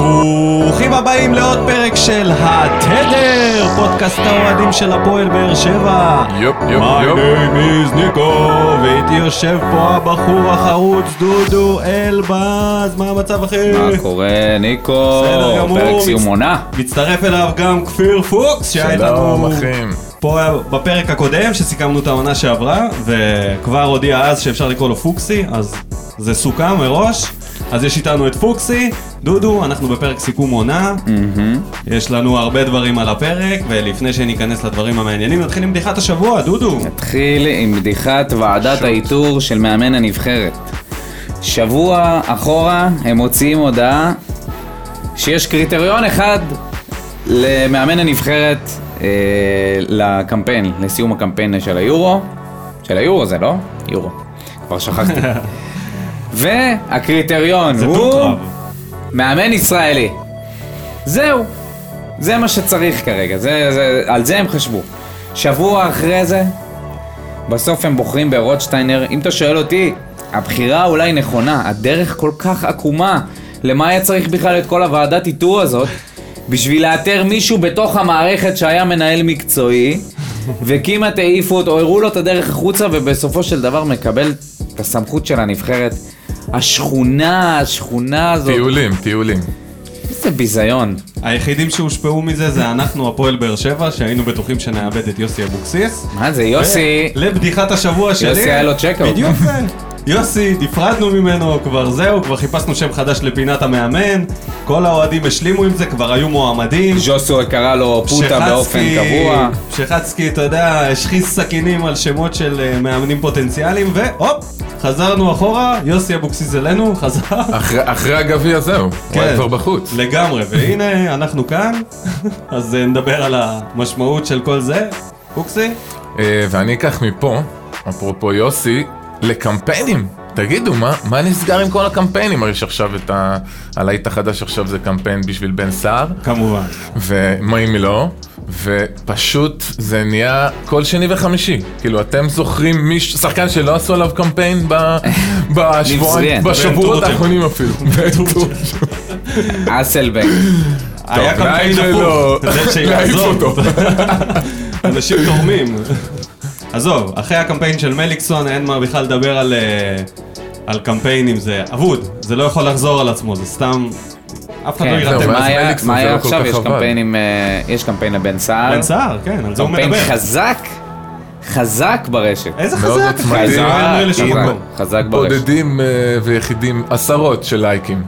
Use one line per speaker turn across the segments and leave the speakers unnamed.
ברוכים הבאים לעוד פרק של התדר, פודקאסט האוהדים של הפועל באר שבע.
יופ, יופ,
My
יופ.
name is ניקו, ואיתי יושב פה הבחור החרוץ דודו אלבז, מה המצב אחי?
מה קורה, ניקו?
בסדר גמור.
פרק סיום עונה.
מצטרף אליו גם כפיר פוקס, שהיה איתנו
שלום אחים.
פה בפרק הקודם שסיכמנו את העונה שעברה, וכבר הודיע אז שאפשר לקרוא לו פוקסי, אז זה סוכם מראש. אז יש איתנו את פוקסי, דודו, אנחנו בפרק סיכום עונה, יש לנו הרבה דברים על הפרק, ולפני שניכנס לדברים המעניינים נתחיל עם בדיחת השבוע, דודו.
נתחיל עם בדיחת ועדת האיתור של מאמן הנבחרת. שבוע אחורה הם מוציאים הודעה שיש קריטריון אחד למאמן הנבחרת אה, לקמפיין, לסיום הקמפיין של היורו. של היורו זה, לא? יורו. כבר שכחתי. והקריטריון
זה
הוא...
דו-קרב.
מאמן ישראלי. זהו. זה מה שצריך כרגע, זה, זה, על זה הם חשבו. שבוע אחרי זה, בסוף הם בוחרים ברוטשטיינר. אם אתה שואל אותי, הבחירה אולי נכונה, הדרך כל כך עקומה. למה היה צריך בכלל את כל הוועדת איתור הזאת? בשביל לאתר מישהו בתוך המערכת שהיה מנהל מקצועי, וכמעט העיפו אותו, הראו לו את הדרך החוצה, ובסופו של דבר מקבל את הסמכות של הנבחרת. השכונה, השכונה הזאת.
טיולים, טיולים.
איזה ביזיון.
היחידים שהושפעו מזה זה אנחנו, הפועל באר שבע, שהיינו בטוחים שנאבד את יוסי אבוקסיס.
מה זה, יוסי?
אה, לבדיחת השבוע שלי.
יוסי היה לו צ'קאוט.
בדיוק זה. יוסי, נפרדנו ממנו, כבר זהו, כבר חיפשנו שם חדש לפינת המאמן. כל האוהדים השלימו עם זה, כבר היו מועמדים.
ז'וסו קרא לו פוטה באופן קבוע.
שחצקי, אתה יודע, השחיז סכינים על שמות של אה, מאמנים פוטנציאליים, והופ, חזרנו אחורה, יוסי אבוקסיס אלינו, חזר.
אחרי אחרי הגביע זהו, הוא היה כבר בחוץ.
לגמרי, והנה, אנחנו כאן, אז אה, נדבר על המשמעות של כל זה. אוקסי?
אה, ואני אקח מפה, אפרופו יוסי, לקמפיינים. תגידו, מה, מה נסגר עם כל הקמפיינים? הרי שעכשיו את ה... הלהיט החדש עכשיו זה קמפיין בשביל בן סער,
כמובן.
ומה אם לא? ופשוט זה נהיה כל שני וחמישי. כאילו, אתם זוכרים מישהו, שחקן שלא עשו עליו קמפיין ב... בשבועיים,
מצוין.
בשבועות
בן
האחרונים אפילו.
אסלבנק.
היה
טוב,
קמפיין
להעיף
הפוך,
לו-
זה
להעיף
שיעזוב.
אותו.
אנשים תורמים. עזוב, אחרי הקמפיין של מליקסון אין מה בכלל לדבר על, אה, על קמפיינים, זה אבוד, זה לא יכול לחזור על עצמו, זה סתם... אף אחד לא
כן,
זהו,
יירתם.
ואז
מה היה-
מליקסון,
מה
זה
היה
לא כל
עכשיו?
כך
יש
חבל.
קמפיין עם, אה, יש קמפיין לבן סער.
בן סער, כן, על זה הוא
קמפיין
מדבר.
חזק, חזק ברשת.
איזה
מאוד
חזק,
עוצמתי.
אחי, זה לא
חזק,
יאמר לשום
חזק,
מקום.
חזק ברשת.
בודדים אה, ויחידים, עשרות של לייקים.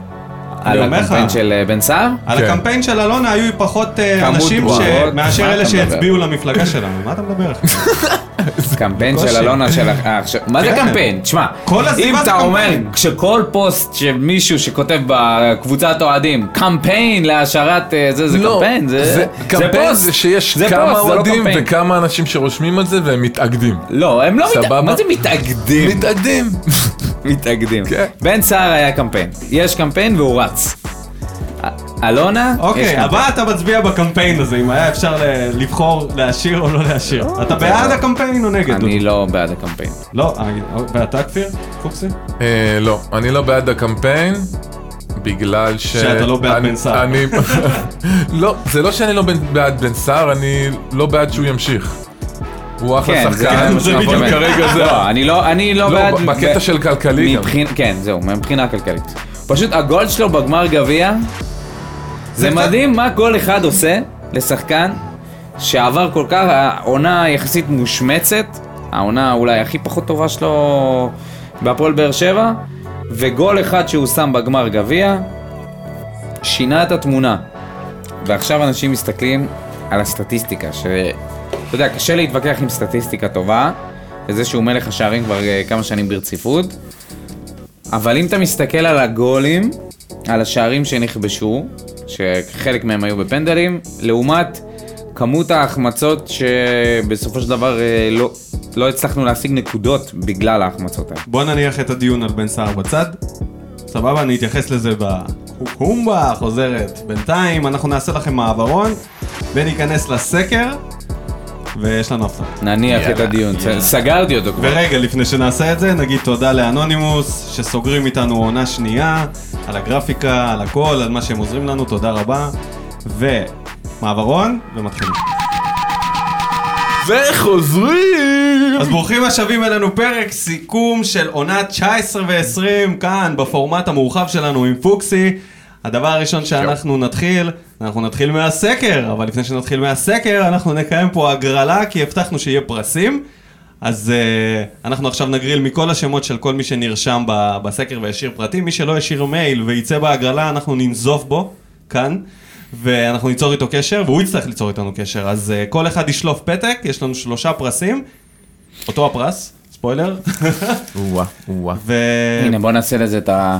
על
אומר לך.
הקמפיין של אה, בן סער?
על
כן.
הקמפיין של אלונה היו פחות אה,
כמות
אנשים ש-
תגובות,
מאשר
מה
אלה
אתה מדבר?
שהצביעו למפלגה שלנו, מה אתה מדבר? אחי?
קמפיין של
קושי.
אלונה של... אה, עכשיו- מה זה
כן.
קמפיין? תשמע,
כל הסביבה
אם
זה
אתה אומר
קמפיין.
שכל פוסט שמישהו שכותב בקבוצת אוהדים, קמפיין להשארת אה, זה, זה קמפיין, זה זה
לא. קמפיין
פוסט.
זה שיש
זה
כמה
פוסט, זה לא
אוהדים
קמפיין.
וכמה אנשים שרושמים על זה והם מתאגדים.
לא, הם לא
סבבה.
מתאגדים. מה זה מתאגדים?
מתאגדים.
מתאגדים.
כן.
בן סער היה קמפיין. יש קמפיין והוא רץ. א- אלונה, יש
אוקיי,
קמפיין.
הבא אתה מצביע בקמפיין הזה, אם היה אפשר ל- לבחור להשאיר או לא להשאיר. אתה בעד הקמפיין או נגד?
אה, אני לא בעד הקמפיין.
לא, אני- ואתה כפיר? פוקסי?
אה, לא, אני לא בעד הקמפיין. בגלל ש...
שאתה לא בעד
אני-
בן סער.
אני... לא, זה לא שאני לא בן- בעד בן סער, אני לא בעד שהוא ימשיך. הוא אחלה
כן,
שחקן,
זה בדיוק
אבל
הקמפיין.
כרגע זה...
לא, אני לא, אני
לא,
לא, בעד...
בקטע
ב-
של כלכלי גם.
מבחין, כן, זהו, מבחינה כלכלית. פשוט הגול שלו בגמר גביע, זה מדהים מה כל אחד עושה לשחקן שעבר כל כך, העונה יחסית מושמצת, העונה אולי הכי פחות טובה שלו בהפועל באר שבע, וגול אחד שהוא שם בגמר גביע, שינה את התמונה. ועכשיו אנשים מסתכלים על הסטטיסטיקה, ש... אתה יודע, קשה להתווכח עם סטטיסטיקה טובה, וזה שהוא מלך השערים כבר אה, כמה שנים ברציפות, אבל אם אתה מסתכל על הגולים, על השערים שנכבשו, שחלק מהם היו בפנדלים, לעומת כמות ההחמצות שבסופו של דבר אה, לא, לא הצלחנו להשיג נקודות בגלל ההחמצות האלה.
בוא נניח את הדיון על בן סער בצד. סבבה, אני אתייחס לזה בקומבה החוזרת. בינתיים אנחנו נעשה לכם מעברון, וניכנס לסקר, ויש לנו הפתעה.
נניח את הדיון, סגרתי אותו כבר.
ורגע, לפני שנעשה את זה, נגיד תודה לאנונימוס, שסוגרים איתנו עונה שנייה. על הגרפיקה, על הכל, על מה שהם עוזרים לנו, תודה רבה. ומעברון, ומתחילים.
וחוזרים!
אז ברוכים השבים אלינו פרק סיכום של עונה 19 ו-20 כאן בפורמט המורחב שלנו עם פוקסי. הדבר הראשון שאנחנו נתחיל, אנחנו נתחיל מהסקר, אבל לפני שנתחיל מהסקר אנחנו נקיים פה הגרלה כי הבטחנו שיהיה פרסים. אז uh, אנחנו עכשיו נגריל מכל השמות של כל מי שנרשם ב- בסקר והשאיר פרטים. מי שלא השאיר מייל וייצא בהגרלה, אנחנו ננזוף בו כאן, ואנחנו ניצור איתו קשר, והוא יצטרך ליצור איתנו קשר. אז uh, כל אחד ישלוף פתק, יש לנו שלושה פרסים, אותו הפרס, ספוילר.
וואה, וואה.
ו...
הנה, בוא נעשה לזה את ה-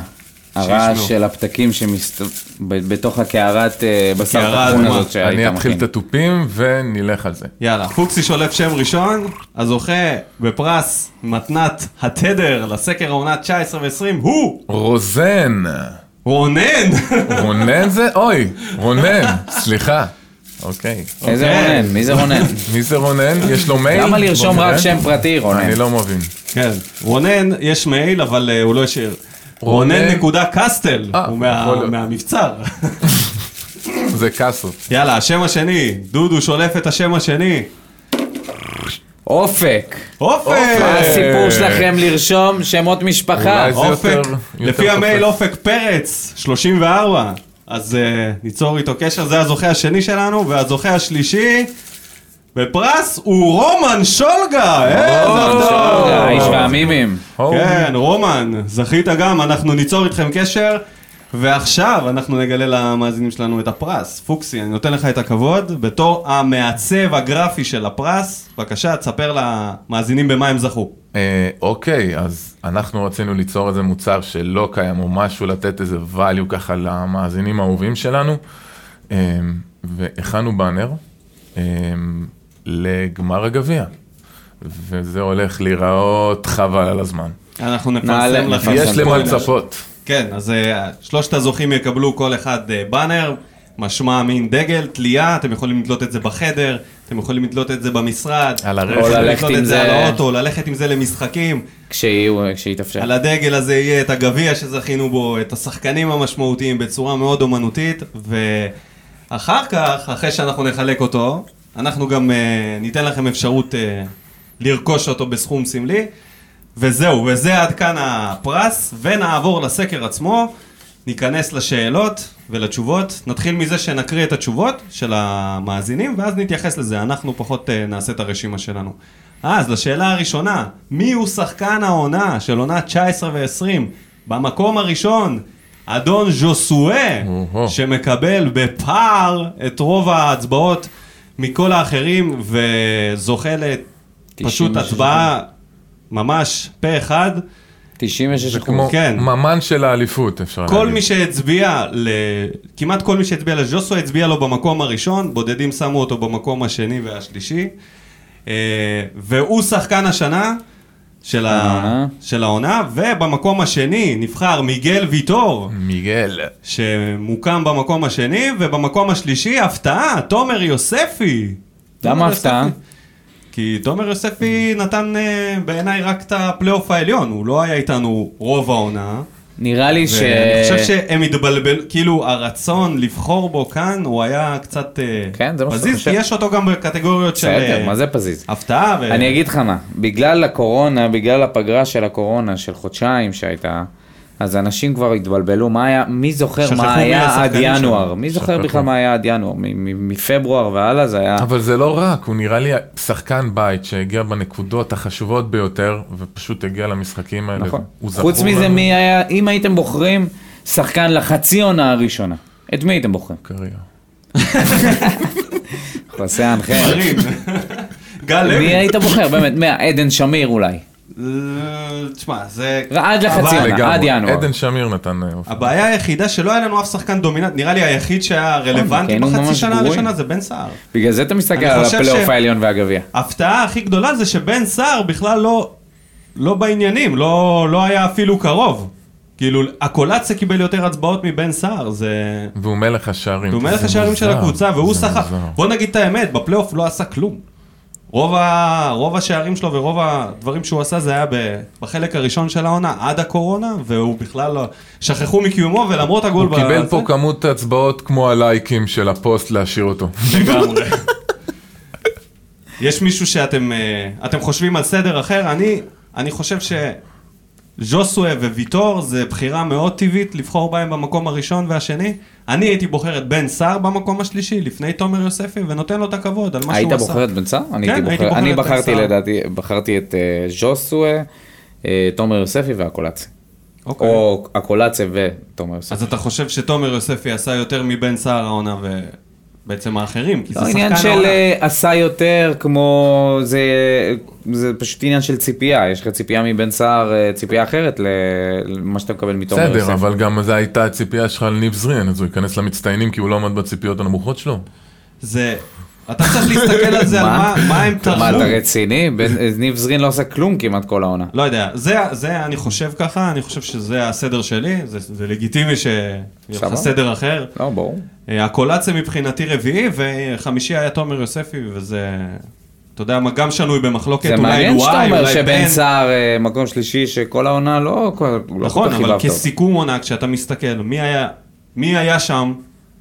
הרעש
שישמעו.
של הפתקים שמסת... ב- בתוך הקערת אה, בשר
הקערה
טחון
האדומה.
הזאת שהיית מכין.
אני אתחיל את התופים ונלך על זה.
יאללה, פוקסי שולף שם ראשון, הזוכה בפרס מתנת התדר לסקר העונה 19 ו-20 הוא
רוזן.
רונן!
רונן זה? אוי, רונן, סליחה. אוקיי.
איזה
אוקיי.
רונן? מי זה רונן?
מי זה רונן? יש לו מייל?
למה לרשום
בוא
רק
נראה.
שם פרטי, רונן?
אני לא מבין.
כן, רונן, יש מייל, אבל אה, הוא לא השאיר.
רונן-
רונן נקודה קסטל,
אה,
הוא מה-
יכול להיות.
מהמבצר.
זה קאסות.
יאללה, השם השני, דודו שולף את השם השני.
אופק.
אופק!
מה הסיפור שלכם לרשום שמות משפחה?
אה, אולי זה-
אופק,
יותר- יותר
לפי
תופס.
המייל אופק פרץ, 34. אז אה, ניצור איתו קשר, זה הזוכה השני שלנו, והזוכה השלישי בפרס הוא רומן שולגה! איזה
רומן
טוב!
שולגה,
האיש והמימים.
או,
כן, רומן, זכית גם, אנחנו ניצור איתכם קשר, ועכשיו אנחנו נגלה למאזינים שלנו את הפרס. פוקסי, אני נותן לך את הכבוד, בתור המעצב הגרפי של הפרס, בבקשה, תספר למאזינים במה הם זכו.
אה, אוקיי, אז אנחנו רצינו ליצור איזה מוצר שלא קיים, או משהו לתת איזה value ככה למאזינים האהובים שלנו, אה, והכנו באנר אה, לגמר הגביע, וזה הולך להיראות חבל על הזמן.
אנחנו
נעלה,
נפרסם לכם.
יש למה
ספוילר.
לצפות.
כן, אז אה, שלושת הזוכים יקבלו כל אחד אה, באנר, משמע מין דגל, תלייה, אתם יכולים לתלות את זה בחדר, אתם יכולים לתלות את זה במשרד,
על הרכב.
אתם יכולים
או ללכת
לתלות
עם
את זה
זה.
על האוטו, ללכת עם זה למשחקים,
כשיהיו-
כן.
כשיתאפשר.
על הדגל הזה יהיה את הגביע שזכינו בו, את השחקנים המשמעותיים בצורה מאוד אומנותית, ואחר כך, אחרי שאנחנו נחלק אותו, אנחנו גם אה, ניתן לכם אפשרות אה, לרכוש אותו בסכום סמלי, וזהו, וזה עד כאן הפרס, ונעבור לסקר עצמו, ניכנס לשאלות ולתשובות, נתחיל מזה שנקריא את התשובות של המאזינים, ואז נתייחס לזה, אנחנו פחות אה, נעשה את הרשימה שלנו. אה, אז לשאלה הראשונה, מי הוא שחקן העונה של עונה 19 ו-20? במקום הראשון, אדון ז'וסואה,
אוהו.
שמקבל בפער את רוב ההצבעות מכל האחרים, וזוכה לפשוט
96.
הצבעה ממש פה אחד.
96
זה
אחוז.
כמו
כן.
ממן של האליפות, אפשר להגיד.
כל מי שהצביע, ל... כמעט כל מי שהצביע לז'וסו הצביע לו במקום הראשון, בודדים שמו אותו במקום השני והשלישי. אה, והוא שחקן השנה של, ה...
אה.
של העונה, ובמקום השני נבחר מיגל ויטור,
מיגל.
שמוקם במקום השני, ובמקום השלישי, הפתעה, תומר יוספי. תומר
למה הפתעה?
יוספי. כי תומר יוספי נתן אה, בעיניי רק את הפלייאוף העליון, הוא לא היה איתנו רוב העונה.
נראה לי ש...
ואני חושב שהם התבלבל, כאילו הרצון לבחור בו כאן הוא היה קצת אה,
כן, זה מה שאתה
פזיז,
חושב.
כי יש אותו גם בקטגוריות של
בסדר,
אה,
מה זה פזיז?
הפתעה. ו-
אני אגיד לך מה, בגלל הקורונה, בגלל הפגרה של הקורונה, של חודשיים שהייתה, אז אנשים כבר התבלבלו, מה היה, מי זוכר
שכחו
מה
מי
היה עד
השחקנים
ינואר?
שלהם.
מי זוכר
שכחו.
בכלל מה היה עד ינואר? מ- מ- מפברואר והלאה זה היה...
אבל זה לא רק, הוא נראה לי שחקן בית שהגיע בנקודות החשובות ביותר, ופשוט הגיע למשחקים האלה.
נכון.
הוא זכור
חוץ מזה,
לנו
מי היה, אם הייתם בוחרים שחקן לחצי עונה הראשונה, את מי הייתם בוחרים?
בקריירה.
חוסי האנחל.
דברים. גל
מי
לוי.
היית בוחר? באמת, מה, עדן שמיר אולי.
אה, תשמע, זה...
עד לחצי
אבל-
עונה.
לגמרי.
עד ינואר.
עדן שמיר נתן אה, אופי.
הבעיה היחידה שלא היה לנו אף שחקן דומיננט, נראה לי היחיד שהיה רלוונטי
כן, הוא
בחצי
ממש
שנה
גרועים.
הראשונה זה בן סער.
בגלל זה אתה מסתכל
אני
על
חושב
הפלייאוף
ש-
העליון והגביע.
ההפתעה הכי גדולה זה שבן סער בכלל לא, לא בעניינים, לא, לא היה אפילו קרוב. כאילו, הקולציה קיבל יותר הצבעות מבן סער, זה...
והוא מלך השערים.
הוא
זה
מלך השערים של
מוזר,
הקבוצה, והוא
זה
סחף.
מוזר.
בוא נגיד את האמת, בפלייאוף לא עשה כלום. רוב, ה... רוב השערים שלו ורוב הדברים שהוא עשה זה היה ב... בחלק הראשון של העונה, עד הקורונה, והוא בכלל לא... שכחו מקיומו, ולמרות הגול...
הוא קיבל
בזה-
פה כמות הצבעות כמו הלייקים של הפוסט להשאיר אותו.
לגמרי. יש מישהו שאתם אה, אתם חושבים על סדר אחר? אני, אני חושב שז'וסווה וויטור זה בחירה מאוד טבעית לבחור בהם במקום הראשון והשני. אני הייתי בוחר את בן סער במקום השלישי, לפני תומר יוספי, ונותן לו את הכבוד על מה
היית
שהוא עשה.
בוחר את בן סער? אני
כן,
הייתי
הייתי
בוחר-
בוחר
אני
את בן
בחרתי
סער.
לדעתי, בחרתי את אה, ז'וסואה, אה, תומר יוספי והקולציה.
אוקיי.
או הקולציה ותומר יוספי.
אז אתה חושב שתומר יוספי עשה יותר מבן סער העונה ובעצם האחרים? כי זה
לא עניין
שחקן
של
העונה.
אה, עשה יותר כמו זה זה פשוט עניין של ציפייה יש לך ציפייה מבן סער אה, ציפייה אחרת ל- למה שאתה מקבל מתומר יוסף.
בסדר, אבל גם זו הייתה הציפייה שלך על ניב זריאן, אז הוא ייכנס למצטיינים כי הוא לא עמד בציפיות הנמוכות שלו.
זה... אתה צריך להסתכל על זה, על מה- מה הם תרמו.
מה אתה רציני? בן- אה, ניב זרין לא עשה כלום כמעט כל העונה.
לא יודע, זה, זה אני חושב ככה, אני חושב שזה הסדר שלי, זה, זה לגיטימי שיהיה לך
סבבה.
סדר אחר.
לא ברור.
אה, הקולציה מבחינתי רביעי, וחמישי היה תומר יוספי, וזה, אתה יודע מה, גם שנוי במחלוקת,
זה
כן, אולי
מעניין שאתה
וואי,
אומר
אולי
שבן
בן.
סער אה, מקום שלישי שכל העונה לא כל- הוא לא כל
נכון,
כך
אבל
חיבבת אותו.
כסיכום עונה, כשאתה מסתכל, מי היה, מי היה שם,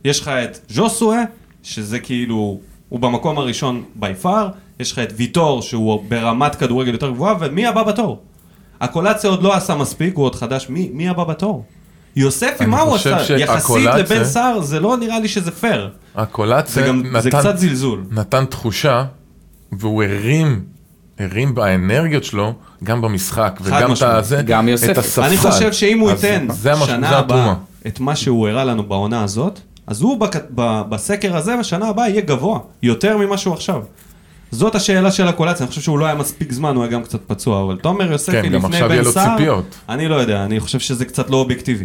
יש לך את ז'וסואה, שזה כאילו, הוא במקום הראשון בי פאר, יש לך את ויטור, שהוא ברמת כדורגל יותר גבוהה, ומי הבא בתור? הקולציה עוד לא עשה מספיק, הוא עוד חדש, מי, מי הבא בתור? יוספי,
אני
מה הוא
חושב
עשה? יחסית
שהקולציה-
לבן סער, זה לא נראה לי שזה פייר. זה
הקולציה
גם, זה
נתן-
קצת זלזול.
נתן תחושה, והוא הרים, הרים באנרגיות שלו, גם במשחק, וגם את
משמעית.
הזה,
גם יוספי.
את הספסל.
אני חושב שאם הוא
אז
ייתן
זה המש- זה
שנה הבאה
התרומה.
את מה שהוא הראה לנו בעונה הזאת, אז הוא בק... ב... בסקר הזה בשנה הבאה יהיה גבוה, יותר ממה שהוא עכשיו. זאת השאלה של הקולציה, אני חושב שהוא לא היה מספיק זמן, הוא היה גם קצת פצוע, אבל תומר יוספי
כן, גם
לפני
עכשיו יהיה
בן
לו
סער,
ציפיות.
אני לא יודע, אני חושב שזה קצת לא אובייקטיבי.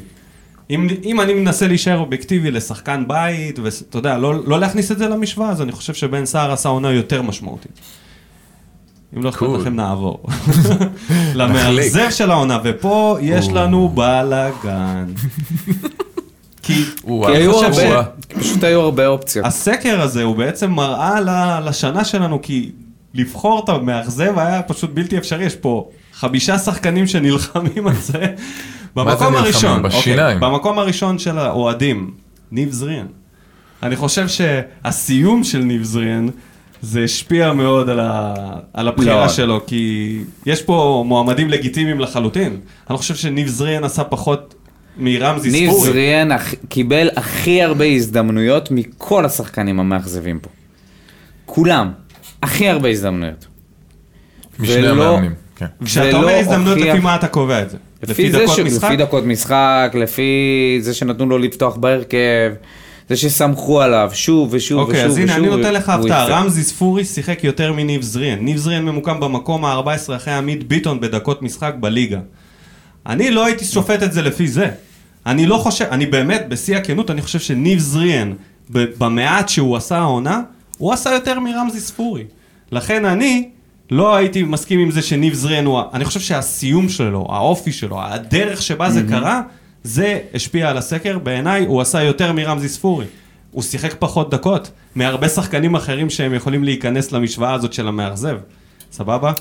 אם, אם אני מנסה להישאר אובייקטיבי לשחקן בית, ואתה יודע, לא, לא להכניס את זה למשוואה, אז אני חושב שבן סער עשה עונה יותר משמעותית. אם לא אכפת
Cool.
לכם נעבור. למאכזב של העונה, ופה יש לנו בלאגן. כי
הוא
כי
היה
היו
חושב שהוא
הרבה,
היה-
כי פשוט היו הרבה אופציות.
הסקר הזה הוא בעצם מראה ל- לשנה שלנו, כי לבחור את המאכזב היה פשוט בלתי אפשרי, יש פה חמישה שחקנים שנלחמים על זה. במקום
נלחמים?
הראשון, אוקיי,
בשיניים.
במקום הראשון של האוהדים, ניב זריאן. אני חושב שהסיום של ניב זריאן, זה השפיע מאוד על, ה... על הבחירה
מאוד.
שלו, כי יש פה מועמדים לגיטימיים לחלוטין. אני חושב שניב זריאן עשה פחות מרמזי ספורי.
ניב זריאן הכ- קיבל הכי הרבה הזדמנויות מכל השחקנים המאכזבים פה. כולם. הכי הרבה הזדמנויות.
משני
ולא-
המאמנים. כן.
כשאתה
ולא
אומר הזדמנות,
הוכיח-
לפי מה אתה קובע את זה?
לפי, זה ש... לפי דקות משחק, לפי זה שנתנו לו לפתוח בהרכב, זה שסמכו עליו שוב ושוב ושוב
אוקיי, אז הנה,
ושוב,
אני נותן לך
והוא
הפתעה.
יפה.
רמזי ספורי שיחק יותר מניב זריאן. ניב זריאן ממוקם במקום ה-14 אחרי עמית ביטון בדקות משחק בליגה. אני לא הייתי שופט את זה לפי זה. אני לא חושב, אני באמת, בשיא הכנות, אני חושב שניב זריאן, ב- במעט שהוא עשה העונה, הוא עשה יותר מרמזי ספורי. לכן אני לא הייתי מסכים עם זה שניב זריאן הוא... ה- אני חושב שהסיום שלו, האופי שלו, הדרך שבה זה קרה, זה השפיע על הסקר. בעיניי הוא עשה יותר מרמזי ספורי. הוא שיחק פחות דקות מהרבה שחקנים אחרים שהם יכולים להיכנס למשוואה הזאת של המאכזב. סבבה?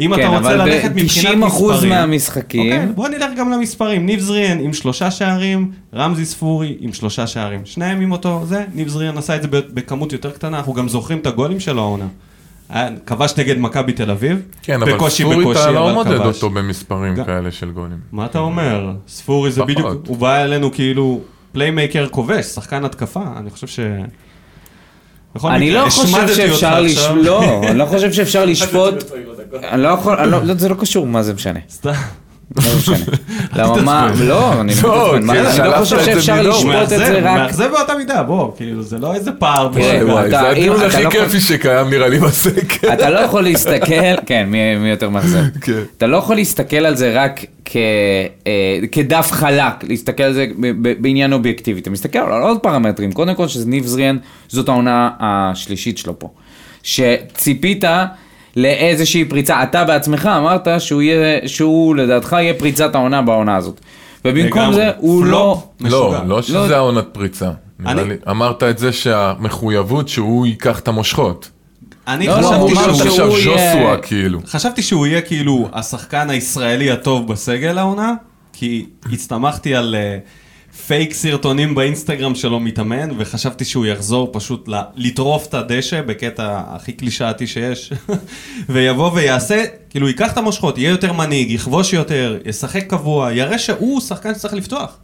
אם אתה
כן,
רוצה
אבל ב-
ללכת מבחינת
90%
מספרים...
מהמשחקים-
אוקיי, בוא נלך גם למספרים. ניב זריאן עם שלושה שערים, רמזי ספורי עם שלושה שערים. שניהם עם אותו זה, ניב זריאן עשה את זה ב- בכמות יותר קטנה, אנחנו גם זוכרים את הגולים שלו העונה. היה- כבש נגד מכבי תל אביב,
כן, אבל
בקושי
ספורי
בקושי,
אתה לא
אבל
מודד
כבש.
אותו במספרים
גם-
כאלה של גולים.
מה אתה אומר? ספורי זה
פחות.
בדיוק, הוא בא אלינו כאילו פליימייקר כובש, שחקן התקפה, אני חושב ש... בכל
אני
מקרה,
לא חושב
השמדתי
שאפשר
אותך
לש...
עכשיו.
לא, אני לא חושב שאפשר לשפוט, אני לא יכול, אני לא- לא, זה לא קשור מה זה משנה,
סתם.
לא משנה. למה מה, לא, אני
לא,
לא מתעצבן. מה
כן,
זה? אני
שלפת
לא
את
חושב
זה
שאפשר
מדור.
הוא
לשפוט
מאכזב,
את זה
הוא
רק, כן.
מאכזב באותה מידה, בוא, כאילו, זה לא איזה פער.
תראה,
בשביל-
הוא
וואי,
אתה-
זה
אם
הדיון
אתה
הכי
לא
כיפי
יכול-
שקיים נראה לי בסקר.
אתה לא יכול להסתכל, כן, מי מי יותר מאכזב.
כן.
אתה לא יכול להסתכל על זה רק כ, אה, כדף חלק, להסתכל על זה ב- ב- בעניין אובייקטיבי. אתה מסתכל על עוד פרמטרים, קודם כל שניב זריאן, זאת העונה השלישית שלו פה. שציפית לאיזושהי פריצה, אתה בעצמך אמרת שהוא, יהיה, שהוא לדעתך יהיה פריצת העונה בעונה הזאת. ובמקום
לגמרי.
זה הוא לא...
פלופ.
לא,
משוגע.
לא שזה העונת פריצה. נראה
אני-
לי- אמרת את זה שהמחויבות שהוא ייקח את המושכות.
אני
לא, לא,
הוא
חשבתי
אמר
אמר
שהוא-
עכשיו
שהוא יהיה-
ז'וסווה, כאילו.
חשבתי שהוא יהיה כאילו השחקן הישראלי הטוב בסגל העונה, כי הסתמכתי על אה, פייק סרטונים באינסטגרם שלו מתאמן, וחשבתי שהוא יחזור פשוט ל- לטרוף את הדשא בקטע הכי קלישאתי שיש, ויבוא ויעשה, כאילו ייקח את המושכות, יהיה יותר מנהיג, יכבוש יותר, ישחק קבוע, יראה שהוא שחקן שצריך לפתוח.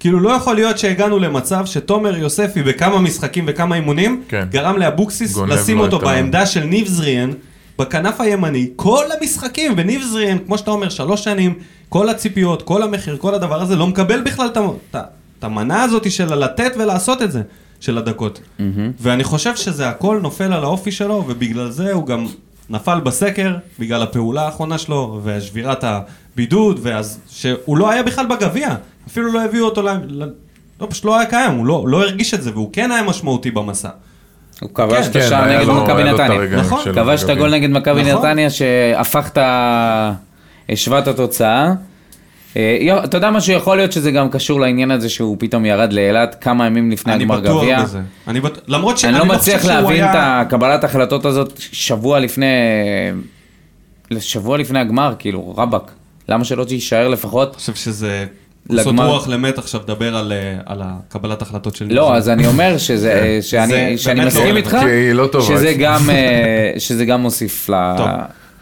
כאילו לא יכול להיות שהגענו למצב שתומר יוספי בכמה משחקים וכמה אימונים
כן.
גרם לאבוקסיס
גונב
לשים
לו
אותו
את ה-
בעמדה של ניב זריאן בכנף הימני כל המשחקים וניב זריאן כמו שאתה אומר שלוש שנים כל הציפיות כל המחיר כל הדבר הזה לא מקבל בכלל את ה- את ה- את המנה הזאת של הלתת ולעשות את זה של הדקות ואני חושב שזה הכל נופל על האופי שלו ובגלל זה הוא גם נפל בסקר בגלל הפעולה האחרונה שלו ושבירת הבידוד ואז שהוא לא היה בכלל בגביע אפילו לא הביאו אותו ל... ל- לא, פשוט לא היה קיים, הוא לא, לא הרגיש את זה, והוא כן היה משמעותי במסע.
הוא כבש
כן,
את השער
היה
נגד
לו-
מכבי
היה לו את
נתניה.
הרגעים
נכון,
שלו
כבש את
בגביע.
הגול נגד מכבי
נכון.
נתניה שהפך את ה... השווה את התוצאה. אה, יו- אתה יודע משהו, יכול להיות שזה גם קשור לעניין הזה שהוא פתאום ירד לאילת כמה ימים לפני
אני
הגמר
בטוח
גביע.
בזה. אני בטוח, למרות שאני
אני לא מצליח
חושב שהוא
להבין את
היה-
הקבלת ההחלטות הזאת שבוע לפני...
אה,
שבוע לפני הגמר, כאילו, רבאק. למה שלא תישאר לפחות?
אני חושב שזה...
לגמר.
לעשות רוח למת עכשיו לדבר על, אה, על הקבלת החלטות של...
לא, אז אני אומר שזה, שאני,
זה
שאני
באמת לא
מסכים איתך,
רלוונטי.
כי היא כן. לא טובה.
שזה גם, אה, שזה גם מוסיף ל-
טוב.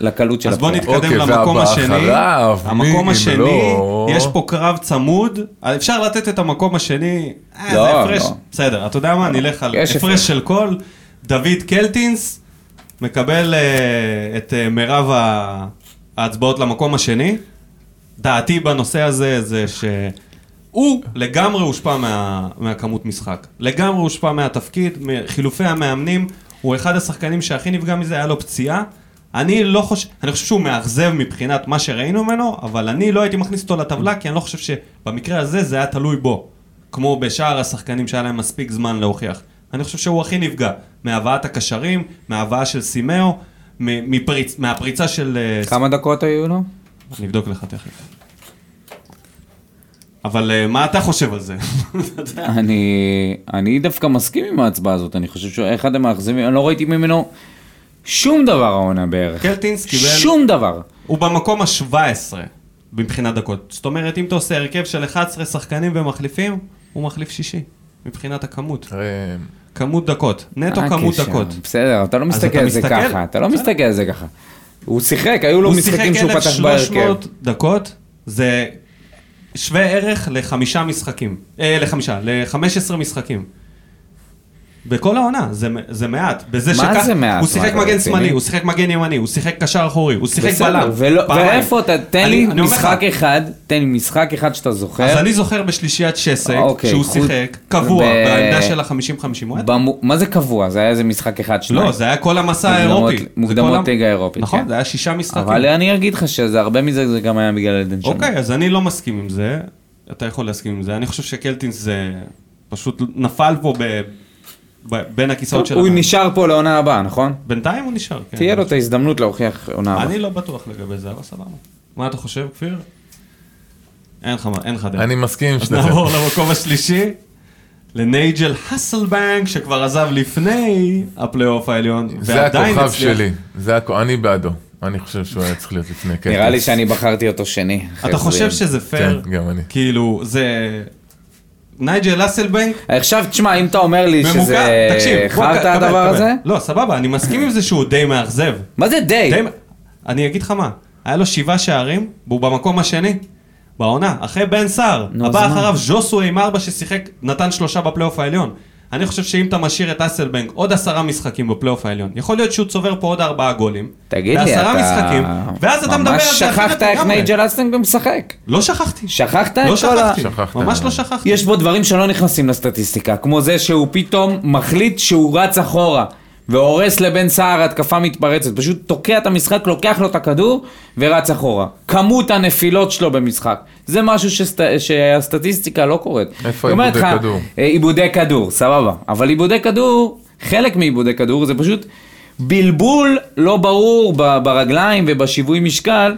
לקלות של
אז בוא
הבחירה.
נתקדם
אוקיי,
למקום
והבא
השני.
אחריו, מי
המקום
אם
השני,
לא?
יש פה קרב צמוד, אפשר לתת את המקום השני, אה,
לא,
זה הפרש,
לא.
בסדר, אתה יודע מה, נלך על
יש
הפרש
הפרש.
של קול, דוד קלטינס מקבל אה, את אה, מירב ה- ההצבעות למקום השני, דעתי בנושא הזה זה שהוא לגמרי הושפע מה, מהכמות משחק. לגמרי הושפע מהתפקיד, מחילופי המאמנים, הוא אחד השחקנים שהכי נפגע מזה, היה לו פציעה. אני לא חושב, אני חושב שהוא מאכזב מבחינת מה שראינו ממנו, אבל אני לא הייתי מכניס אותו לטבלה, כי אני לא חושב שבמקרה הזה זה היה תלוי בו. כמו בשאר השחקנים שהיה להם מספיק זמן להוכיח. אני חושב שהוא הכי נפגע, מהבאת הקשרים, מהבאה של סימאו, מ- מפריצ, מהפריצה של... אה,
כמה דקות היו לו?
אני אבדוק לך תכף. אבל אה, מה אתה חושב על זה?
אני, אני דווקא מסכים עם ההצבעה הזאת, אני חושב שהוא אחד המאכזבים, אני לא ראיתי ממנו שום דבר העונה בערך.
קלטינס קיבל...
שום דבר.
הוא במקום ה-17 מבחינת דקות. זאת אומרת, אם אתה עושה הרכב של 11 שחקנים ומחליפים, הוא מחליף שישי. מבחינת הכמות.
אה,
כמות דקות. נטו
אה,
כמות
קשר.
דקות.
בסדר, אתה לא
אז
מסתכל
אתה
על זה
מסתכל?
ככה, אתה לא
בסדר.
מסתכל על זה ככה. הוא שיחק, היו לו
הוא שיחק
לא, משחקים שהוא פתח בהרכב.
1,300 דקות, זה שווה ערך לחמישה משחקים. אה, לחמישה, ל-15 משחקים. בכל העונה, זה, זה מעט. בזה
מה
שכך,
זה מעט?
הוא
מה,
שיחק
אתה
מגן
רציני?
שמאלי, הוא שיחק מגן ימני, הוא שיחק קשר אחורי, הוא שיחק
בסדר,
בלם.
ולא-
פעמיים.
ואיפה אתה, תן
אני-
לי
אני אומר לך,
משחק אחד, תן לי משחק אחד שאתה זוכר.
אז אני זוכר בשלישיית שסק,
אוקיי,
שהוא
חוץ-
שיחק קבוע
ב-
בעמדה של ה-50-50. הוא היה
במו- מה זה קבוע? זה היה איזה משחק אחד שלו.
לא, זה היה כל המסע
מוקדמות-
האירופי. זה כל
מוקדמות
המ-
ליגה האירופית,
נכון,
כן.
זה היה שישה משחקים.
אבל אני אגיד לך שזה הרבה מזה, זה גם היה בגלל עדן שמיר.
אוקיי, אז אני לא מסכים עם זה. אתה יכול להסכים עם זה. אני חושב שקלטינס זה פשוט נפל פה ב... ב... בין הכיסאות של...
הוא
הבעיה.
נשאר פה לעונה הבאה, נכון?
בינתיים הוא נשאר, כן.
תהיה לו את ההזדמנות להוכיח עונה הבאה.
אני לא בטוח לגבי זה, אבל סבבה. מה אתה חושב, כפיר? אין לך מה- אין לך דעה.
אני מסכים עם
כן. אז
שניכם.
נעבור למקום השלישי, לנייג'ל האסלבנק, שכבר עזב לפני הפלייאוף העליון,
זה
ועדיין
הכוכב
הצליח.
שלי, זה הכ- אני בעדו. אני חושב שהוא היה צריך להיות לפני כן, קטע.
נראה לי שאני בחרתי אותו שני. אחרי
אתה
זה.
חושב שזה פייר?
כן, גם אני.
כאילו, זה... נייג'ל אסלבנק
עכשיו, תשמע, אם אתה אומר לי שזה...
ממוקד, תקשיב, בוא,
חרטא
קבל,
הדבר
קבל.
הזה?
לא, סבבה, אני מסכים עם זה שהוא די מאכזב.
מה זה די?
די... מ- אני אגיד לך מה, היה לו שבעה שערים, והוא במקום השני, בעונה, אחרי בן סער.
נו,
הבא
אז מה?
אחריו ז'וסו עם ארבע ששיחק, נתן שלושה בפלייאוף העליון. אני חושב שאם אתה משאיר את אסלבנק עוד עשרה משחקים בפלייאוף העליון, יכול להיות שהוא צובר פה עוד ארבעה גולים.
תגיד לי, אתה...
בעשרה משחקים, ואז אתה מדבר על זה
ממש
אחרת
שכחת איך
לגמרי.
נייג'ל אסטנג משחק.
לא שכחתי.
שכחת
לא
את כל ה...
שכחתי.
שכחת.
ממש לא שכחתי.
יש בו דברים שלא נכנסים לסטטיסטיקה, כמו זה שהוא פתאום מחליט שהוא רץ אחורה. והורס לבן סער התקפה מתפרצת, פשוט תוקע את המשחק, לוקח לו את הכדור ורץ אחורה. כמות הנפילות שלו במשחק, זה משהו שסט... שהסטטיסטיקה לא קורית.
איפה
היא אומרת
איבודי
לך,
כדור?
אה, עיבודי כדור, סבבה. אבל עיבודי כדור, חלק מעיבודי כדור זה פשוט בלבול לא ברור ב- ברגליים ובשיווי משקל.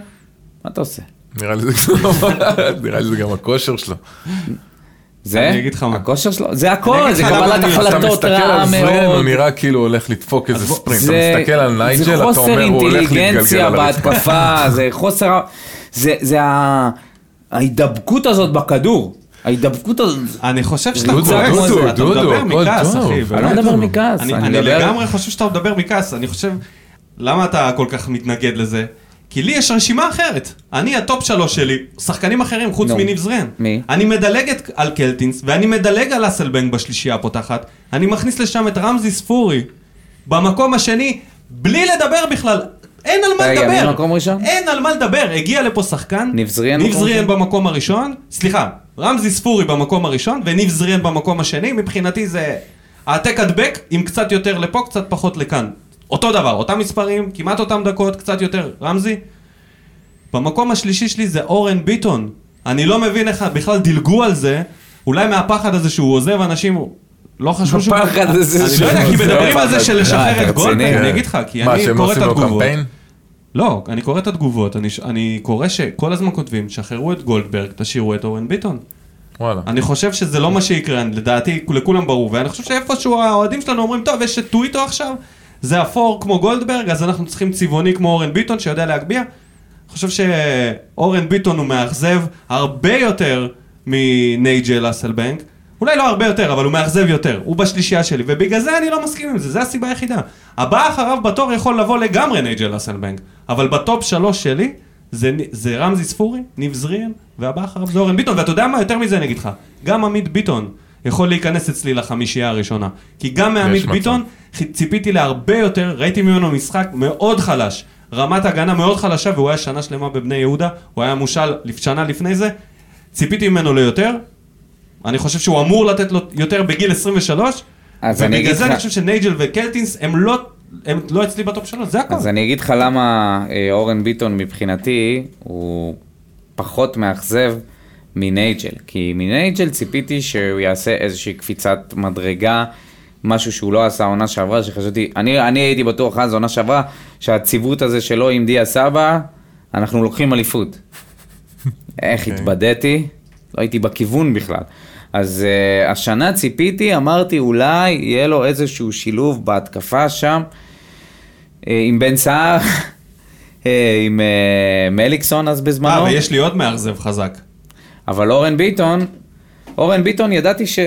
מה אתה עושה?
נראה לי זה גם- נראה לי זה גם הכושר שלו.
זה,
אני אגיד לך מה.
הכושר שלו, זה
אני
הכל,
אגיד
זה
לך למה
קבלת
אני- אתה
אתה
החלטות
מסתכל על
רעה
זרן, הוא
מאוד.
נראה כאילו הוא הולך לדפוק איזה
אז בוא-
ספרינט.
זה-
אתה מסתכל על
זה
נייג'ל, אתה
חוסר
אומר, הוא הולך להתגלגל
אינטליגנציה
על הרצפה.
בהתקפה, זה חוסר... ה- זה- זה ה- ההידבקות הזאת בכדור. ההידבקות הזאת...
אני חושב שאתה
דודו,
קורא
דודו,
את זה, אתה
דודו,
מדבר
הכל
מכעס,
טוב.
אחי.
אני
באמת.
לא מדבר מכעס,
אני
אני
אני
מדבר-
לגמרי חושב שאתה מדבר מכעס, אני חושב... למה אתה כל כך מתנגד לזה? כי לי יש רשימה אחרת. אני, הטופ שלוש שלי, שחקנים אחרים חוץ
נו.
מניב זרן.
מי?
אני מדלג את- על קלטינס, ואני מדלג על אסלבנג בשלישייה הפותחת. אני מכניס לשם את רמזי ספורי במקום השני, בלי לדבר בכלל. אין על מה
רגע,
לדבר.
מי מקום ראשון?
אין על מה לדבר. הגיע לפה שחקן.
ניב זריאן
ניב
מקום
זריאן
ראשון?
במקום הראשון. סליחה, רמזי ספורי במקום הראשון, וניב זריאן במקום השני. מבחינתי זה העתק הדבק, עם קצת יותר לפה, קצת פחות לכאן. אותו דבר, אותם מספרים, כמעט אותם דקות, קצת יותר. רמזי, במקום השלישי שלי זה אורן ביטון. אני לא מבין איך בכלל דילגו על זה, אולי מהפחד הזה שהוא עוזב אנשים, לא חשבו שהוא...
הפחד הזה
אני
שהוא
לא יודע, כי
עוזב.
מדברים על זה של
לא,
לשחרר
אתה
את גולדברג,
רציני?
אני אגיד לך, כי
מה,
אני
שהם
קורא את
עושים לו
התגובות.
קמפיין?
לא, אני קורא את התגובות, אני ש- אני קורא שכל הזמן כותבים, שחררו את גולדברג, תשאירו את אורן ביטון.
וואלה.
אני חושב שזה לא מה שיקרה, אני- לדעתי לכולם ברור, ואני חושב שאיפשהו האוהדים שלנו אומרים, טוב, יש את טוויטו עכשיו, זה אפור כמו גולדברג, אז אנחנו צריכים צבעוני כמו אורן ביטון שיודע להגביה. אני חושב שאורן ביטון הוא מאכזב הרבה יותר מנייג'ל אסלבנק. אולי לא הרבה יותר, אבל הוא מאכזב יותר. הוא בשלישייה שלי, ובגלל זה אני לא מסכים עם זה, זו הסיבה היחידה. הבא אחריו בתור יכול לבוא לגמרי נייג'ל אסלבנק, אבל בטופ שלוש שלי זה, נ- זה רמזי ספורי, ניב זריאן, והבא אחריו זה אורן ביטון, ואתה יודע מה? יותר מזה אני אגיד לך, גם עמית ביטון יכול להיכנס אצלי לחמישייה הראשונה. כי גם מעמית
מצב.
ביטון חי- ציפיתי להרבה יותר, ראיתי ממנו משחק מאוד חלש. רמת הגנה מאוד חלשה, והוא היה שנה שלמה בבני יהודה, הוא היה מושל לפ- שנה לפני זה. ציפיתי ממנו ליותר, אני חושב שהוא אמור לתת לו יותר בגיל 23,
אז אני
ובגלל
אגיד
זה אני
לך-
חושב שנייג'ל וקלטינס הם לא... הם לא אצלי בטופ שלוש, זה הכל.
אז אני אגיד לך למה אה, אורן ביטון מבחינתי הוא פחות מאכזב מנייג'ל. כי מנייג'ל ציפיתי שהוא יעשה איזושהי קפיצת מדרגה, משהו שהוא לא עשה עונה שעברה, שחשבתי, אני, אני הייתי בטוח אז עונה שעברה, שהציוות הזה שלו עם דיה סבא, אנחנו לוקחים אליפות.
אוקיי.
איך התבדיתי? לא הייתי בכיוון בכלל. אז uh, השנה ציפיתי, אמרתי אולי יהיה לו איזשהו שילוב בהתקפה שם אה, עם בן סער, אה, עם אה, מליקסון אז
אה,
בזמנו,
ויש לי עוד מאכזב חזק.
אבל אורן ביטון, אורן ביטון ידעתי ש...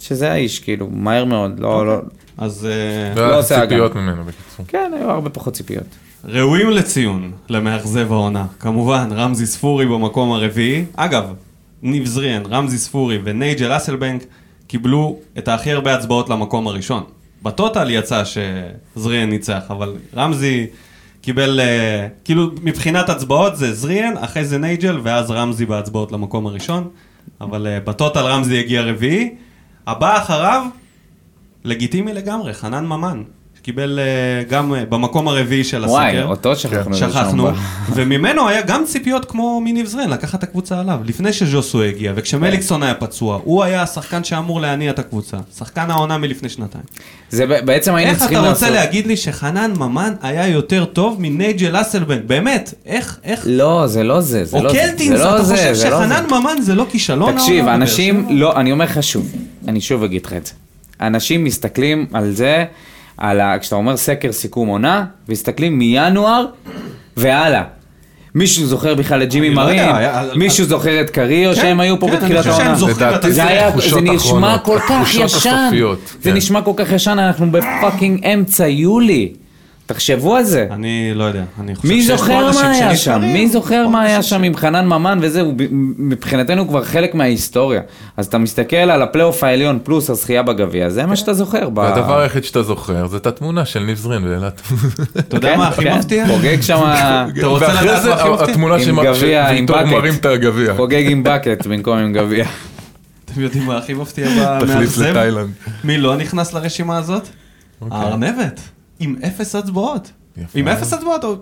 שזה האיש, כאילו, מהר מאוד,
אוקיי.
לא, לא,
אז אה,
לא היה לך
עושה הגנה.
ציפיות ממנו בקיצור.
כן, היו הרבה פחות ציפיות.
ראויים לציון למאכזב העונה. כמובן, רמזי ספורי במקום הרביעי. אגב, ניב זריאן, רמזי ספורי ונייג'ל אסלבנק קיבלו את הכי הרבה הצבעות למקום הראשון. בטוטל יצא שזריאן ניצח, אבל רמזי קיבל, אה, כאילו מבחינת הצבעות זה זריאן, אחרי זה נייג'ל, ואז רמזי בהצבעות למקום הראשון. אבל אה, בטוטל רמזי הגיע רביעי. הבא אחריו, לגיטימי לגמרי, חנן ממן. שקיבל אה, גם אה, במקום הרביעי של הסקר.
וואי, אותו שכחנו.
כן. שכחנו,
לרשום ב-
וממנו היה גם ציפיות כמו מניב זרן, לקחת את הקבוצה עליו, לפני שז'וסו הגיע,
כן.
וכשמליקסון היה פצוע, הוא היה השחקן שאמור להניע את הקבוצה, שחקן העונה מלפני שנתיים.
זה ב- בעצם היינו
איך
צריכים
אתה
לעשות...
רוצה להגיד לי שחנן ממן היה יותר טוב מנייג'ל אסלבנק, באמת, איך, איך,
לא, זה לא זה, זה
או
לא זה.
קלטינס,
זה לא
אתה
זה,
חושב
זה לא זה.
שחנן ממן זה לא כישלון?
תקשיב,
העונה בבאר
אנשים,
שבע?
לא, אני אומר לך שוב, אני שוב אגיד לך את זה. אנשים מסתכלים על זה, על ה... כשאתה אומר סקר סיכום עונה, מסתכלים מינואר והלאה. מישהו זוכר בכלל את ג'ימי
אני לא
מרין,
יודע, היה-
מישהו זוכר את קריו שהם היו פה
כן, אני
בתחילת
חושב שהם
העונה.
זוכרים, אתה
זה
צודק.
היה,
תחושות
זה נשמע
אחרונות,
כל כך
התחושות
ישן,
הסופיות,
זה
כן.
נשמע כל כך ישן, אנחנו בפאקינג אמצע יולי. תחשבו על זה.
אני לא יודע, אני חושב
מי
שיש פה
זוכר
אנשים
מה היה שם?
שנשארים.
מי זוכר
פה
מה היה
אנשים
שם עם חנן ממן וזה? הוא ב- מבחינתנו כבר חלק מההיסטוריה. אז אתה מסתכל על הפלייאוף העליון פלוס הזכייה בגביע, זה
כן.
מה שאתה זוכר. ב-
הדבר היחיד שאתה זוכר זה את התמונה של ניב זרין באילת.
אתה יודע מה הכי
כן,
מפתיע?
חוגג שם,
אתה רוצה
ואחרי
לדעת
זה
מה הכי מפתיע?
התמונה
עם
שמ-
גביע, עם
שוויטור
בקט.
מרים את הגביע.
חוגג עם בקט במקום עם גביע.
אתם יודעים מה הכי מפתיע במאכזב?
תחליף לתאילנד.
מי לא נכנס לרשימה הזאת? הארנבת, עם אפס הצבעות.
אוקיי. יפה.
עם אפס הצבעות. הוא-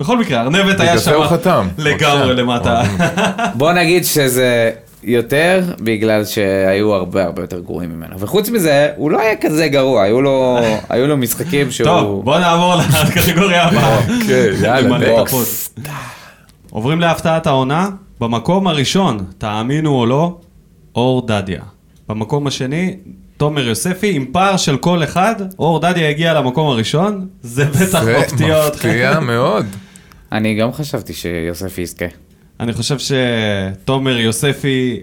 בכל מקרה, ארנבת
בגלל
היה
זה
שם
הוא חתם.
לגמרי
בבקשה.
למטה.
בוא נגיד שזה יותר בגלל שהיו הרבה הרבה יותר גרועים ממנו. וחוץ מזה, הוא לא היה כזה גרוע, היו לו- היו לו משחקים שהוא...
טוב, בוא נעבור לקטגוריה הבאה.
אוקיי, יאללה,
למלא
בוא.
את הפוד. עוברים להפתעת העונה, במקום הראשון, תאמינו או לא, אור דדיה. במקום השני, תומר יוספי, עם פער של כל אחד, אור דדיה הגיע למקום הראשון, זה בטח
זה
מפתיע אותך.
מפתיע מאוד.
אני גם חשבתי שיוסף יזכה.
אני חושב שתומר יוספי,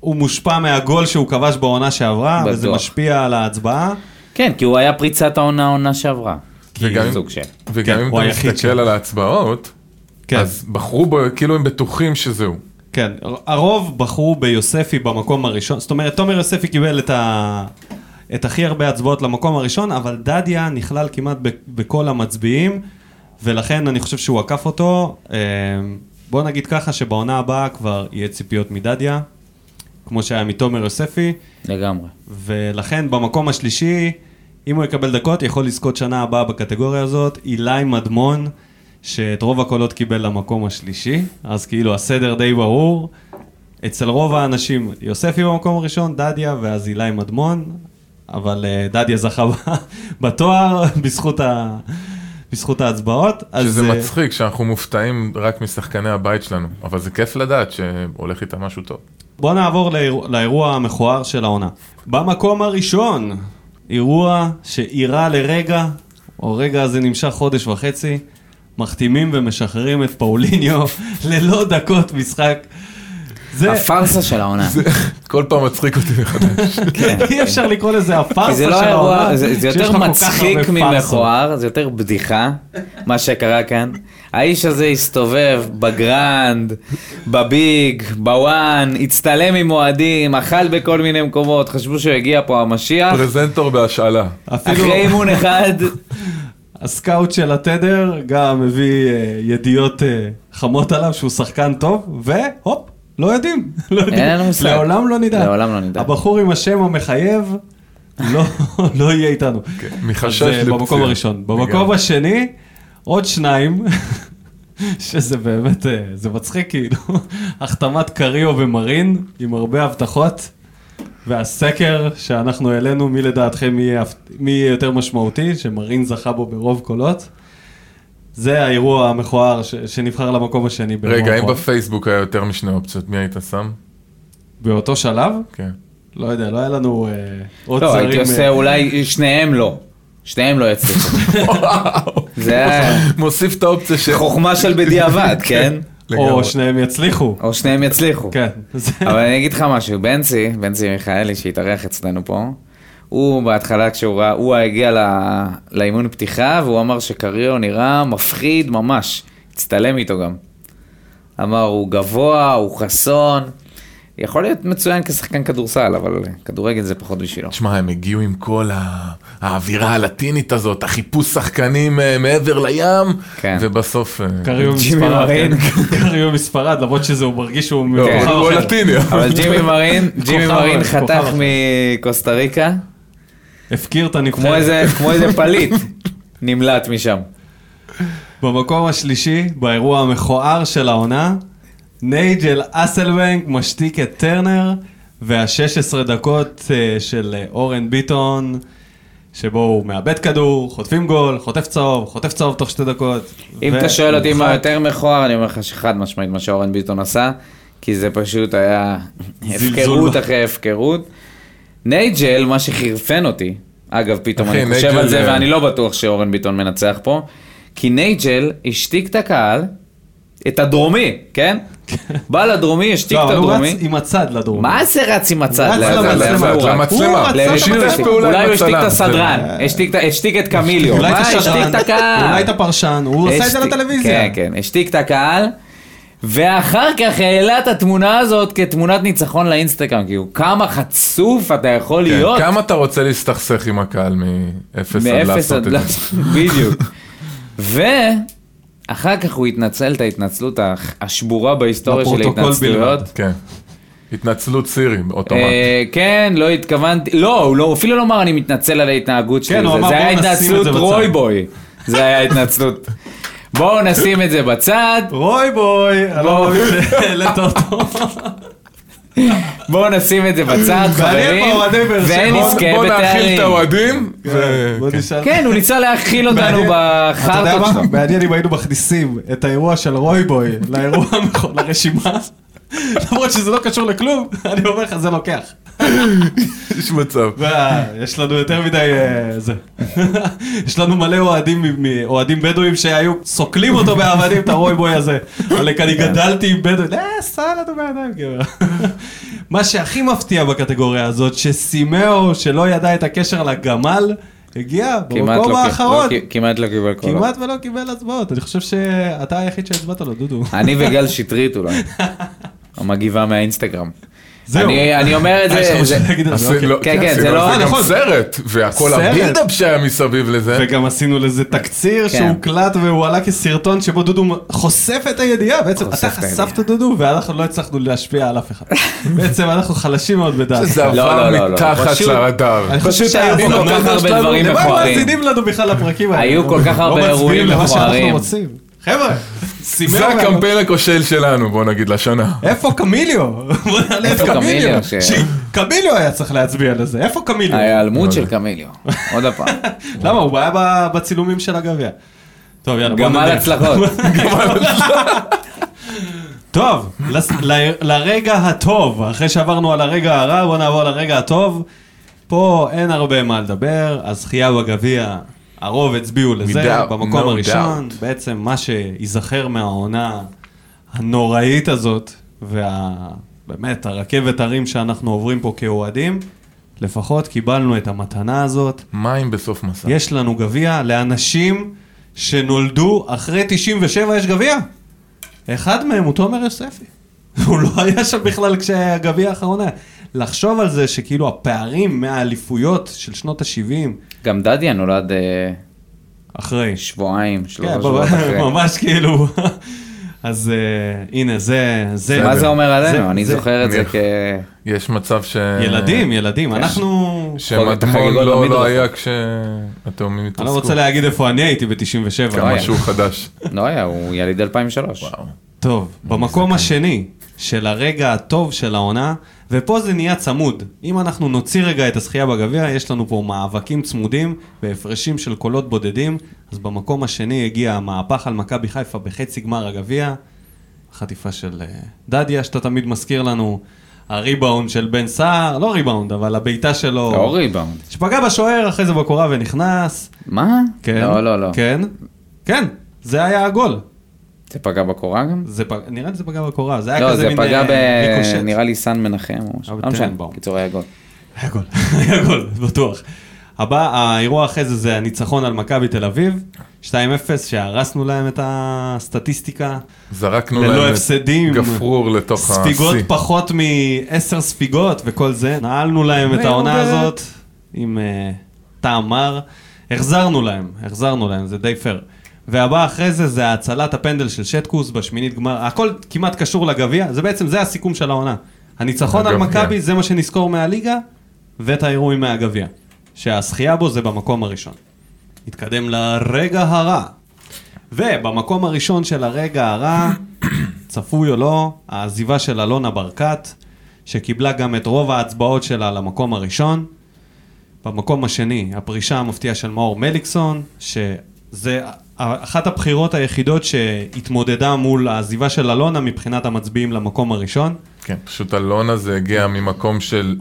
הוא מושפע מהגול שהוא כבש בעונה שעברה, וזה
בטוח.
משפיע על ההצבעה.
כן, כי הוא היה פריצת העונה העונה שעברה.
וגם אם-
כאילו סוג של.
כן,
וגם אם
הוא
אתה
היחיד
מסתכל
שם.
על ההצבעות,
כן,
אז בחרו בו, כאילו הם בטוחים שזהו.
כן. הרוב בחרו ביוספי במקום הראשון, זאת אומרת, תומר יוספי קיבל את ה... את הכי הרבה הצבעות למקום הראשון, אבל דדיה נכלל כמעט ב- בכל המצביעים, ולכן אני חושב שהוא עקף אותו. אה, בוא נגיד ככה שבעונה הבאה כבר יהיה ציפיות מדדיה, כמו שהיה מתומר יוספי.
לגמרי.
ולכן במקום השלישי, אם הוא יקבל דקות, יכול לזכות שנה הבאה בקטגוריה הזאת, אילי מדמון, שאת רוב הקולות קיבל למקום השלישי, אז כאילו הסדר די ברור. אצל רוב האנשים, יוספי במקום הראשון, דדיה, ואז אילי מדמון, אבל אה, דדיה זכה ב- בתואר בזכות, ה... בזכות ההצבעות. אז,
שזה
אה,
מצחיק שאנחנו מופתעים רק משחקני הבית שלנו, אבל זה כיף לדעת שהולך איתם משהו טוב.
בואו נעבור לאיר... לאירוע המכוער של העונה. במקום הראשון, אירוע שאירע לרגע, או רגע הזה נמשך חודש וחצי, מחתימים ומשחררים את פאוליניו ללא דקות משחק. זה,
הפארסה של העונה.
כל פעם מצחיק אותי מחדש.
אי אפשר לקרוא לזה
כי
הפארסה
זה
של
לא
העונה,
אירוע, זה זה
שיש
יותר
לה כל כך
מצחיק
הרבה פארסות.
ממכוער, זה יותר בדיחה, מה שקרה כאן. האיש הזה הסתובב בגרנד, בביג, בוואן, הצטלם עם אוהדים, אכל בכל מיני מקומות, חשבו שהוא הגיע פה המשיח.
פרזנטור בהשאלה.
אפילו
אחרי אימון אחד,
הסקאוט של התדר גם הביא אה, ידיעות אה, חמות עליו שהוא שחקן טוב, והופ, לא יודעים. לא יודעים.
לנו מושג.
לעולם לא נדע.
לעולם לא נדע.
הבחור עם השם המחייב לא, לא יהיה איתנו.
כן, מחשש
אז, אה, במקום
לפציעה.
הראשון. במקום
לגמרי.
השני, עוד שניים, שזה באמת, אה, זה מצחיק כאילו, החתמת קריו ומרין עם הרבה הבטחות. והסקר שאנחנו העלינו, מי לדעתכם יהיה, הפ- מי יהיה יותר משמעותי, שמרין זכה בו ברוב קולות. זה האירוע המכוער ש, שנבחר למקום השני. ברוב
רגע, אם
הקולות.
בפייסבוק היה יותר משני אופציות, מי היית שם?
באותו שלב?
כן.
לא יודע, לא היה לנו אה, עוד
לא,
זרים.
הייתי
אה,
עושה אולי שניהם לא. שניהם לא יצליחו. זה היה
מוסיף את האופציה של...
חוכמה של בדיעבד, כן?
או
לגמרי.
שניהם יצליחו.
או שניהם יצליחו.
כן. זה-
אוקיי. אבל אני אגיד לך משהו, בנצי, בנצי מיכאלי שהתארח אצלנו פה, הוא בהתחלה כשהוא ראה, הוא הגיע ל- לאימון פתיחה והוא אמר שקריו נראה מפחיד ממש, הצטלם איתו גם. אמר הוא גבוה, הוא חסון, יכול להיות מצוין כשחקן כדורסל, אבל כדורגל זה פחות בשבילו.
תשמע, הם הגיעו עם כל ה- האווירה הלטינית הזאת, החיפוש שחקנים אה, מעבר לים,
כן.
ובסוף... אה,
קריו
ג'ימי
מספרד,
מרין.
כן. קריו מספרד, למרות שזה, הוא מרגיש שהוא
לא,
מבוכר
הוא
אחר.
לטיני. אבל-
כן. אבל ג'ימי מרין, ג'ימי
כוכב,
מרין
כוכב.
חתך מקוסטה ריקה,
הפקיר את
כמו
הנבחרת.
איזה כמו איזה פליט, נמלט משם.
במקום השלישי, באירוע המכוער של העונה, נייג'ל אסלבנק משתיק את טרנר, וה-16 דקות אה, של אה, אורן ביטון, שבו הוא מאבד כדור, חוטפים גול, חוטף צהוב, חוטף צהוב תוך שתי דקות.
אם אתה שואל אותי מה
ומורחק.
יותר מכוער, אני אומר לך שחד משמעית מה שאורן ביטון עשה, כי זה פשוט היה
זלזול
הפקרות
ב-
אחרי הפקרות. נייג'ל, מה שחירפן אותי, אגב, פתאום
אחי,
אני חושב
נייג'ל,
על זה,
אה,
ואני לא בטוח שאורן ביטון מנצח פה, כי נייג'ל השתיק את הקהל, את הדרומי, כן? בא לדרומי, השתיק
לא,
את
אבל הוא רץ
הדרומי.
עם הצד לדרום.
מה זה רץ עם הצד? לא,
רץ
ל- ל-
למצלמה.
לאחור?
למצלמה.
למצלמה.
הוא רצה
לשינוי
לשתף
לא, השתיק.
פעולה עם
אולי הוא השתיק את
הצלם.
הסדרן, השתיק את- השתיק את קמיליו,
אולי
מה
את
השתיק
השדרן,
את הקהל?
אולי את הפרשן, הוא עשה את זה
השתיק-
לטלוויזיה.
כן, כן, השתיק את הקהל, ואחר כך העלה את התמונה הזאת כתמונת ניצחון לאינסטגרם, כאילו, כמה חצוף אתה יכול
כן,
להיות
כמה אתה רוצה להסתכסך עם הקהל מאפס עד
מאפס
לעשות
עד
את זה?
לעשות, בדיוק. ואחר כך הוא התנצל את ההתנצלות הח- השבורה בהיסטוריה של
בפרוטוקול
ההתנצלויות.
בלבד.
כן. התנצלות סירי, אוטומט.
אה, כן, לא התכוונתי, לא, הוא לא- הוא אפילו לא אמר אני מתנצל על ההתנהגות שלי,
כן, הוא
זה-
אמר,
זה
"בואו
היה
נשים את זה
התנצלות
בצד."
רוי בוי, זה היה התנצלות. בואו נשים את זה בצד,
רוי בוי, אני לא מאמין שהעלית אותו.
בואו נשים את זה בצד, חברים,
באוהדי באר שבע.
ואין
בוא-
נזכה
בוא נאכיל
בתארים.
את האוהדים. ו-
בוא
כן.
נשאל.
כן, הוא ניסה להכיל אותנו
מעניין- אתה יודע
בחרטות
מה?
שלו.
מעניין אם היינו מכניסים את האירוע של רוי בוי לאירוע המכו- לרשימה למרות שזה לא קשור לכלום, אני אומר לך, זה לוקח.
יש מצב.
וואי, יש לנו יותר מדי אה, זה. יש לנו מלא אוהדים, מ- מ- אוהדים בדואים שהיו סוקלים אותו באבנים, את הרוי בוי הזה. אבל אני
כן.
גדלתי עם בדואים, אה, סל אותו בידיים, כאילו. מה שהכי מפתיע בקטגוריה הזאת, שסימאו, שלא ידע את הקשר לגמל, הגיע
כמעט לא
במקום
קיבל-
האחרון.
לא, כ- כמעט לא קיבל קולות.
כמעט ולא קיבל הצבעות, אני חושב שאתה היחיד שהצבעת לו, דודו.
אני וגל שטרית אולי. המגיבה מהאינסטגרם.
זהו.
אני אני אומר את
אה, יש לך
זה,
משהו
זה-
להגיד על זה,
עשי-
אוקיי.
לא,
כן, כן,
עשי-
זה לא-
זה גם
נכון.
סרט, והכל
סרט.
הבילדאפ שהיה מסביב לזה.
וגם עשינו לזה תקציר
כן.
שהוקלט והוא עלה כסרטון שבו דודו חושף את הידיעה, בעצם
חושף
אתה
את הידיעה.
חשפת דודו ואנחנו לא הצלחנו להשפיע על אף אחד. בעצם אנחנו חלשים מאוד בדעת.
זה
לא, לא,
עבר
לא, לא,
מתחת
פשוט-
לרדאר.
אני חושב
פשוט
שהיו
היו
פה
כל כך הרבה
שלנו-
דברים
למה הם
מכוערים.
לא מאזינים לנו בכלל לפרקים האלה?
היו כל כך הרבה
לא מצביעים
אירועים
למה שאנחנו
מכוערים.
רוצים. חבר'ה, סימר
זה
לנו.
הקמפיין הכושל שלנו, בוא נגיד, לשנה.
איפה קמיליו? בוא נעלה את
איפה
קמיליו.
קמיליו? כן. ש-
ש- קמיליו היה צריך להצביע לזה, איפה קמיליו? לא,
ההיעלמות אה, של קמיליו. עוד פעם.
למה? הוא היה ב- בצילומים של הגביע. טוב, יאללה, בוא
גמל
נדבר.
הצלחות.
טוב, לס- ל- לרגע הטוב, אחרי שעברנו על הרגע הרע, בוא נעבור לרגע הטוב. פה אין הרבה מה לדבר, הזכייה בגביע, הרוב הצביעו לזה,
doubt,
במקום
no
הראשון. בעצם מה שייזכר מהעונה הנוראית הזאת, ובאמת הרכבת הרים שאנחנו עוברים פה כאוהדים, לפחות קיבלנו את המתנה הזאת.
מים בסוף מסע.
יש לנו גביע לאנשים שנולדו אחרי 97 יש גביע. אחד מהם הוא תומר יוספי. הוא לא היה שם בכלל כשהגביע האחרון היה. לחשוב על זה שכאילו הפערים מהאליפויות של שנות ה-70
גם דדיה נולד אה,
אחרי.
שבועיים, שלושה
כן,
שבועות אחרי.
ממש כאילו. אז אה, הנה זה, זה,
מה זה אומר
זה-
עלינו? אני
זה-
זוכר אה, כן. את זה
אני-
כ...
יש מצב ש...
ילדים, ילדים, אנחנו...
שמדמון
החגיגות
לא- לא
במדרכה.
היה כשהתאומים התרסקו.
אני לא רוצה להגיד איפה אני הייתי ב-97.
לא
כמה
היה.
שהוא חדש.
לא היה, הוא יליד 2003.
וואו.
טוב, במקום השני של הרגע הטוב של העונה, ופה זה נהיה צמוד. אם אנחנו נוציא רגע את הזכייה בגביע, יש לנו פה מאבקים צמודים והפרשים של קולות בודדים, אז במקום השני הגיע המהפך על מכבי חיפה בחצי גמר הגביע, החטיפה של אה, דדיה, שאתה תמיד מזכיר לנו, הריבאונד של בן סער, לא ריבאונד, אבל הבעיטה שלו,
לא ריבאונד.
שפגע בשוער, אחרי זה בקורה ונכנס,
מה?
כן,
לא, לא, לא.
כן, כן, זה היה הגול.
זה פגע בקורה גם?
זה פג... נראה לי זה פגע בקורה, זה היה
לא,
כזה
זה
מין
פגע
אה,
ב...
ריקושט.
נראה לי סן מנחם או משהו.
אבל
לא משנה,
טננבאום.
קיצור היה גול.
היה גול, היה גול, בטוח. הבא, האירוע אחרי זה זה הניצחון על מכבי תל אביב, 2-0, שהרסנו להם את הסטטיסטיקה.
זרקנו
ללא
להם את
הפסדים.
גפרור לתוך השיא.
ספיגות פחות מ-10 ספיגות וכל זה. נעלנו להם את העונה
מיורדת.
הזאת עם אה, טעם מר. החזרנו להם, החזרנו להם, זה די פייר. והבא אחרי זה זה האצלת הפנדל של שטקוס בשמינית גמר, הכל כמעט קשור לגביע, זה בעצם, זה הסיכום של העונה. הניצחון על
הגביע.
מכבי זה מה שנזכור מהליגה, ואת האירועים מהגביע. שהזכייה בו זה במקום הראשון. נתקדם לרגע הרע. ובמקום הראשון של הרגע הרע, צפוי או לא, העזיבה של אלונה ברקת, שקיבלה גם את רוב ההצבעות שלה למקום הראשון. במקום השני, הפרישה המפתיעה של מאור מליקסון, שזה אחת הבחירות היחידות שהתמודדה מול העזיבה של אלונה מבחינת המצביעים למקום הראשון.
כן, פשוט אלונה זה הגיע ממקום של...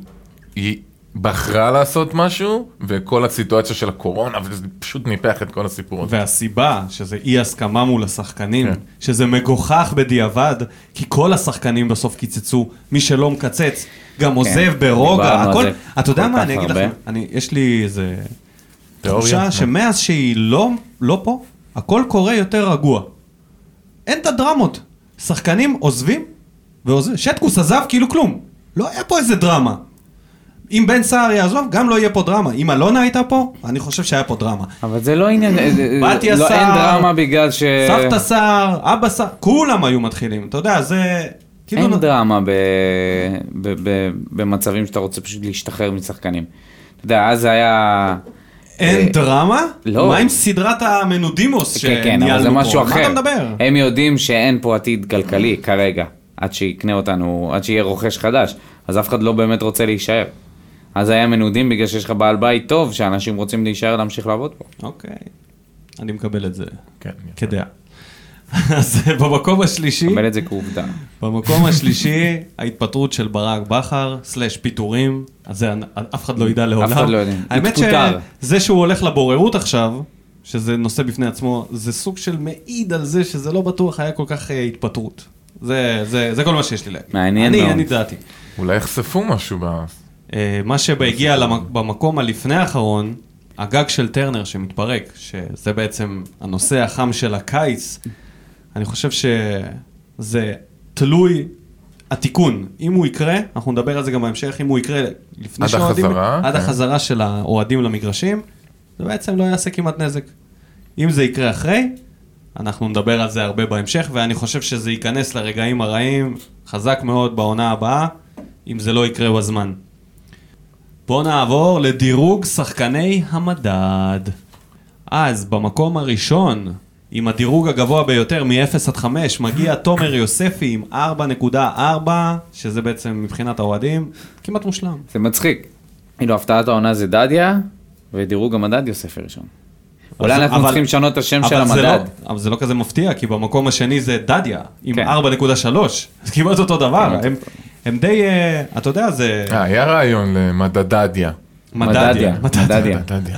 היא בחרה לעשות משהו, וכל הסיטואציה של הקורונה, וזה פשוט ניפח את כל הסיפור הזה.
והסיבה שזה אי הסכמה מול השחקנים,
כן.
שזה מגוחך בדיעבד, כי כל השחקנים בסוף קיצצו, מי שלא מקצץ גם עוזב ברוגע,
כן. דיברנו על
הכל,
זה
אתה יודע
כל
מה,
כך
אני אגיד לך,
הרבה.
אני- יש לי איזה
תיאוריה?
תחושה שמאז שהיא לא, לא פה, הכל קורה יותר רגוע. אין את הדרמות. שחקנים עוזבים, ועוזב. שטקוס עזב כאילו כלום. לא היה פה איזה דרמה. אם בן סער יעזוב, גם לא יהיה פה דרמה. אם אלונה הייתה פה, אני חושב שהיה פה דרמה.
אבל זה לא עניין...
בתיה
לא,
סער.
אין דרמה בגלל ש...
סבתא סער, אבא סער, כולם היו מתחילים, אתה יודע, זה... כאילו,
אין
נ-
דרמה ב... ב... ב... במצבים שאתה רוצה פשוט להשתחרר משחקנים. אתה יודע, אז היה...
אין
אה,
דרמה?
לא.
מה עם סדרת המנודימוס
כן, כן,
שניהלנו פה?
אבל זה משהו אחר. אה,
מה אתה מדבר?
הם יודעים שאין פה עתיד כלכלי כרגע, עד שיקנה אותנו, עד שיהיה רוכש חדש, אז אף אחד לא באמת רוצה להישאר. אז היה מנודים בגלל שיש לך בעל בית טוב, שאנשים רוצים להישאר להמשיך לעבוד פה.
אוקיי, אני מקבל את זה
כן, יפה.
כדעה. אז אה, במקום השלישי,
קבל את זה כעובדה.
במקום השלישי, ההתפטרות של ברק בכר, סלאש פיטורים, אז זה אנ- אף אחד לא ידע לעולם.
אחד לא יודע.
האמת
התפוטר.
שזה שהוא הולך לבוררות עכשיו, שזה נושא בפני עצמו, זה סוג של מעיד על זה שזה לא בטוח היה כל כך אה, התפטרות. זה, זה, זה כל מה שיש לי להגיד.
מעניין
אני,
מאוד.
אני דעתי.
אולי יחשפו משהו ב...
אה, מה שהגיע למק- במקום הלפני האחרון, הגג של טרנר שמתפרק, שזה בעצם הנושא החם של הקיץ, אני חושב שזה תלוי התיקון. אם הוא יקרה, אנחנו נדבר על זה גם בהמשך, אם הוא יקרה לפני
עד
שהאוהדים...
החזרה,
עד
כן.
החזרה של האוהדים למגרשים, זה בעצם לא יעשה כמעט נזק. אם זה יקרה אחרי, אנחנו נדבר על זה הרבה בהמשך, ואני חושב שזה ייכנס לרגעים הרעים חזק מאוד בעונה הבאה, אם זה לא יקרה בזמן. בואו נעבור לדירוג שחקני המדד. אז במקום הראשון, עם הדירוג הגבוה ביותר מ-0 עד 5, מגיע תומר יוספי עם 4.4, שזה בעצם מבחינת האוהדים, כמעט מושלם.
זה מצחיק. כאילו, הפתעת העונה זה דדיה, ודירוג המדד יוסף ראשון. אולי
אבל-
אנחנו
אבל-
צריכים לשנות את השם
אבל
של
זה
המדד.
לא- אבל זה לא כזה מפתיע, כי במקום השני זה דדיה, עם
כן.
4.3, אז כמעט אותו דבר.
כמעט
הם- הם די, אה, אתה יודע, זה
אה, היה רעיון למדדדיה.
מדדיה. מדדיה.
מדדיה.
מדדיה.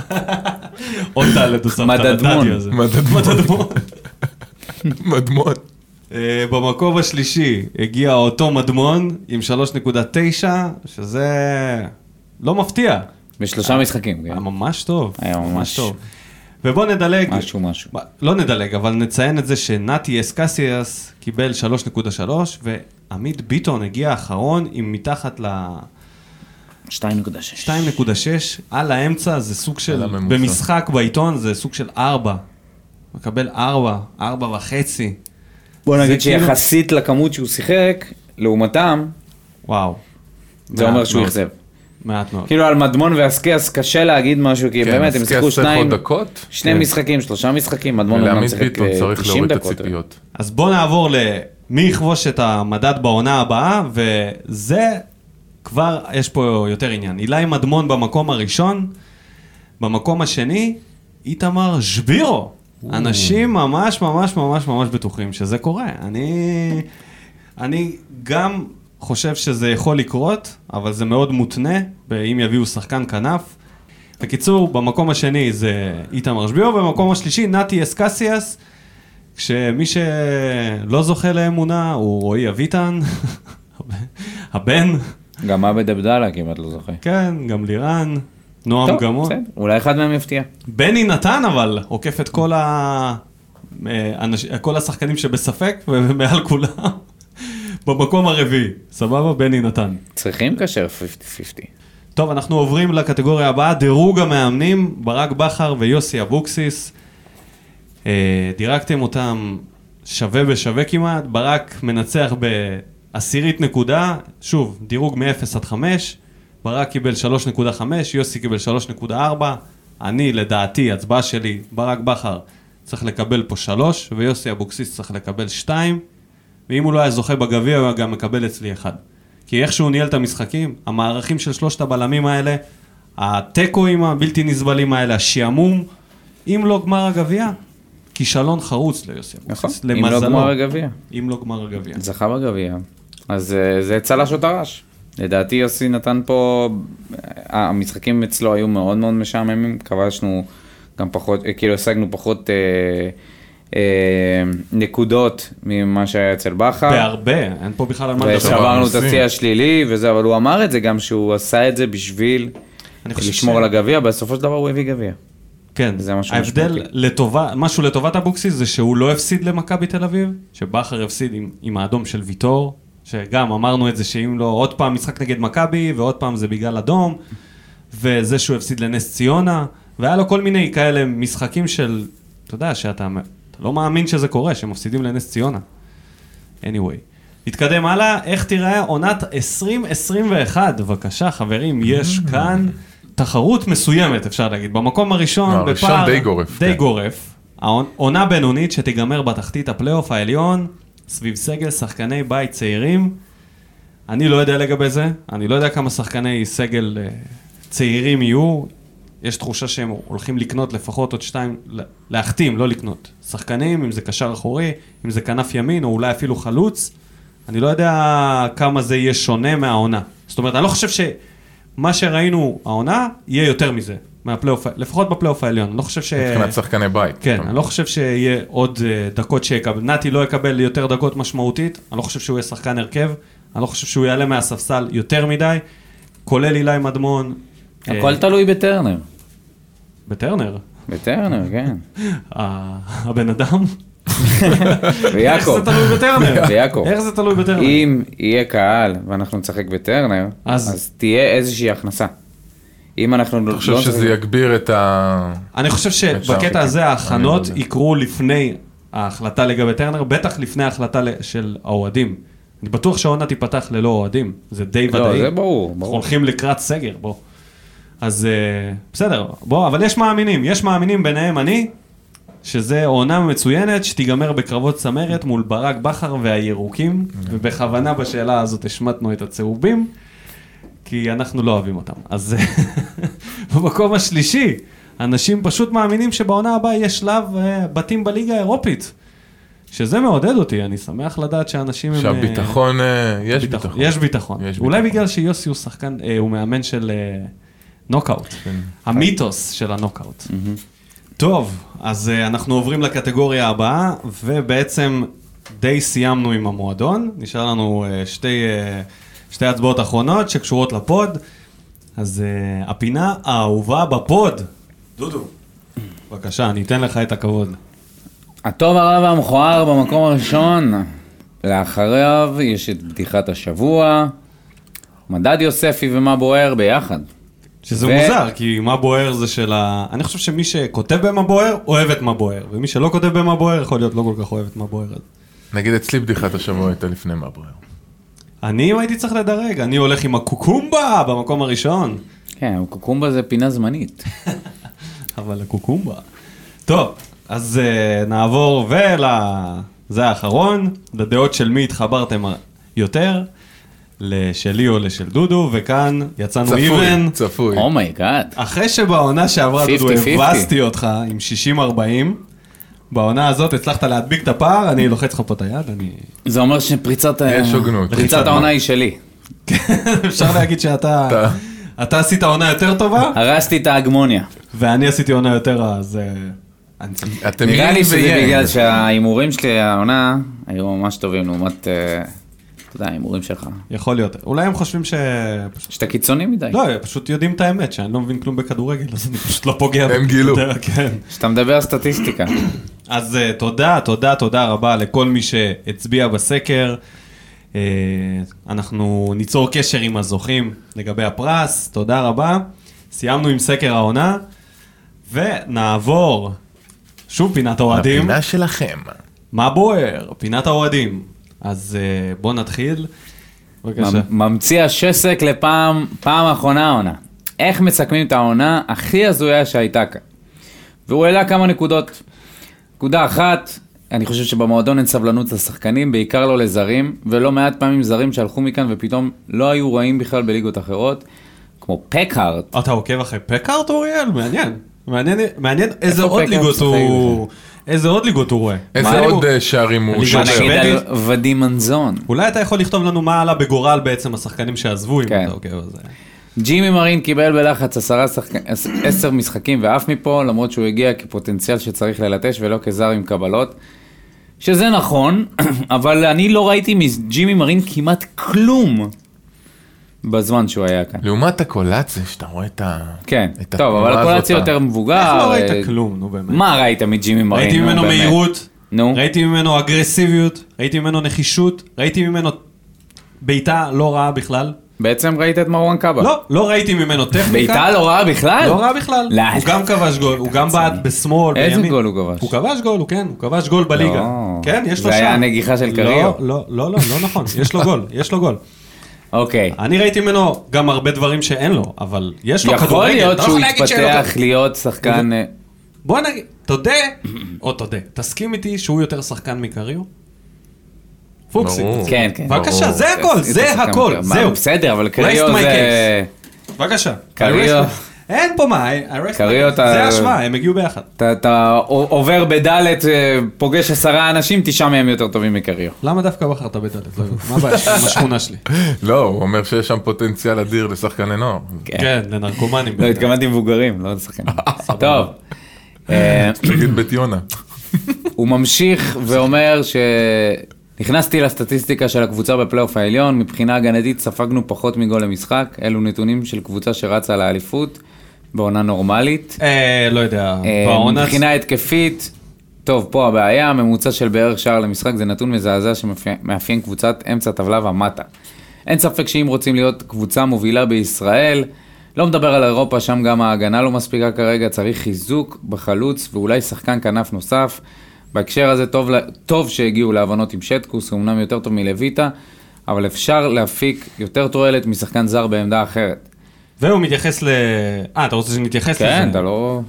עוד דלת הוא שם את
מדדמון.
הדדיה הזה.
מדדמון.
מדדמון.
מדמון.
אה, במקום השלישי הגיע אותו מדמון עם 3.9, שזה לא מפתיע.
בשלושה משחקים, כן.
היה ממש טוב.
היה ממש-
ובוא נדלג.
משהו משהו.
ב- לא נדלג, אבל נציין את זה שנתי אסקסיאס קיבל 3.3, ועמית ביטון הגיע אחרון עם מתחת ל...
2.6.
2.6 על האמצע זה סוג
על
של,
הממוצע.
במשחק בעיתון זה סוג של 4. מקבל 4, 4 וחצי.
בוא
זה
נגיד
כאילו-
שיחסית לכמות שהוא שיחק, לעומתם,
וואו.
זה
מעט
אומר שהוא
מאוד. אוקיי.
אכזב.
מעט מאוד.
כאילו על מדמון ואסקיאס קשה להגיד משהו, כי באמת הם שיחקו שניים,
דקות.
שני
כן.
משחקים, שלושה משחקים, מדמון אמנם
ולעמית
שיחק
ביטון
אה,
צריך
90
להוריד את
דקות.
הציפיות.
אז בואו נעבור למי יכבוש את המדד בעונה הבאה, וזה כבר, יש פה יותר עניין. אילי מדמון במקום הראשון, במקום השני, איתמר שבירו. אנשים ממש ממש ממש ממש בטוחים שזה קורה. אני, אני גם חושב שזה יכול לקרות, אבל זה מאוד מותנה, אם יביאו שחקן כנף. בקיצור, במקום השני זה איתמר שבירו, ובמקום השלישי נתי אסקסיאס. כשמי שלא זוכה לאמונה הוא רועי אביטן, הבן,
אה, גם עבד עבדאללה כמעט לא זוכה.
כן, גם לירן, נועם
טוב,
גמון.
בסדר, אולי אחד מהם יפתיע.
בני נתן אבל עוקף את כל, ה... אה, אנש... כל השחקנים שבספק ומעל כולם במקום הרביעי. סבבה? בני נתן.
צריכים קשר 50-50.
טוב, אנחנו עוברים לקטגוריה הבאה, דירוג המאמנים, ברק בכר ויוסי אבוקסיס. אה, דירקתם אותם שווה בשווה כמעט, ברק מנצח בעשירית נקודה, שוב, דירוג מ-0 עד 5, ברק קיבל 3.5, יוסי קיבל 3.4, אני לדעתי, הצבעה שלי, ברק בכר צריך לקבל פה 3, ויוסי אבוקסיס צריך לקבל 2, ואם הוא לא היה זוכה בגביע, הוא היה גם מקבל אצלי 1. כי איך שהוא ניהל את המשחקים, המערכים של שלושת הבלמים האלה, התיקואים הבלתי נסבלים האלה, השעמום, אם לא גמר הגביע, כישלון חרוץ ליוסי
נכון.
אבוקסיס,
אם לא
למזלו.
גמר הגביע.
אם לא גמר הגביע.
זכה בגביע. אז אה, זה צלש או טרש. לדעתי יוסי נתן פה, אה, המשחקים אצלו היו מאוד מאוד משעממים, כבשנו גם פחות, אה, כאילו השגנו פחות אה, אה, נקודות ממה שהיה אצל בכר.
בהרבה, אין פה בכלל על מה לדבר.
ושברנו את
שברנו
השיא
שיא.
השלילי וזה, אבל הוא אמר את זה גם שהוא עשה את זה בשביל
אני חושב
לשמור
ש-
על הגביע, בסופו של דבר הוא הביא גביע.
כן,
זה משהו
ההבדל
משמעותי.
לטובה, משהו לטובת אבוקסיס זה שהוא לא הפסיד למכבי תל אביב, שבכר הפסיד עם, עם האדום של ויטור, שגם אמרנו את זה שאם לא עוד פעם משחק נגד מכבי, ועוד פעם זה בגלל אדום, וזה שהוא הפסיד לנס ציונה, והיה לו כל מיני כאלה משחקים של, אתה יודע, שאתה אתה לא מאמין שזה קורה, שמפסידים לנס ציונה. anyway. נתקדם הלאה, איך תיראה עונת 2021? בבקשה, חברים, יש
Mm.
כאן תחרות מסוימת, אפשר להגיד. במקום הראשון,
לא, הראשון
בפער
די גורף,
די
כן.
גורף. העונה בינונית שתיגמר בתחתית הפלייאוף העליון, סביב סגל שחקני בית צעירים. אני לא יודע לגבי זה, אני לא יודע כמה שחקני סגל אה, צעירים יהיו. יש תחושה שהם הולכים לקנות לפחות עוד שתיים, לה- להחתים, לא לקנות. שחקנים, אם זה קשר אחורי, אם זה כנף ימין, או אולי אפילו חלוץ. אני לא יודע כמה זה יהיה שונה מהעונה. זאת אומרת, אני לא חושב שמה שראינו העונה, יהיה יותר מזה. מהפלייאוף, ה- לפחות בפלייאוף העליון. אני לא חושב ש...
אה,
מבחינת שחקני בית.
כן, אני לא חושב שיהיה עוד אה, דקות שיקבל, נתי לא יקבל יותר דקות משמעותית, אני לא חושב שהוא יהיה שחקן הרכב, אני לא חושב שהוא יעלה מהספסל יותר מדי, כולל אילי מדמון. אה,
הכל תלוי בטרנר.
בטרנר,
בטרנר, כן.
ה- הבן אדם. איך
ויעקב,
זה תלוי בטרנר?
ויעקב.
איך זה תלוי בטרנר?
אם יהיה קהל ואנחנו נשחק בטרנר,
אז-
אז תהיה איזושהי הכנסה. אם אנחנו לא...
אתה חושב
לא
שזה
נשחק-
יגביר את ה...
אני חושב שבקטע הזה ההכנות
אני לא
יקרו לפני ההחלטה לגבי טרנר, בטח לפני ההחלטה ל- של האוהדים. אני בטוח שהעונה תיפתח ללא אוהדים, זה די
לא,
ודאי.
זה ברור,
אנחנו
ברור.
הולכים לקראת סגר, בוא. אז אה, בסדר, בוא, אבל יש מאמינים, יש מאמינים ביניהם אני, שזה עונה מצוינת שתיגמר בקרבות צמרת מול ברק בכר והירוקים, ובכוונה בשאלה הזאת השמטנו את הצהובים, כי אנחנו לא אוהבים אותם. אז אה, במקום השלישי, אנשים פשוט מאמינים שבעונה הבאה יהיה שלב אה, בתים בליגה האירופית. שזה מעודד אותי, אני שמח לדעת שאנשים הם... אה,
שהביטחון, אה, יש
ביטחון.
ביטחון.
יש ביטחון.
יש
אולי
ביטחון.
בגלל שיוסי הוא שחקן, אה, הוא מאמן של אה, נוקאוט.
כן.
המיתוס של הנוקאוט. טוב, אז אה, אנחנו עוברים לקטגוריה הבאה, ובעצם די סיימנו עם המועדון. נשאר לנו אה, שתי, אה, שתי הצבעות אחרונות שקשורות לפוד. אז אה, הפינה האהובה בפוד. דודו. בבקשה, אני אתן לך את הכבוד.
הטוב הרע והמכוער במקום הראשון. לאחריו יש את בדיחת השבוע. מדד יוספי ומה בוער ביחד.
שזה
ו-
מוזר, כי מה בוער זה של ה... אני חושב שמי שכותב במה בוער, אוהב את מה בוער. ומי שלא כותב במה בוער, יכול להיות לא כל כך אוהב את מה בוער. אז
נגיד אצלי בדיחת השבוע הייתה לפני מהברר.
אני, אם הייתי צריך לדרג, אני הולך עם הקוקומבה במקום הראשון.
כן, קוקומבה זה פינה זמנית.
אבל הקוקומבה. טוב, אז uh, נעבור ול... זה האחרון, לדעות של מי התחברתם יותר, לשלי או לשל דודו, וכאן יצאנו איבן.
צפוי, צפוי.
Oh אומייגאד.
אחרי שבעונה שעברה, דודו,
50-50.
הבסתי אותך עם 60-40, בעונה הזאת הצלחת להדביק את הפער, אני לוחץ לך פה את היד, אני...
זה אומר שפריצת ה-
יש הוגנות.
פריצת העונה היא שלי.
אפשר להגיד שאתה... אתה עשית עונה יותר טובה,
הרסתי את ההגמוניה.
ואני עשיתי עונה יותר רעה, אז... אה, אני צריך-
אתם
נראה
ין
לי שזה
ויאן.
בגלל שההימורים שלי העונה היו ממש טובים לעומת, אה, אתה יודע, ההימורים שלך.
יכול להיות. אולי הם חושבים ש... פשוט-
שאתה קיצוני מדי.
לא, הם פשוט יודעים את האמת, שאני לא מבין כלום בכדורגל, אז אני פשוט לא פוגע.
הם
ב-
גילו.
כן.
כשאתה מדבר על סטטיסטיקה.
אז אה, תודה, תודה, תודה רבה לכל מי שהצביע בסקר. אה, אנחנו ניצור קשר עם הזוכים לגבי הפרס, תודה רבה. סיימנו עם סקר העונה, ונעבור שוב פינת האוהדים.
הפינה שלכם.
מה בוער? פינת האוהדים. אז אה, בוא נתחיל. בבקשה.
ממ- ממציא השסק לפעם, פעם אחרונה העונה. איך מסכמים את העונה הכי הזויה שהייתה כאן. והוא העלה כמה נקודות. נקודה אחת, אני חושב שבמועדון אין סבלנות לשחקנים, בעיקר לא לזרים, ולא מעט פעמים זרים שהלכו מכאן ופתאום לא היו רעים בכלל בליגות אחרות, כמו פקהארט.
אתה עוקב אחרי פקארט אוריאל? מעניין. מעניין, מעניין איזה
איפה
עוד
פקארט
ליגות
משחק
הוא... איזה עוד ליגות הוא רואה.
איזה
מה הוא-
עוד אה, שערים הוא
הליגה
שובר.
השנייה.
נגיד על
באמת?
ודים מנזון.
אולי אתה יכול לכתוב לנו מה עלה בגורל בעצם השחקנים שעזבו, אם
כן.
אתה עוקב על זה.
ג'ימי מרין קיבל בלחץ עשרה שחק... עש- עשר משחקים ועף מפה, למרות שהוא הגיע כפוטנציאל שצריך ללטש ולא כזר עם קבלות. שזה נכון, אבל אני לא ראיתי מג'ימי מרין כמעט כלום בזמן שהוא היה כאן.
לעומת הקולציה, שאתה רואה את ה...
כן,
את
טוב,
התנועה
אבל הקולציה
הזאת,
יותר מבוגר.
איך לא
אה,
ראית כלום, נו באמת.
מה ראית מג'ימי מרין?
ראיתי
נו,
ממנו
באמת.
מהירות,
נו.
ראיתי ממנו אגרסיביות, ראיתי ממנו נחישות, ראיתי ממנו בעיטה לא רעה בכלל.
בעצם ראית את מרואן קאבה.
לא, לא ראיתי ממנו טכניקה.
בעיטה לא רעה בכלל?
לא רע בכלל.
לא.
הוא גם כבש גול, הוא גם בעט בשמאל,
איזה
בימין.
גול הוא כבש?
הוא כבש גול, הוא כן, הוא כבש גול בליגה.
לא.
כן, יש לו
זה
שם.
היה נגיחה של
לא,
קריו.
לא, לא, לא, לא נכון, יש לו גול, יש לו גול.
אוקיי.
אני ראיתי ממנו גם הרבה דברים שאין לו, אבל יש לו
יכול
כדורגל,
להיות
אתה לא
שהוא
יכול להגיד שאין לו
יתפתח
כדורגל.
להיות שחקן... אה,
בוא נגיד, תודה, או תודה, תסכים איתי שהוא יותר שחקן מקריו? פוקסי.
ברור.
כן, כן.
בבקשה, זה הכל,
אז-
זה
אז-
הכל,
מה,
זהו.
בסדר, אבל אה,
Rest
קריו
my
זה...
case. בבקשה.
קריו,
אין פה מה, I- I rest my
קריא
case.
אותה-
זה האשמה, הם הגיעו ביחד.
אתה, אתה עובר בדלת, אה, פוגש עשרה אנשים, תשעה מהם יותר טובים מקריו.
למה דווקא בחרת בדלת? לא יודע. מה הבעיה שלך עם השכונה שלי?
לא, הוא אומר שיש שם פוטנציאל אדיר לשחקני נוער.
כן, לנרקומנים.
לא,
בעיקר.
התכוונתי מבוגרים, לא לשחקנים. טוב. אה,
נגיד בית יונה.
הוא ממשיך ואומר שנכנסתי לסטטיסטיקה של הקבוצה בפלייאוף העליון, מבחינה הגנתית ספגנו פחות מגול למשחק, אלו נתונים של קבוצה שרצה לאליפות בעונה נורמלית.
אה, לא יודע,
אה,
בעונה...
מבחינה התקפית, טוב, פה הבעיה, הממוצע של בערך שער למשחק זה נתון מזעזע שמאפיין קבוצת אמצע טבלה ומטה. אין ספק שאם רוצים להיות קבוצה מובילה בישראל, לא מדבר על אירופה, שם גם ההגנה לא מספיקה כרגע, צריך חיזוק בחלוץ ואולי שחקן כנף נוסף. בהקשר הזה טוב, ל- טוב שהגיעו להבנות עם שטקוס, הוא אמנם יותר טוב מלויטה, אבל אפשר להפיק יותר תועלת משחקן זר בעמדה אחרת.
והוא מתייחס ל... אה, אתה רוצה שנתייחס לזה?
כן, אתה לא...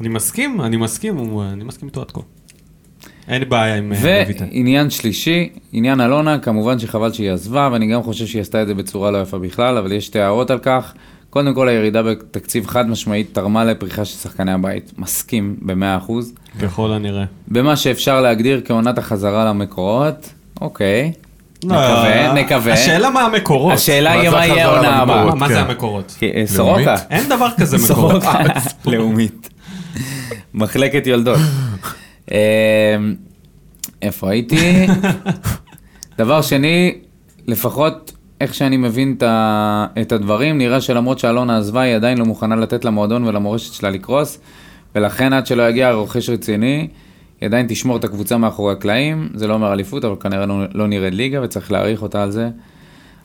אני מסכים, אני מסכים, הוא- אני מסכים איתו עד כה. אין לי בעיה עם אה, לויטן.
ועניין שלישי, עניין אלונה, כמובן שחבל שהיא עזבה, ואני גם חושב שהיא עשתה את זה בצורה לא יפה בכלל, אבל יש שתי הערות על כך. קודם כל, הירידה בתקציב חד משמעית תרמה לפריחה של שחקני הבית. מסכים ב-100%.
ככל הנראה.
במה שאפשר להגדיר כעונת החזרה למקורות, אוקיי.
אה,
נקווה, נקווה.
השאלה מה המקורות.
השאלה
מה
היא
זה
מה יהיה
החזרה
העונה הבאה.
מה-
למקורות?
מה
כן.
זה המקורות?
כי, אה, סורוקה.
לאומית?
אין דבר כזה מקורות.
סורוקה. לאומית. מחלקת יולדות. אמ, איפה הייתי? דבר שני, לפחות איך שאני מבין את ה- את הדברים, נראה שלמרות שאלונה עזבה, היא עדיין לא מוכנה לתת למועדון ולמורשת שלה לקרוס, ולכן עד שלא יגיע רוכש רציני, היא עדיין תשמור את הקבוצה מאחורי הקלעים, זה לא אומר אליפות, אבל כנראה לא, לא נראית ליגה וצריך להעריך אותה על זה.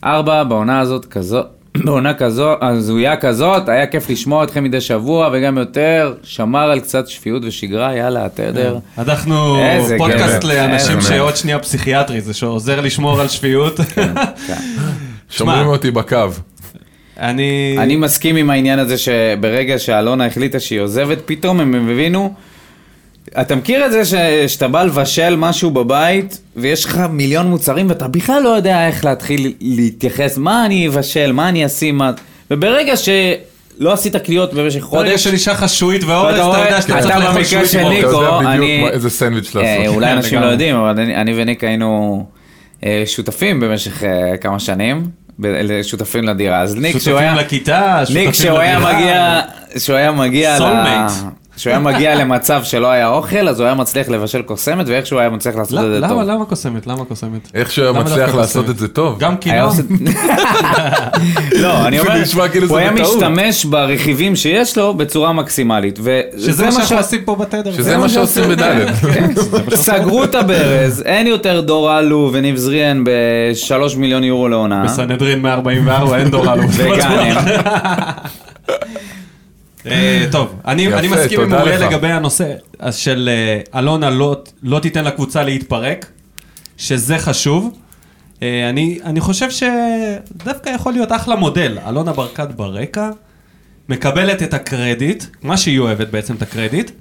ארבע, בעונה הזאת כזו, בעונה כזו, הזויה כזאת, היה כיף לשמוע אתכם מדי שבוע, וגם יותר, שמר על קצת שפיות ושגרה, יאללה,
כן.
התדר.
אנחנו
איזה
פודקאסט
גבר. כן.
לאנשים
איזה
שעוד שנייה פסיכיאטרי, זה שעוזר לשמור על שפיות.
שומרים אותי בקו.
אני...
אני מסכים עם העניין הזה שברגע שאלונה החליטה שהיא עוזבת, פתאום הם הבינו... אתה מכיר את זה ש... שאתה בא לבשל משהו בבית, ויש לך מיליון מוצרים, ואתה בכלל לא יודע איך להתחיל להתייחס, מה אני אבשל, מה אני אשים, מה... וברגע שלא עשית קניות במשך
ברגע
חודש,
שנשאר לך שועית ואורז,
ואתה
אתה
רואה-
יודע שאתה
אתה
צריך לאכול
במקרה
שועית
של
עם
אתה
אורז.
ניקו,
יודע
אני-
בדיוק מה- איזה סנדוויץ'
אה,
לעשות.
אולי
כן,
אנשים לא
לגמרי.
יודעים, אבל אני, אני וניק היינו אה, שותפים במשך אה, כמה שנים, ב- אלה שותפים לדירה, אז ניק שהוא
שותפים
היה...
לכיתה,
ניק
שותפים
שהוא היה
לדירה.
מגיע, שהוא היה מגיע,
Soulmate.
שהוא היה מגיע למצב שלא היה אוכל, אז הוא היה מצליח לבשל קוסמת, ואיך שהוא היה מצליח לעשות את זה
לא, למה,
טוב. אה,
למה קוסמת? למה קוסמת?
איך שהוא היה
לא
למה
מצליח
דווקא
לעשות
קוסמת?
את זה טוב.
גם
היה
כינור?
עושה- לא, אני
זה
אומר,
נשמע כאילו
הוא
זה
היה
בטעות.
משתמש ברכיבים שיש לו בצורה מקסימלית.
שזה מה שאנחנו
שה-
עושים פה בתדר.
שזה מה שעושים בדלת.
כן, סגרו את הברז, אין יותר דור אלו וניב זריאן בשלוש מיליון יורו לעונה.
בסנהדרין 144 אין דור אלוף.
אה? וגאנם.
אה, טוב, אני
יפה,
אני מסכים עם
תודה
אוריאל
לך.
לגבי הנושא אז של אה, אלונה לא- לא תיתן לקבוצה להתפרק, שזה חשוב. אה, אני אני חושב שדווקא יכול להיות אחלה מודל. אלונה ברקת ברקע, מקבלת את הקרדיט, מה שהיא אוהבת בעצם את הקרדיט,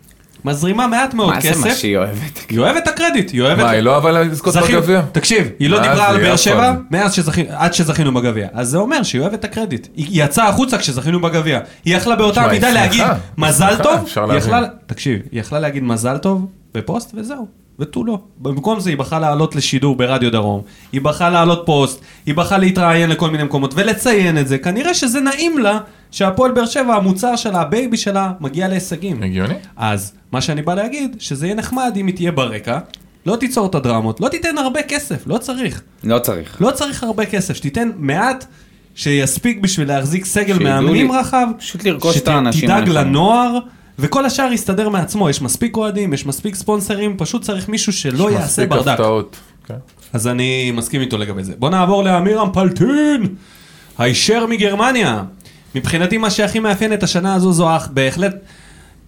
מזרימה מעט מאוד
מה זה מה
כסף.
שהיא אוהבת?
היא אוהבת את הקרדיט, היא אוהבת...
מה, היא לא אבל לזכות
זכינו-
בגביע?
תקשיב, היא לא
מה זה,
דיברה על
היא
באר
אף
שבע
פעם.
מאז שזכינו, עד שזכינו בגביע. אז זה אומר שהיא אוהבת את הקרדיט. היא יצאה החוצה כשזכינו בגביע. היא יכלה באותה
תשמע, היא
מידה
שמחה.
להגיד
היא
מזל
שמחה,
טוב,
אפשר
היא
להבין.
יכלה, תקשיב, היא יכלה להגיד מזל טוב בפוסט וזהו, ותו לא. במקום זה היא בחרה לעלות לשידור ברדיו דרום, היא בחרה לעלות פוסט, היא בחרה להתראיין לכל מיני מקומות ולציין את זה. כנראה שזה נעים לה שהפועל באר שבע, המוצר שלה, הבייבי שלה, מגיע להישגים.
הגיוני?
אז מה שאני בא להגיד, שזה יהיה נחמד אם היא תהיה ברקע, לא תיצור את הדרמות, לא תיתן הרבה כסף, לא צריך.
לא צריך.
לא צריך הרבה כסף, שתיתן מעט שיספיק בשביל להחזיק סגל
שידעו
מאמנים
לי-
רחב,
פשוט לרכוש את האנשים
שתדאג
הנכונים.
לנוער, וכל השאר יסתדר מעצמו, יש מספיק אוהדים, יש מספיק ספונסרים, פשוט צריך מישהו שלא יעשה
מספיק
ברדק.
הפתעות. כן.
אז אני מסכים איתו לגבי זה. בוא נעבור לאמיר אמפלטין, הישר מגרמניה. מבחינתי מה שהכי מאפיין את השנה הזו זו אך בהחלט,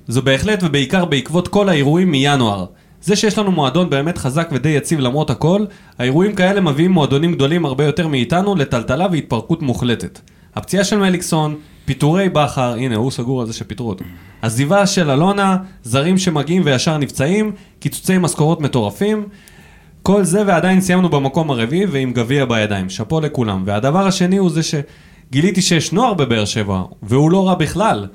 זו בהחלט ובעיקר בעקבות כל האירועים מינואר. זה שיש לנו מועדון באמת חזק ודי יציב למרות הכל, האירועים כאלה מביאים מועדונים גדולים הרבה יותר מאיתנו לטלטלה והתפרקות מוחלטת. הפציעה של מליקסון, פיטורי בכר, הנה הוא סגור על זה שפיטרו אותו. עזיבה של אלונה, זרים שמגיעים וישר נפצעים, קיצוצי משכורות מטורפים, כל זה ועדיין סיימנו במקום הרביעי ועם גביע בידיים. שאפו לכולם. והדבר השני הוא זה ש... גיליתי שיש נוער בבאר שבע, והוא לא רע בכלל.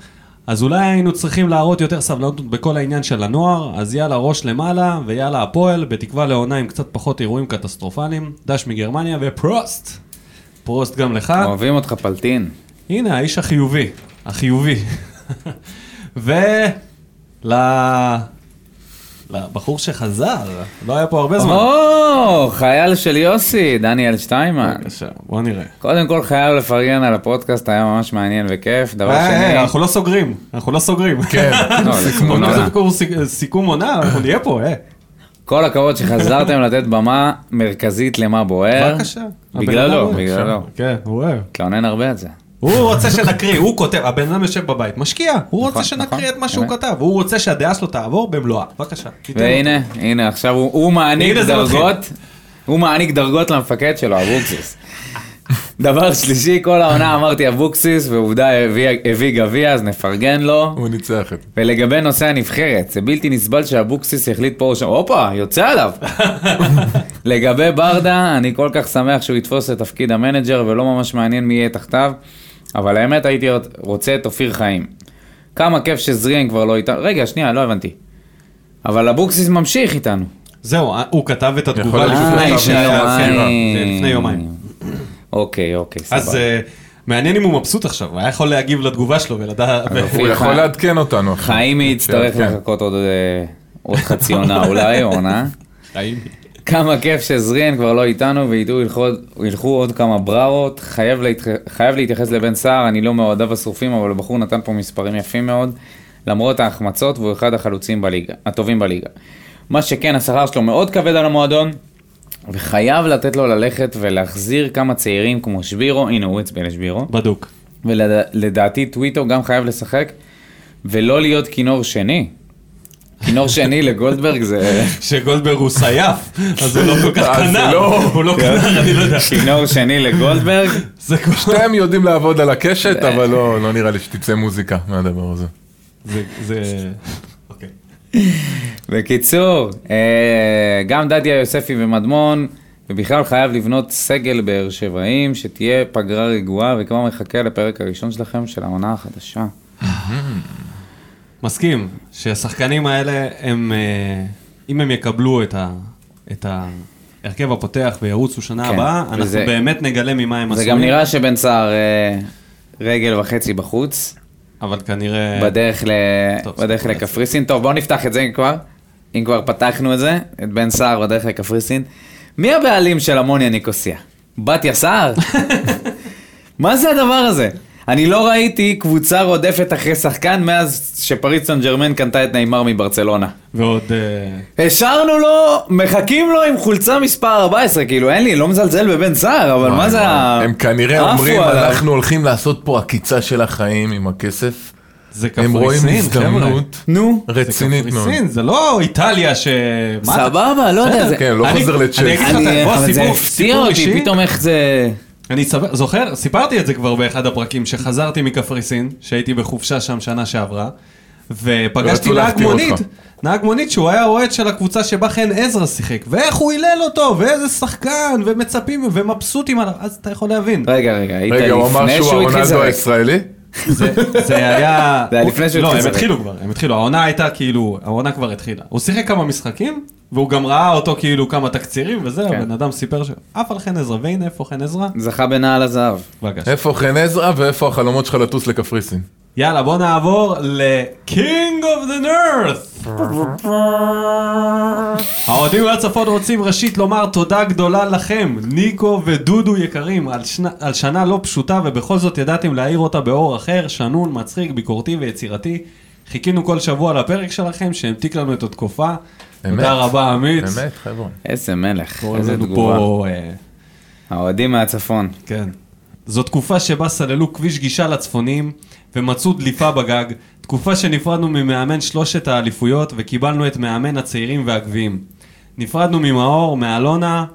אז אולי היינו צריכים להראות יותר סבלנות בכל העניין של הנוער, אז יאללה ראש למעלה, ויאללה הפועל, בתקווה לעונה עם קצת פחות אירועים קטסטרופליים, דש מגרמניה ופרוסט! פרוסט גם לך.
אוהבים אותך פלטין.
הנה, האיש החיובי, החיובי. ו... ל... לבחור שחזר, לא היה פה הרבה זמן.
או, חייל של יוסי, דניאל שטיימן.
בבקשה, אה, בוא נראה.
קודם כל חייב לפרגן על הפודקאסט, היה ממש מעניין וכיף. דבר
אה,
שני,
אה, אנחנו לא סוגרים, אנחנו לא סוגרים.
כן,
לא, לסיכום
אומנם
עונה.
זה קור- סיק- סיכום עונה, אנחנו נהיה פה, אה.
כל הכבוד שחזרתם לתת במה מרכזית למה בוער.
בבקשה. הבן
אה, בגללו,
אדם-
בגללו.
כן, הוא אוהב.
התלונן הרבה על זה.
הוא רוצה שנקריא, הוא כותב, הבן אדם יושב בבית, משקיע, הוא רוצה
נכון,
שנקריא
נכון,
את מה שהוא
באמת.
כתב, הוא רוצה שהדעה שלו תעבור במלואה, בבקשה. תיתן לו.
והנה, הנה, עכשיו הוא- הוא מעניק
הנה זה מתחיל.
דרגות, הוא מעניק דרגות למפקד שלו, אבוקסיס. דבר שלישי, כל העונה אמרתי אבוקסיס, ועובדה הביא- הביא גביע, אז נפרגן לו.
הוא ניצח את זה.
ולגבי נושא הנבחרת, זה בלתי נסבל שאבוקסיס החליט פה ושם, הופה, יוצא עליו. לגבי ברדה, אני כל כך שמח שהוא יתפוס את תפקיד המנג'ר ולא ממש מעניין מי יהיה תחתיו, אבל האמת הייתי רוצה את אופיר חיים. כמה כיף שזריאן כבר לא איתנו, רגע, שנייה, לא הבנתי. אבל אבוקסיס ממשיך איתנו. אה,
זהו, אה, הוא כתב את
יכול
התגובה
להיות שהוא
לפני
כתב
שהיה,
לפני
כן,
יומיים.
זה לפני יומיים.
אוקיי, אוקיי, סבבה.
אז אה, מעניין אם הוא מבסוט עכשיו, הוא היה יכול להגיב לתגובה שלו ולדעת...
אבל
ו-
הוא
אופיר
יכול
חיים-
לעדכן אותנו. אחי.
חיימי יצטרך
כן.
לחכות עוד, אה, עוד חצי עונה אולי, או עונה. כמה כיף שזריאן כבר לא איתנו וידעו ילכו, ילכו עוד כמה ברארות. חייב, להתח... חייב להתייחס לבן סער, אני לא מאוהדיו השרופים, אבל הבחור נתן פה מספרים יפים מאוד, למרות ההחמצות, והוא אחד החלוצים בליגה, הטובים בליגה. מה שכן, השכר שלו מאוד כבד על המועדון, וחייב לתת לו ללכת ולהחזיר כמה צעירים כמו שבירו, הנה הוא הצביע לשבירו,
בדוק.
ולדעתי טוויטו גם חייב לשחק, ולא להיות כינור שני. כינור שני לגולדברג זה...
שגולדברג הוא סייף, אז הוא לא כל
אה,
כך
אז זה
כנר,
לא-
הוא לא
כן.
כנר, אני לא יודע.
כינור שני לגולדברג,
זה כמו-
שניהם יודעים לעבוד על הקשת, אבל לא לא נראה לי שתצא מוזיקה מהדבר הזה.
זה- זה... אוקיי.
בקיצור, אה, גם דדיה יוספי ומדמון, ובכלל חייב לבנות סגל באר שבעים, שתהיה פגרה רגועה, וכבר מחכה לפרק הראשון שלכם של העונה החדשה.
מסכים שהשחקנים האלה, הם, אה, אם הם יקבלו את ה- את ההרכב הפותח וירוצו שנה
כן,
הבאה, אנחנו
וזה-
באמת נגלה ממה הם
זה
עשויים.
גם נראה שבן סער אה, רגל וחצי בחוץ,
אבל כנראה...
כן.
בדרך ל-
טוב, זה
בדרך
כולה.
לקפריסין. טוב, בואו נפתח את זה כבר, אם כבר פתחנו את זה, את בן סער בדרך לקפריסין. מי הבעלים של המוניה ניקוסיה? בתיה סער? מה זה הדבר הזה? אני לא ראיתי קבוצה רודפת אחרי שחקן מאז שפריס סן ג'רמן קנתה את נאמר מברצלונה.
ועוד... אה,
השארנו לו, מחכים לו עם חולצה מספר 14, כאילו אין לי, לא מזלזל בבן סער, אבל מה זה ה...
הם כנראה
עפו
אומרים,
עליו.
אנחנו הולכים לעשות פה עקיצה של החיים עם הכסף.
זה
הם רואים
קפריסין, חבר'ה.
הזדמנות
נו,
רצינית
זה
מאוד.
קפריסין, זה לא איטליה ש... מה אתה-
סבבה, לא יודע, זה...
כן, לא
אני-
חוזר
אני
לצ'ק.
אגיד לך,
אני-
בוא,
אבל זה
סיפור-
הפתיע
סיפור אישי.
אותי, פתאום איך זה...
אני סב- זוכר, סיפרתי את זה כבר באחד הפרקים, שחזרתי מקפריסין, שהייתי בחופשה שם שנה שעברה, ופגשתי
לא רצו
נהג
להפתיע
מונית,
אותך.
נהג מונית שהוא היה אוהד של הקבוצה שבה חן עזרא שיחק, ואיך הוא הילל אותו, ואיזה שחקן, ומצפים ומבסוטים עליו, אז אתה יכול להבין.
רגע, רגע, היית
רגע, הוא אמר
לפני
שהוא
שהוא התחיל
הרונלדו
לזרק.
הישראלי?
זה זה היה...
זה היה לפני שהוא
לא,
התחיל
הם
לשחק.
התחילו כבר, הם התחילו, העונה הייתה כאילו, העונה כבר התחילה. הוא שיחק כמה משחקים, והוא גם ראה אותו כאילו כמה תקצירים, וזה,
כן.
הבן אדם סיפר ש... עף על חן עזרא, והנה איפה חן עזרא?
זכה בנעל הזהב.
בבקשה.
איפה חן עזרא ואיפה החלומות שלך לטוס לקפריסין?
יאללה, בוא נעבור ל-King of the North. האוהדים והצפון רוצים ראשית לומר תודה גדולה לכם, ניקו ודודו יקרים, על, שנה, על שנה לא פשוטה ובכל זאת ידעתם להאיר אותה באור אחר, שנון, מצחיק, ביקורתי ויצירתי. חיכינו כל שבוע לפרק שלכם שהמתיק לנו את התקופה.
אמת.
תודה רבה, עמית.
באמת, חבר'ה.
איזה מלך,
קוראים
איזה
לנו
תגובה.
פה, אה,
האוהדים מהצפון.
כן. זו תקופה שבה סללו כביש גישה לצפוניים ומצאו דליפה בגג, תקופה שנפרדנו ממאמן שלושת האליפויות וקיבלנו את מאמן הצעירים והגביעים. נפרדנו ממאור, מאלונה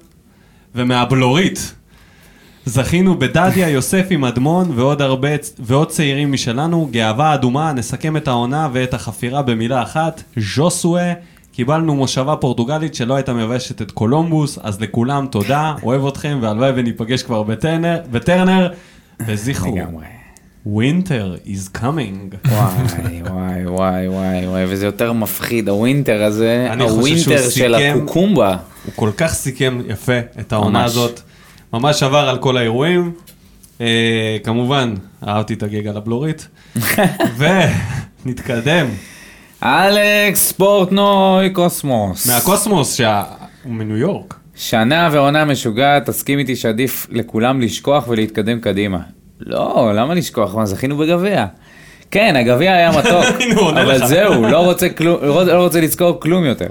ומהבלורית. זכינו בדדיה, יוספי, מדמון ועוד, הרבה, ועוד צעירים משלנו, גאווה אדומה, נסכם את העונה ואת החפירה במילה אחת, ז'וסואה, קיבלנו מושבה פורטוגלית שלא הייתה מביישת את קולומבוס, אז לכולם תודה, אוהב אתכם והלוואי וניפגש כבר בטרנר, בטרנר וזכרו,
לגמרי.
winter is coming.
וואי, וואי, וואי, וואי, וואי, וזה יותר מפחיד, הווינטר הזה,
אני חושב שהוא
הווינטר של
סיכם-
הקוקומבה.
הוא כל כך סיכם יפה את העונה
ממש.
הזאת, ממש עבר על כל האירועים. אה, כמובן, אהבתי את הגג על הבלורית. ונתקדם
אלכס פורטנוי קוסמוס.
מהקוסמוס, שה- הוא מניו יורק.
שנה ועונה משוגעת, תסכים איתי שעדיף לכולם לשכוח ולהתקדם קדימה. לא, למה לשכוח? מה, זכינו בגביע. כן, הגביע היה מתוק,
הנה, הוא עונה לך.
אבל זהו, לא רוצה, כלום, לא רוצה לזכור כלום יותר.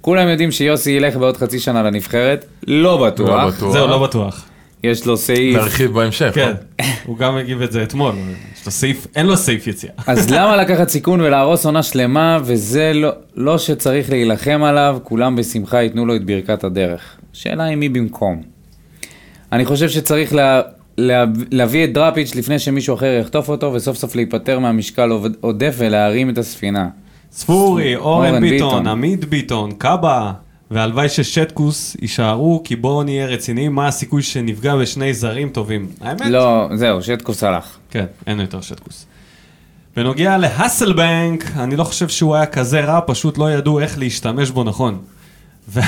כולם יודעים שיוסי ילך בעוד חצי שנה לנבחרת, לא בטוח.
לא בטוח.
זהו, לא בטוח.
יש לו סעיף.
נרחיב בהמשך.
כן,
לא?
הוא גם הגיב את זה אתמול. יש לו סעיף, אין לו סעיף יציאה.
אז למה לקחת סיכון ולהרוס עונה שלמה, וזה לא, לא שצריך להילחם עליו, כולם בשמחה ייתנו לו את ברכת הדרך. שאלה היא מי במקום. אני חושב שצריך לה, לה, להביא את דראפיץ' לפני שמישהו אחר יחטוף אותו, וסוף סוף להיפטר מהמשקל עובד- עודף ולהרים את הספינה.
ספורי, אורן
אורן
ביטון,
ביטון.
עמית ביטון, קאבה, והלוואי ששטקוס יישארו, כי בואו נהיה רציניים, מה הסיכוי שנפגע בשני זרים טובים? האמת?
לא, זהו, שטקוס הלך.
כן, אין יותר שטקוס. בנוגע להסלבנק, אני לא חושב שהוא היה כזה רע, פשוט לא ידעו איך להשתמש בו נכון. ו-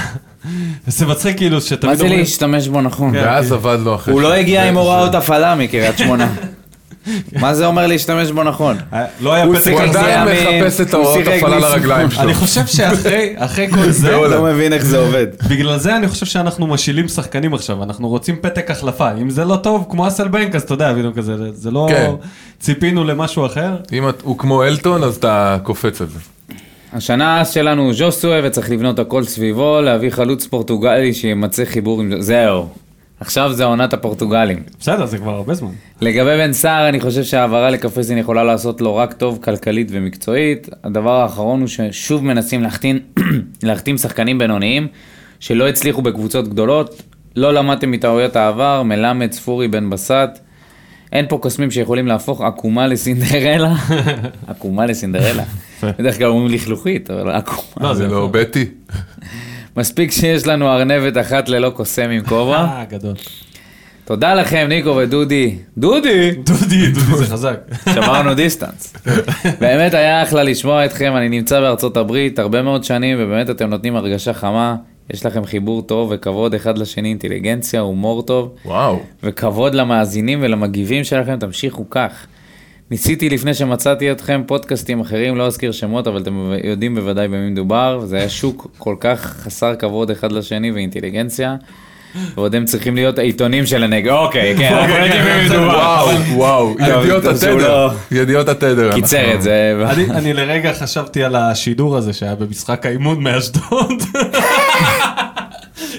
וזה מצחיק כאילו שתמיד
מה זה להשתמש בו נכון?
כן.
ואז עבד לו אחרי
הוא לא
זה.
הגיע עם
זה-
הוראות הפעלה מקריית שמונה. מה זה אומר להשתמש בו נכון?
אה, לא היה
הוא
פתק
הוא
שיחק
כזה.
עדיין
ימין,
מחפש את
הוא
ההוראות
שיחק
הפעלה
משמאל.
לרגליים שלו.
אני חושב שאחרי אחרי כל זה,
לא
מבין איך זה עובד.
בגלל זה אני חושב שאנחנו משילים שחקנים עכשיו, אנחנו רוצים פתק החלפה. אם זה לא טוב, כמו אסלבנק, אז אתה יודע, בדיוק כזה, זה לא...
כן.
ציפינו למשהו אחר.
אם את- הוא כמו אלטון, אז אתה קופץ על זה.
השנה שלנו הוא ז'וסואה וצריך לבנות הכל סביבו, להביא חלוץ פורטוגלי שימצא חיבור עם... זהו. עכשיו זה עונת הפורטוגלים.
בסדר, זה כבר הרבה זמן.
לגבי בן סער, אני חושב שההעברה לקפריסין יכולה לעשות לו רק טוב כלכלית ומקצועית. הדבר האחרון הוא ששוב מנסים להחתים, להחתים שחקנים בינוניים שלא הצליחו בקבוצות גדולות. לא למדתם מטעויות העבר, מלמד, ספורי, בן בסט. אין פה קוסמים שיכולים להפוך עקומה לסינדרלה. עקומה לסינדרלה. בדרך כלל אומרים לכלוכית, אבל עקומה.
לא,
זה
זה
לא
נכון.
בטי.
מספיק שיש לנו ארנבת אחת ללא קוסם עם כובע.
אה, גדול.
תודה לכם, ניקו ודודי. דודי!
דודי, דודי זה חזק.
שברנו דיסטנס. באמת היה אחלה לשמוע אתכם, אני נמצא בארצות הברית הרבה מאוד שנים, ובאמת אתם נותנים הרגשה חמה. יש לכם חיבור טוב וכבוד אחד לשני, אינטליגנציה, הומור טוב,
וואו.
וכבוד למאזינים ולמגיבים שלכם, תמשיכו כך. ניסיתי לפני שמצאתי אתכם פודקאסטים אחרים, לא אזכיר שמות, אבל אתם יודעים בוודאי במי מדובר, וזה היה שוק כל כך חסר כבוד אחד לשני ואינטליגנציה. ועוד הם צריכים להיות העיתונים של הנגב, אוקיי, כן, אנחנו יודעים במי מדובר.
וואו, כאילו, וואו.
אבל-
ידיעות
אבל זה
התדר.
לא-
ידיעות התדר.
קיצר את זה. ו-
אני, אני לרגע חשבתי על השידור הזה שהיה במשחק האימון מאשדוד.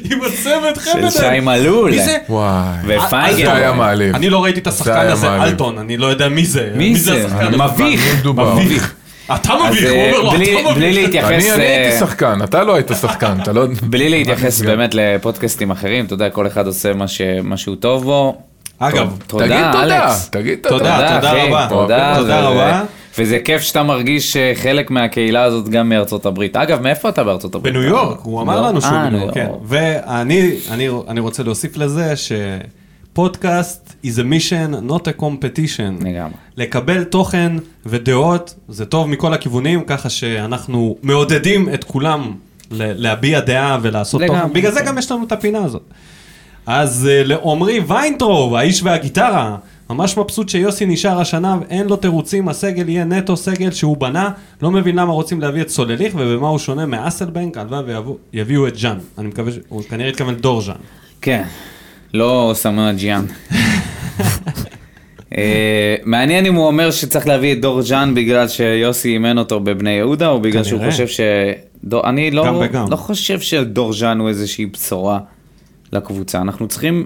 עם הצוות חמד.
של שי מלול.
לא מי זה?
אנחנו- וואי.
ופייגר.
זה היה מעליב.
אני לא ראיתי את השחקן
היה
הזה,
מעליב.
אלטון, אני לא יודע מי זה.
מי זה?
השחקן הזה?
מביך.
מי מדובר?
מביך. אתה
אז
מביך, הוא
אה,
אומר לו,
בלי-
אתה
בלי
מביך.
להתייחס...
אני אני
אה,
הייתי שחקן, אתה לא היית שחקן, אתה לא...
בלי להתייחס באמת לפודקאסטים אחרים, אתה יודע, כל אחד עושה מה ש- מה שהוא טוב בו.
אגב,
תודה,
תגיד תודה,
אלכס.
תגיד
תודה.
תודה.
תודה
אחי,
רבה. אוקיי,
תודה,
תודה
זה-
רבה.
וזה כיף שאתה מרגיש אה, חלק מהקהילה הזאת גם מארצות הברית. אגב, מאיפה אתה בארצות הברית?
בניו יורק, הוא אמר
לא?
לנו שהוא
אה,
בניו
ניו
יורק, כן.
יורק.
ואני אני- אני רוצה להוסיף לזה שפודקאסט is a mission, not a competition.
לגמרי.
לקבל תוכן ודעות, זה טוב מכל הכיוונים, ככה שאנחנו מעודדים את כולם ל- להביע דעה ולעשות
לגמרי.
תוכן. בגלל זה גם יש לנו את הפינה הזאת. אז אה, לעומרי ויינטרוב, האיש והגיטרה, ממש מבסוט שיוסי נשאר השנה, אין לו תירוצים, הסגל יהיה נטו סגל שהוא בנה, לא מבין למה רוצים להביא את סולליך ובמה הוא שונה מאסלבנק, הלוואי ויבוא- יביאו את ז'אן. אני מקווה, ש- הוא כנראה התכוון דור ז'אן.
כן, לא סמואל ג'יאן. אה, מעניין אם הוא אומר שצריך להביא את דור ז'אן בגלל שיוסי אימן אותו בבני יהודה, או בגלל שהוא
כנראה.
חושב ש... דור- אני
גם
לא,
וגם.
לא חושב שדור ז'אן הוא איזושהי בשורה לקבוצה. אנחנו צריכים...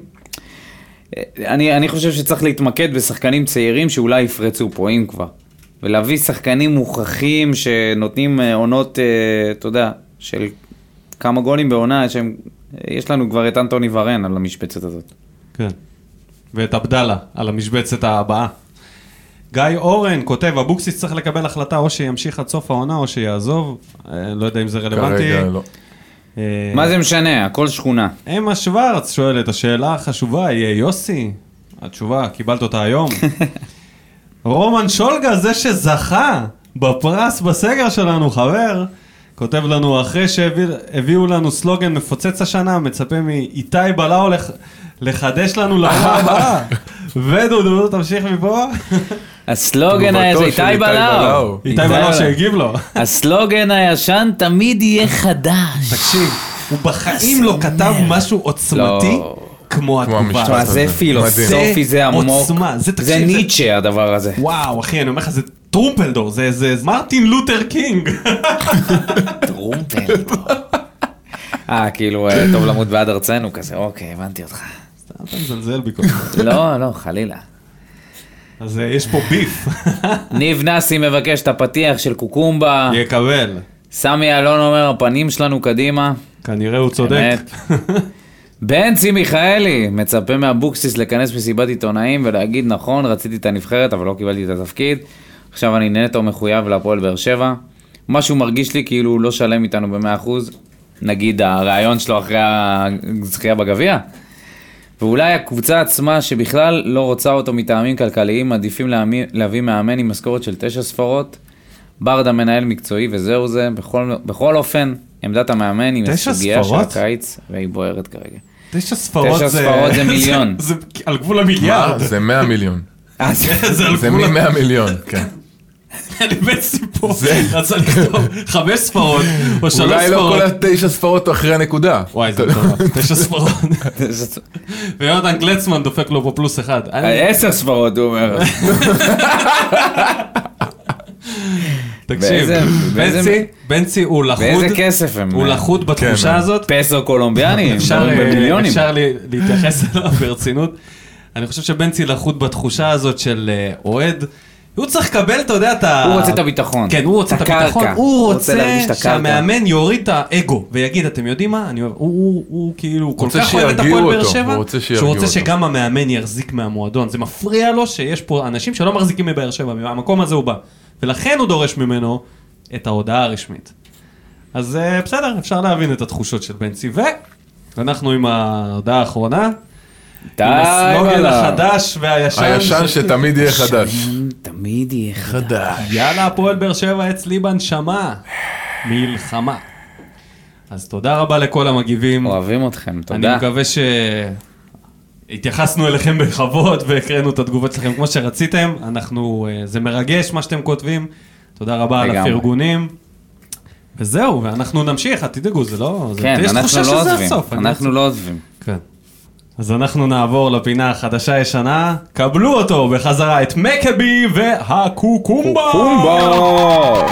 אה, אני, אני חושב שצריך להתמקד בשחקנים צעירים שאולי יפרצו פה, אם כבר. ולהביא שחקנים מוכחים שנותנים אה, עונות, אה, אתה יודע, של כמה גולים בעונה, שהם... אה, יש לנו כבר את אנטוני ורן על המשבצת הזאת.
כן. ואת עבדאללה על המשבצת הבאה. גיא אורן כותב, אבוקסיס צריך לקבל החלטה או שימשיך עד סוף העונה או שיעזוב, אה, לא יודע אם זה רלוונטי.
כרגע לא.
אה,
מה זה משנה? הכל שכונה.
אמה שוורץ שואלת, השאלה החשובה, יהיה "אה, יוסי? התשובה, קיבלת אותה היום. רומן שולגה, זה שזכה בפרס בסגר שלנו, חבר, כותב לנו, אחרי שהביאו לנו סלוגן מפוצץ השנה, מצפה מאיתי בלאו לח... לחדש לנו לעונה הבאה. ודודו, תמשיך מפה.
הסלוגן היה זה
תגובתו של
איתי בלאו.
איתי בלאו שהגיב לו.
הסלוגן הישן תמיד יהיה חדש.
תקשיב, הוא בחיים לא כתב משהו עוצמתי
לא.
כמו התגובה
המשפט
הזאת.
תשמע, זה
זה
פילוסופי,
אה, מדהים.
זה
זה
עמוק.
עוצמה, זה
זה
תקשיב, זה-
ניטשה הדבר הזה.
וואו, אחי, אני אומר לך, זה טרומפלדור, זה, זה מרטין לותר קינג.
טרומפלדור. אה, כאילו, אה, טוב למות בעד ארצנו כזה, אוקיי, הבנתי אותך.
סתם אתה מזלזל בי כל כך.
לא, לא, חלילה.
אז אה, יש פה ביף.
ניב נאסי מבקש את הפתיח של קוקומבה,
יקבל.
סמי אלון אומר, הפנים שלנו קדימה.
כנראה הוא צודק.
אמת. בנצי מיכאלי מצפה מאבוקסיס לכנס מסיבת עיתונאים ולהגיד נכון רציתי את הנבחרת אבל לא קיבלתי את התפקיד עכשיו אני נטו מחויב להפועל באר שבע משהו מרגיש לי כאילו הוא לא שלם איתנו במאה אחוז נגיד הריאיון שלו אחרי הזכייה בגביע ואולי הקבוצה עצמה שבכלל לא רוצה אותו מטעמים כלכליים מעדיפים להמי- להביא מאמן עם משכורת של תשע ספרות ברדה מנהל מקצועי וזהו זה בכל, בכל אופן עמדת המאמן היא
תשע
הסוגיה של
ספרות?
הקיץ והיא בוערת כרגע.
תשע ספרות
תשע
זה...
ספרות זה מיליון.
זה זה על גבול
מה?
המיליארד. כן,
זה 100 מיליון.
אז
זה על
זה
גבול
מ-100 מיליון, כן.
אני בין סיפור. רצה לכתוב חמש ספרות או שלוש
אולי לא
ספרות.
כל התשע ספרות אחרי הנקודה.
וואי, זה מטורף. תשע ספרות.
זה-
ויונתן גלצמן דופק לו פה פלוס אחד. אה, אני-
עשר ספרות הוא אומר.
תקשיב,
באיזה- באיזה-
בנצי, בנצי הוא לחוד,
באיזה כסף הם? אה,
הוא לחוד בתחושה
כן.
הזאת,
פסו קולומביאני, הם
אפשר, אה,
מדברים במיליונים.
אפשר לי- להתייחס אליו ברצינות. אני חושב שבנצי לחוד בתחושה הזאת של אה, אוהד, הוא צריך לקבל, אתה יודע, את ה...
הוא רוצה את הביטחון.
כן, הוא רוצה את
נכון. את הקרקע.
הביטחון. הוא
הוא רוצה
רוצה
להרגיש את הקרקע.
שהמאמן יוריד את האגו ויגיד, אתם יודעים מה, אני אוהב, הוא- הוא הוא כאילו כל
רוצה
כך אוהב את
שירגיעו
הפועל באר
אותו,
שבע,
הוא רוצה
שהוא
שירגיעו
רוצה
אותו.
שגם המאמן יחזיק מהמועדון. זה מפריע לו שיש פה אנשים שלא מחזיקים מבאר שבע, מהמקום הזה הוא בא. ולכן הוא דורש ממנו את ההודעה הרשמית. אז אה, בסדר, אפשר להבין את התחושות של בנצי. ואנחנו עם ההודעה האחרונה,
די
עם הסלוגן
וואלה.
החדש והישן.
הישן שתמיד יהיה חדש.
תמיד יהיה חדש.
חדש.
יאללה, הפועל באר שבע אצלי בנשמה. מלחמה. אז תודה רבה לכל המגיבים.
אוהבים אתכם,
אני
תודה.
מקווה ש... התייחסנו אליכם בכבוד והקראנו את התגובות שלכם כמו שרציתם. אנחנו... אה, זה מרגש מה שאתם כותבים. תודה רבה על
לגמרי.
הפרגונים. וזהו, ואנחנו נמשיך, אל תדאגו, זה לא... זה-
כן,
יש
אנחנו
תחושה
לא
שזה
עוזבים.
הסוף, אני
אנחנו לא עוזבים.
כן. אז אנחנו נעבור לפינה החדשה-ישנה. קבלו אותו בחזרה, את מקבי והקוקומבה!
בואו!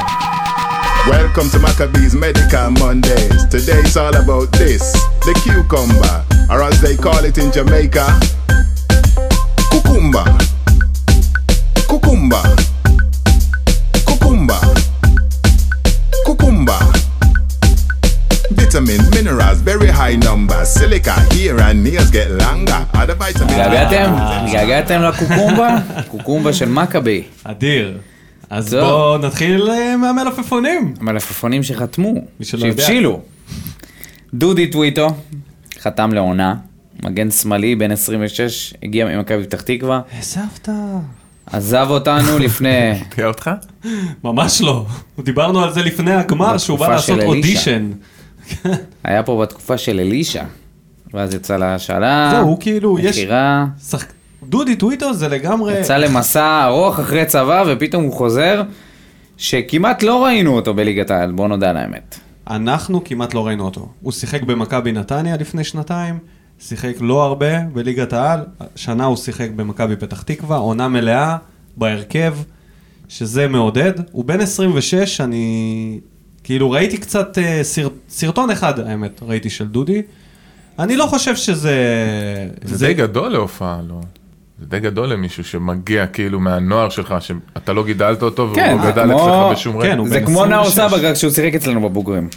Welcome to Maccabees Medical Mondays. Today it's all about this the cucumber, or as they call it in Jamaica, cucumba. Cucumba. Cucumba. Cucumba. Vitamin, minerals, very high numbers. Silica, hair and nails get longer. Other vitamins.
התגעגעתם?
אה.
התגעגעתם לקוקומבה? קוקומבה של מכבי.
אדיר. אז
טוב.
בואו נתחיל אה, מהמלפפונים.
המלפפונים שחתמו,
מי שלא יודע.
שהבשילו. דודי טוויטו, חתם לעונה, מגן שמאלי, בן 26, הגיע ממכבי פתח תקווה,
איזה
עזב אותנו לפני...
תראה אותך?
ממש לא. דיברנו על זה לפני הגמר, שהוא בא
בתקופה
לעשות
של אלישע.
אודישן.
היה פה בתקופה של אלישע, ואז יצא להשאלה,
זהו, הוא כאילו, יש-
מכירה,
שחק- דודי טוויטר זה לגמרי...
יצא למסע ארוך אחרי צבא, ופתאום הוא חוזר, שכמעט לא ראינו אותו בליגת העל, בוא נודה על האמת.
אנחנו כמעט לא ראינו אותו. הוא שיחק במכבי נתניה לפני שנתיים, שיחק לא הרבה בליגת העל, שנה הוא שיחק במכבי פתח תקווה, עונה מלאה בהרכב, שזה מעודד. הוא בן 26, אני כאילו ראיתי קצת אה, סר... סרטון אחד, האמת, ראיתי של דודי. אני לא חושב שזה...
זה די גדול להופעה, לא? זה די גדול למישהו שמגיע כאילו מהנוער שלך, שאתה לא גידלת אותו והוא
כן,
לא
זה
גדל
כמו-
אצלך בשום
כן,
רגע.
הוא
זה
בן
כמו נאור
26.
סבא כשהוא שיחק אצלנו בבוגרים.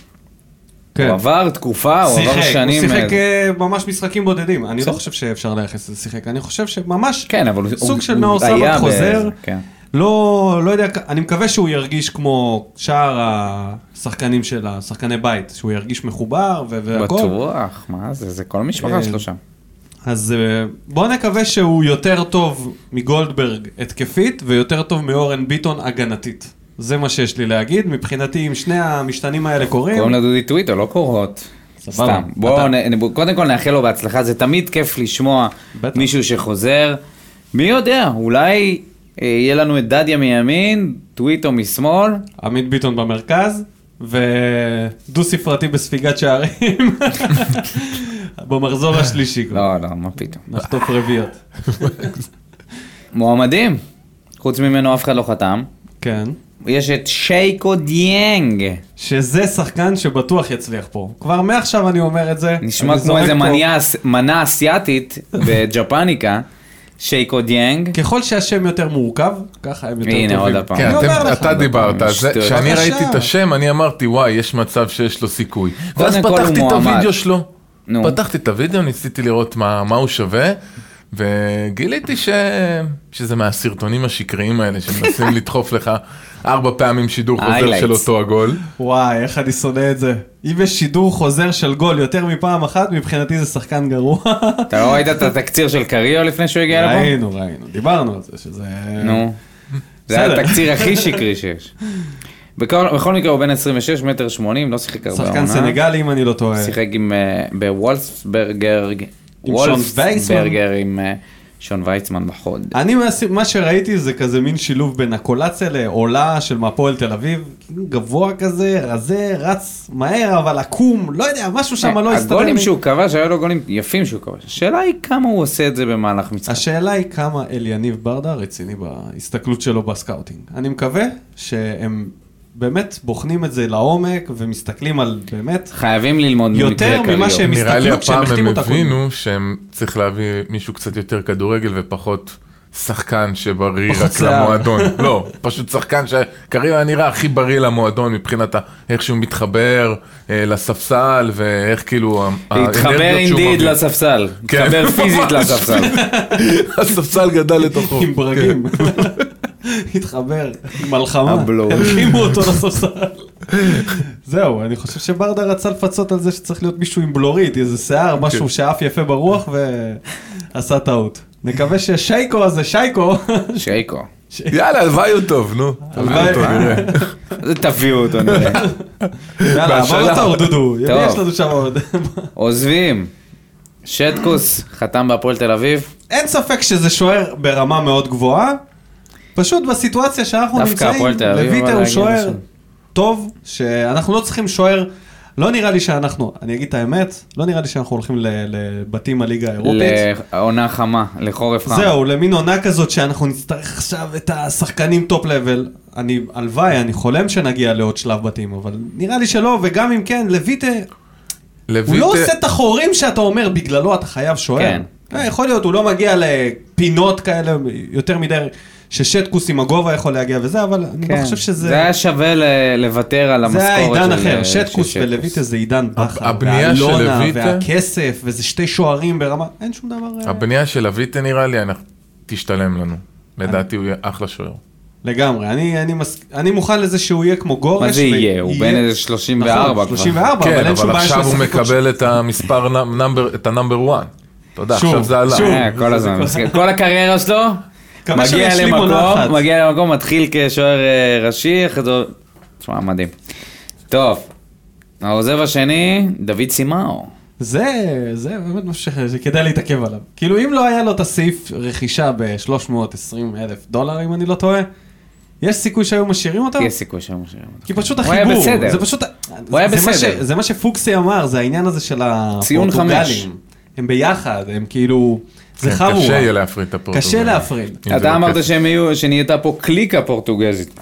כן.
הוא עבר תקופה, הוא עבר
שיחק, הוא
שנים...
שיחק
אה,
אה, ממש משחקים בודדים, אני לא
בסדר.
חושב שאפשר לייחס לזה שיחק, אני חושב שממש
כן, אבל הוא-
סוג
הוא-
של
הוא
נאור
היה
סבא
ב-
חוזר,
כן.
לא, לא יודע, אני מקווה שהוא ירגיש כמו שאר השחקנים של השחקני בית, שהוא ירגיש מחובר ו- והכל,
בטוח, מה זה, זה כל המשפחה
אה,
שלו שם.
אז אה, בואו נקווה שהוא יותר טוב מגולדברג התקפית, ויותר טוב מאורן ביטון הגנתית. זה מה שיש לי להגיד, מבחינתי אם שני המשתנים האלה קורים,
קוראים לדודי טוויטו, לא קורות.
סבבה.
סתם. בואו,
אתה-
נ- נ- קודם כל נאחל לו בהצלחה, זה תמיד כיף לשמוע
בטח.
מישהו שחוזר. מי יודע, אולי אה, יהיה לנו את דדיה מימין, טוויטו משמאל.
עמית ביטון במרכז, ודו ספרתי בספיגת שערים, במחזור השלישי כבר,
לא, לא, מה פתאום.
נחטוף רביעיות.
מועמדים, חוץ ממנו אף אחד לא חתם.
כן.
יש את שייקו דיאנג,
שזה שחקן שבטוח יצליח פה. כבר מעכשיו אני אומר את זה.
נשמע
אני
כמו
זורק
איזה
פה.
מניה אס- מנה אסיאתית בג'פניקה, שייקו דיאנג.
ככל שהשם יותר מורכב, ככה הם יותר טובים.
הנה עוד הפעם.
כן,
אני
אתם-
אומר לך.
אתה דיברת, על זה.
שטויות.
כשאני
בבקשה.
ראיתי את השם, אני אמרתי, וואי, יש מצב שיש לו סיכוי.
קודם
ואז
כל הוא
פתחתי את
מועמד.
הוידאו שלו.
נו.
פתחתי את הוידאו, ניסיתי לראות מה מה הוא שווה, וגיליתי ש- שזה מהסרטונים השקריים האלה, שמנסים לדחוף לך ארבע פעמים שידור חוזר
ה-highlights.
של אותו הגול.
וואי, איך אני שונא את זה. אם יש שידור חוזר של גול יותר מפעם אחת, מבחינתי זה שחקן גרוע.
אתה לא ראית את התקציר של קריו לפני שהוא הגיע לפה?
ראינו, ראינו, דיברנו על זה, שזה...
נו. זה היה
בסדר.
התקציר הכי שקרי שיש. בכל, בכל מקרה הוא בן 26 מטר 80, לא שיחק הרבה
שחקן סנגלי, אם אני לא טועה.
שיחק עם, uh, בוולפסברגר,
שון
וולפסברגר
וייסמן.
עם אה, שון ויצמן בחוד.
אני, מהס- מה שראיתי זה כזה מין שילוב בין הקולציה לעולה של מהפועל תל אביב. כאילו גבוה כזה, רזה, רץ מהר, אבל עקום, לא יודע, משהו שם לא הסתדר
אה, הגולים
לי.
שהוא כבש, היו לו גולים יפים שהוא כבש. השאלה היא כמה הוא עושה את זה במהלך מצחק.
השאלה היא כמה אליניב ברדה רציני בהסתכלות שלו בסקאוטינג. אני מקווה שהם באמת בוחנים את זה לעומק ומסתכלים על באמת
חייבים ללמוד
יותר
ממקרה
ממה
קריו.
שהם
נראה לי
הסתכלו כשהם
הפעם הם
החתימו את הקודם.
הבינו שהם צריך להביא מישהו קצת יותר כדורגל ופחות שחקן שבריא
פחות
רק
שיער.
למועדון. לא, פשוט שחקן שקריב היה נראה הכי בריא למועדון מבחינת ה- איך שהוא מתחבר אה, לספסל ואיך כאילו ה-
התחבר
האנרגיות שהוא
אינדיד
מביא.
לספסל.
כן.
התחבר פיזית לספסל.
הספסל גדל לתוכו.
עם ברגים. כן. התחבר, מלחמה,
הבלו.
הלחימו אותו לספסל. זהו, אני חושב שברדה רצה לפצות על זה שצריך להיות מישהו עם בלורית, איזה שיער, משהו שאף יפה ברוח ועשה טעות. נקווה ששייקו הזה, שייקו,
שייקו.
כן. יאללה, הלוואי הוא טוב, נו. הלוואי הוא טוב,
הלוואי.
נראה.
תביאו אותו נראה.
יאללה, עבר
והשאלה-
אותו דודו, מי
טוב.
יש לנו שם עוד?
עוזבים. שטקוס חתם בהפועל תל אביב.
אין ספק שזה שוער ברמה מאוד גבוהה, פשוט בסיטואציה שאנחנו
דווקא
נמצאים,
הפועל תל אביב, אבל
לויטה הוא
להגיע
שוער
לשם.
טוב, שאנחנו לא צריכים שוער, לא נראה לי שאנחנו, אני אגיד את האמת, לא נראה לי שאנחנו הולכים ל- לבתים הליגה האירופית.
לעונה חמה, לחורף חם.
זהו, למין עונה כזאת שאנחנו נצטרך עכשיו את השחקנים טופ לבל. אני, הלוואי, אני חולם שנגיע לעוד שלב בתים, אבל נראה לי שלא, וגם אם כן, לויטה, הוא לא
לויטה-
עושה את החורים שאתה אומר, בגללו אתה חייב שוער.
כן.
אה, יכול להיות, הוא לא מגיע לפינות כאלה יותר מדי, ששטקוס עם הגובה יכול להגיע וזה, אבל אני לא חושב
כן. זה
שזה...
היה שווה ל- לוותר על המשכורת
זה
של...
היה עידן אחר,
של
שטקוס ולויטה זה עידן בכר,
הבנייה של
ואלונה,
לויטה-
והכסף, וזה שתי שוערים ברמה, אין שום דבר... אה,
הבנייה של אביטה נראה לי, אנחנו- תשתלם לנו. לדעתי הוא יהיה אחלה שוער.
לגמרי, אני, אני, מס... אני מוכן לזה שהוא יהיה כמו גורש.
מה זה יהיה? הוא בן איזה
נכון,
34 כבר.
34, אבל
כן,
אין שום
אבל
בעיה שהוא
עכשיו הוא
ישחק עוד
מקבל את המספר, נ- נאמבר- את הנאמבר 1. אתה יודע,
שוב,
עכשיו זה עלה. כן,
שוב.
אה, כל הזמן, כל הקריירה שלו,
מקווה שהוא
מגיע
ישלים עונה אחת.
למקום, מגיע למקום, מתחיל כשוער אה, ראשי, אחרי זה... תשמע, מדהים. טוב, העוזב השני, דוד סימאו.
זה, זה באמת משהו ש- שכדאי להתעכב עליו. כאילו, אם לא היה לו את הסעיף רכישה ב-320 אלף דולר, אם אני לא טועה, יש סיכוי שהיו משאירים אותו?
יש סיכוי שהם משאירים אותו.
כי פשוט
הוא היה
החיבור,
בסדר.
זה פשוט,
הוא היה
זה מה
בסדר.
ש- זה מה שפוקסי אמר, זה העניין הזה של
ציון חמש.
הפורטוגלים, הם ביחד, הם כאילו, זה
כן,
חמורה,
קשה יהיה להפריד את הפורטוגל.
קשה להפריד,
אם זה
אתה
לא
אמרת
כסף.
שהם יהיו, שנהייתה פה קליקה פורטוגזית,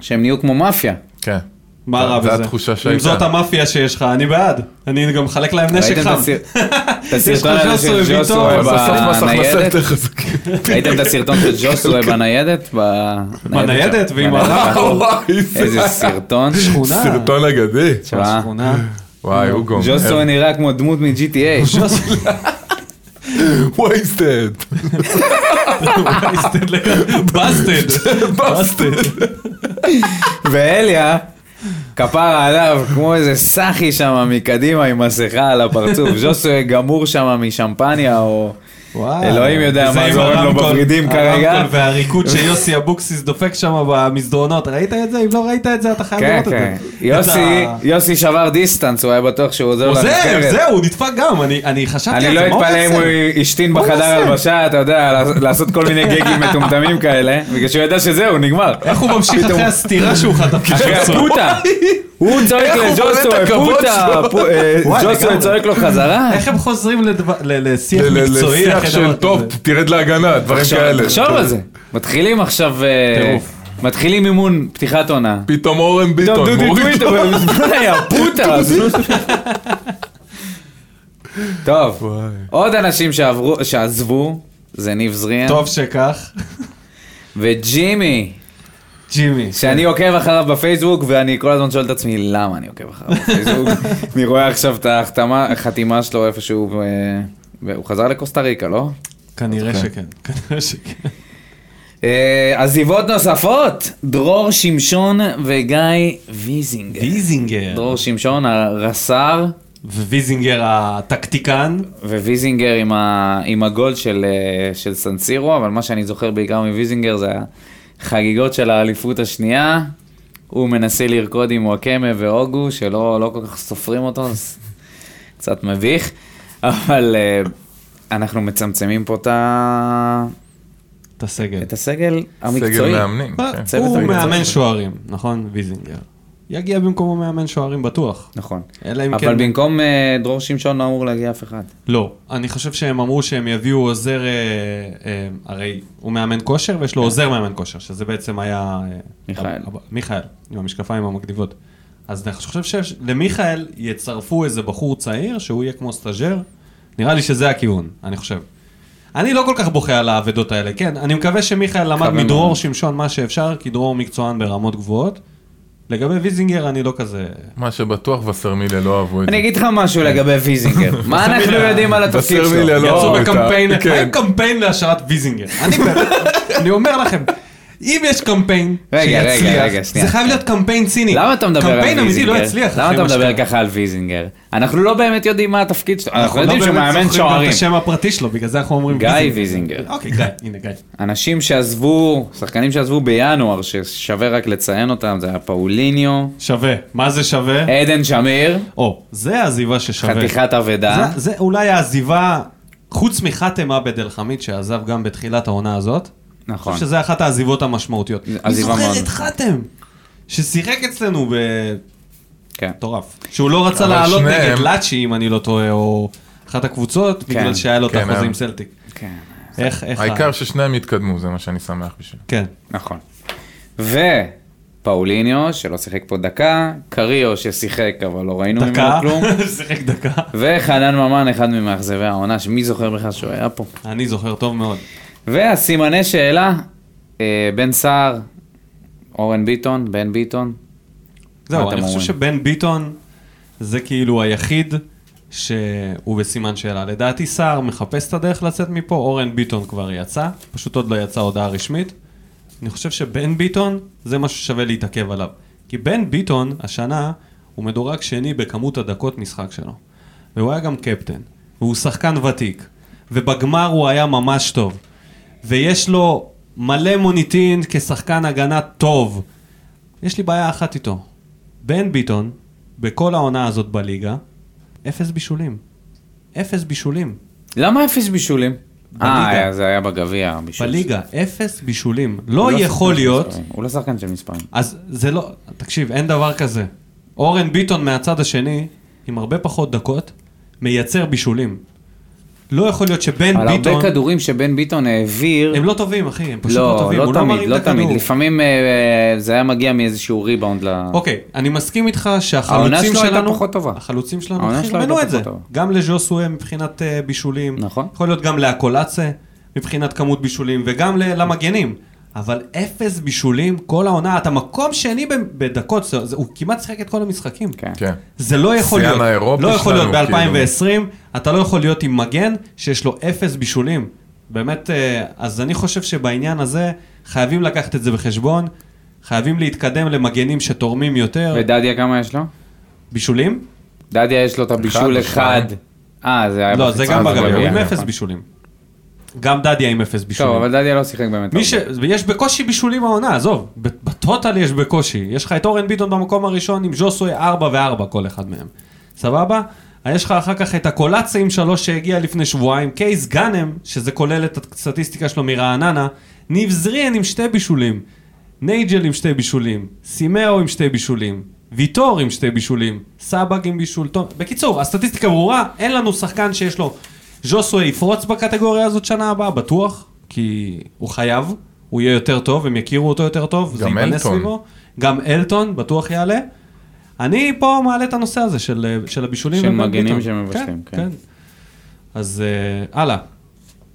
שהם נהיו כמו מאפיה.
כן.
מה רע
זה
בזה?
התחושה
אם
שהייתה.
זאת המאפיה שיש לך, אני בעד. אני גם מחלק להם נשק
ראיתם את
חם.
הסיר- את
יש לך
הסרטון הזה
ז'וסווה
של ז'וסווה
ויטור,
אבל בסוף כן. מס הכנסה
בניידת?
יותר חזקים.
אה, ראיתם את הסרטון של ג'וסווה בניידת? בניידת?
בניידת
שם.
ועם
בניידת.
הרב.
וואי, זה
איזה סרטון.
שכונה.
סרטון אגדי.
תשמע,
שכונה.
וואי, הוא גומר.
ג'וסווה נראה כמו דמות מ-GTA.
ז'וסווה.
וייסטד.
בסטד לגמרי. בסטד.
בסטד.
ואליה, כפרה עליו, כמו איזה סאחי שם מקדימה עם מסכה על הפרצוף. ז'וסו גמור שם משמפניה, או...
וואו.
אלוהים יודע
זה
מה
עם
זורם לו
הרמקול-
בוורידים כרגע.
הרמקול והריקוד שיוסי אבוקסיס דופק שם במסדרונות, ראית את זה? אם לא ראית את זה, אתה חייב
כן,
לראות את
כן.
זה.
יוסי,
אתה-
יוסי שבר דיסטנס, הוא היה בטוח שהוא עוזר
עוזר,
לנבחרת.
זהו, הוא נדפק גם, אני- אני חשבתי על זה,
אני לא
מה הוא
אתפלא אם
עושה?
הוא השתין
מה הוא
בחדר
עושה?
הלבשה, אתה יודע, לעשות- לעשות כל מיני גגים מטומטמים כאלה, בגלל שהוא ידע שזהו, נגמר.
איך הוא ממשיך אחרי הסטירה שהוא חטף
אחרי
לג'וסו?
הפוטה! הוא צועק
איך הוא
לג'וסו,
בונה את הכבוד
פוטה,
שלו?
פו- אה,
וואי,
ג'וסו
לגמרי.
צועק לו חזרה.
איך הם חוזרים לדבר- ל- לשיח
ל- ל-
מקצועי?
לשיח
אחרי
של
דבר
טוב,
כזה?"
תרד להגנה, דברים
עכשיו,
כאלה.
תחשוב על זה. מתחילים עכשיו... אה,
טירוף.
מתחילים אימון פתיחת עונה.
פתאום אורן
טוב,
ביטון
דודי
מוריד
טוויטר, מזמן היה פוטה. טוב, עוד אנשים שעברו- שעזבו, זה ניב זריאן,
טוב שכך.
וג'ימי,
ג'ימי.
כן.
שאני עוקב אחריו בפייסבוק, ואני כל הזמן שואל את עצמי, למה אני עוקב אחריו בפייסבוק? אני רואה עכשיו את ההחתמה- החתימה שלו איפשהו, אה, הוא חזר לקוסטה ריקה, לא?
כנראה שכן. כנראה שכן.
אה, עזיבות נוספות, דרור שמשון וגיא ויזינגר.
ויזינגר.
דרור שמשון, הרס"ר,
וויזינגר הטקטיקן.
וויזינגר עם, ה... עם הגול של, אה, של סנסירו, אבל מה שאני זוכר בעיקר מוויזינגר זה החגיגות של האליפות השנייה. הוא מנסה לרקוד עם וואקמה ואוגו, שלא לא כל כך סופרים אותו, אז קצת מביך. אבל אה, אנחנו מצמצמים פה את, ה...
את הסגל.
את הסגל המקצועי.
סגל מאמנים.
מה,
כן.
צוות
הוא
המקצוע
מאמן
שלו.
שוערים, נכון? ויזינגר. יגיע במקומו מאמן שוערים בטוח.
נכון.
אלא אם
אבל
כן-
במקום אה, דרור שמשון לא אמור להגיע אף אחד.
לא, אני חושב שהם אמרו שהם יביאו עוזר, אה, אה, הרי הוא מאמן כושר ויש לו עוזר מאמן כושר, שזה בעצם היה... אה,
כן. מיכאל.
הב- מיכאל, עם המשקפיים המגניבות. אז אני חושב שלמיכאל יצרפו איזה בחור צעיר שהוא יהיה כמו סטאג'ר, נראה לי שזה הכיוון, אני חושב. אני לא כל כך בוכה על האבדות האלה, כן, אני מקווה שמיכאל למד
מקווה
מדרור
מאוד.
שמשון מה שאפשר, כי דרור מקצוען ברמות גבוהות. לגבי ויזינגר אני לא כזה...
מה שבטוח וסרמיליה לא אהבו את זה.
אני אגיד לך משהו לגבי ויזינגר. מה אנחנו יודעים על התפקיד
בסדר,
שלו?
מיליה, לא.
יצאו
את ה-
בקמפיין,
כן.
היה קמפיין להשארת ויזינגר. אני באמת, אני אומר לכם, אם יש קמפיין
רגע, רגע,
שיצליח,
רגע, שנייה.
זה חייב להיות קמפיין ציני.
למה אתה מדבר על ויזינגר?
קמפיין אמיתי לא יצליח.
למה
אחי,
אתה
מה
מדבר
שקרה.
ככה על ויזינגר? אנחנו לא באמת יודעים מה התפקיד שלו. אנחנו
לא
יודעים שהוא
באמת
מאמן
זוכרים גם
שוערים.
את השם הפרטי שלו, בגלל זה אנחנו אומרים
גיא ויזינגר.
אוקיי, גיא, הנה גיא.
אנשים שעזבו, שחקנים שעזבו בינואר, ששווה רק לציין אותם, זה היה פאוליניו,
שווה. מה זה שווה?
עדן שמיר,
או, זה העזיבה ששווה.
אה? חתיכת אה? אבדה.
זה- זה אולי העזיבה, חוץ מחאתם עבד אל-חמיד שעזב גם בתחילת העונה הזאת. אני
נכון.
חושב שזה אחת העזיבות המשמעותיות. אני
עזיבה
זוכר
מאוד.
את חתם, ששיחק אצלנו ב...
כן.
מטורף. שהוא לא רצה לעלות
שניהם-
נגד לאצ'י, אם אני לא טועה, או אחת הקבוצות, בגלל שהיה לו את
כן,
החוזה
היה.
עם סלטיק.
כן,
איך, איך... ה-
העיקר ששניהם יתקדמו, זה מה שאני שמח בשבילו.
כן.
נכון. ופאוליניו, שלא שיחק פה דקה, קריו ששיחק, אבל לא ראינו ממנו
דקה,
כלום.
שיחק דקה.
וחנן ממן, אחד ממאכזבי העונה, שמי זוכר בכלל שהוא היה פה.
אני זוכר טוב מאוד.
והסימני שאלה, אה, בן סער, אורן ביטון, בן ביטון.
זהו,
מה
אני
אתם
חושב
אומרים?
שבן ביטון זה כאילו היחיד שהוא בסימן שאלה. לדעתי סער מחפש את הדרך לצאת מפה, אורן ביטון כבר יצא, פשוט עוד לא יצאה הודעה רשמית. אני חושב שבן ביטון זה משהו ששווה להתעכב עליו. כי בן ביטון השנה הוא מדורג שני בכמות הדקות משחק שלו. והוא היה גם קפטן, והוא שחקן ותיק, ובגמר הוא היה ממש טוב. ויש לו מלא מוניטין כשחקן הגנה טוב. יש לי בעיה אחת איתו. בן ביטון, בכל העונה הזאת בליגה, אפס בישולים. אפס בישולים.
למה אפס בישולים?
בליגה.
אה, היה- זה היה בגביע. בישול.
בליגה, אפס בישולים.
הוא
לא
שחקן
יכול
של
להיות,
מספרים. הוא לא שחקן של מספרים.
אז זה לא... תקשיב, אין דבר כזה. אורן ביטון מהצד השני, עם הרבה פחות דקות, מייצר בישולים. לא יכול להיות שבן
על הרבה
ביטון...
כדורים שבן ביטון העביר...
הם לא טובים, אחי, הם פשוט לא
לא,
טובים.
לא
הוא
תמיד,
מרים
לא
את הכדור.
תמיד. לפעמים אה, אה, זה היה מגיע מאיזשהו ריבאונד ל...
אוקיי, אני מסכים איתך
העונה
שהחלוצים
שלו הייתה
שלנו,
פחות טובה.
החלוצים שלנו
העונה
אחי,
שלו
חרבנו
הייתה
את זה.
פחות טובה.
גם לז'וסווה מבחינת אה, בישולים.
נכון.
יכול להיות גם לאקולצה מבחינת כמות בישולים, וגם ל- למגנים. אבל אפס בישולים כל העונה, אתה מקום שני ב- בדקות, זה- זה- הוא כמעט שיחק את כל המשחקים.
כן.
כן.
זה לא יכול
שיאן
להיות.
האירופי
לא יכול להיות
שלנו, כאילו.
ב-2020, אתה לא יכול להיות עם מגן שיש לו אפס בישולים. באמת, אה, אז אני חושב שבעניין הזה חייבים לקחת את זה בחשבון. חייבים להתקדם למגנים שתורמים יותר.
ודדיה כמה יש לו?
בישולים?
דדיה יש לו את הבישול
אחד,
אחד.
שניים.
אה, זה היה
לא, זה גם
בחיצון,
זה
בגביע,
בגביע,
הוא עם
נכון.
אפס בישולים. גם דדיה עם אפס
טוב,
בישולים.
אבל דדיה לא שיחק באמת.
מי
הרבה.
ש... יש בקושי בישולים העונה, עזוב, ב- בטוטל יש בקושי. יש לך את אורן ביטון במקום הראשון עם ז'וסוי 4 ו-4 כל אחד מהם. סבבה? אה, יש לך אחר כך את הקולאצה עם 3 שהגיע לפני שבועיים, קייס גאנם, שזה כולל את הסטטיסטיקה שלו מרעננה, ניב זריאן עם שתי בישולים, נייג'ל עם שתי בישולים, סימאו עם שתי בישולים, ויטור עם שתי בישולים, סבג עם בישול טוב. בקיצור, הסטטיסטיקה ברורה, אין לנו שחקן שיש לו... ז'וסוי יפרוץ בקטגוריה הזאת שנה הבאה, בטוח, כי הוא חייב, הוא יהיה יותר טוב, הם יכירו אותו יותר טוב, זה
גם
ייבנה
אלטון.
סביבו. גם אלטון, בטוח יעלה. אני פה מעלה את הנושא הזה של, של הבישולים.
של
ובן
מגנים
ביטון.
שמבשלים, כן.
אז אה, הלאה.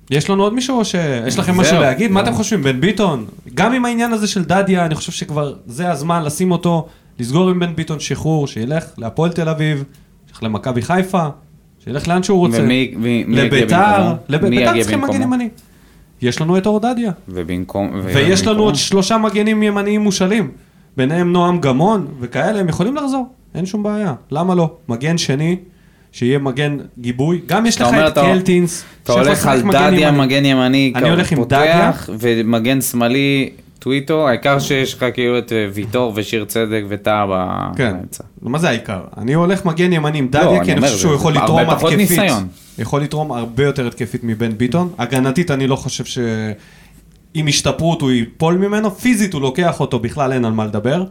יש לנו עוד מישהו או שיש לכם
זהו.
משהו להגיד? מה
לא.
אתם חושבים, בן ביטון? גם עם העניין הזה של דדיה, אני חושב שכבר זה הזמן לשים אותו, לסגור עם בן ביטון שחרור, שילך להפועל תל אביב, שילך למכבי חיפה, שילך לאן שהוא רוצה.
ומי- מי- מי יגיע
לביתר,
במקומו?
לב-
מי
ביתר
יגיע
צריכים מגן
במקומו?
ימני. יש לנו את אורדדיה,
ובמקום... ו-
ויש לנו
ובמקום-
עוד שלושה מגנים ימניים מושאלים, ביניהם נועם גמון וכאלה, הם יכולים לחזור, אין שום בעיה, למה לא? מגן שני, שיהיה מגן גיבוי, גם יש
אתה
לך
אומר,
את
אתה-
קלטינס,
אתה הולך על דדיה, מגן ימני,
אני
כאילו,
הולך עם
פותח, ומגן שמאלי, טוויטו, העיקר שיש לך כאילו את אה, ויטור ושיר צדק וטאה ב-
כן,
באמצע.
מה זה העיקר? אני הולך מגן ימני עם
לא,
דדיה,
אני
כי אני
אומר,
חושב שהוא
זה-
יכול
הרבה
לתרום
פחות
התקפית.
ניסיון.
יכול לתרום הרבה יותר התקפית מבן ביטון. הגנתית אני לא חושב ש... עם השתפרות הוא ייפול ממנו, פיזית הוא לוקח אותו, בכלל אין על מה לדבר.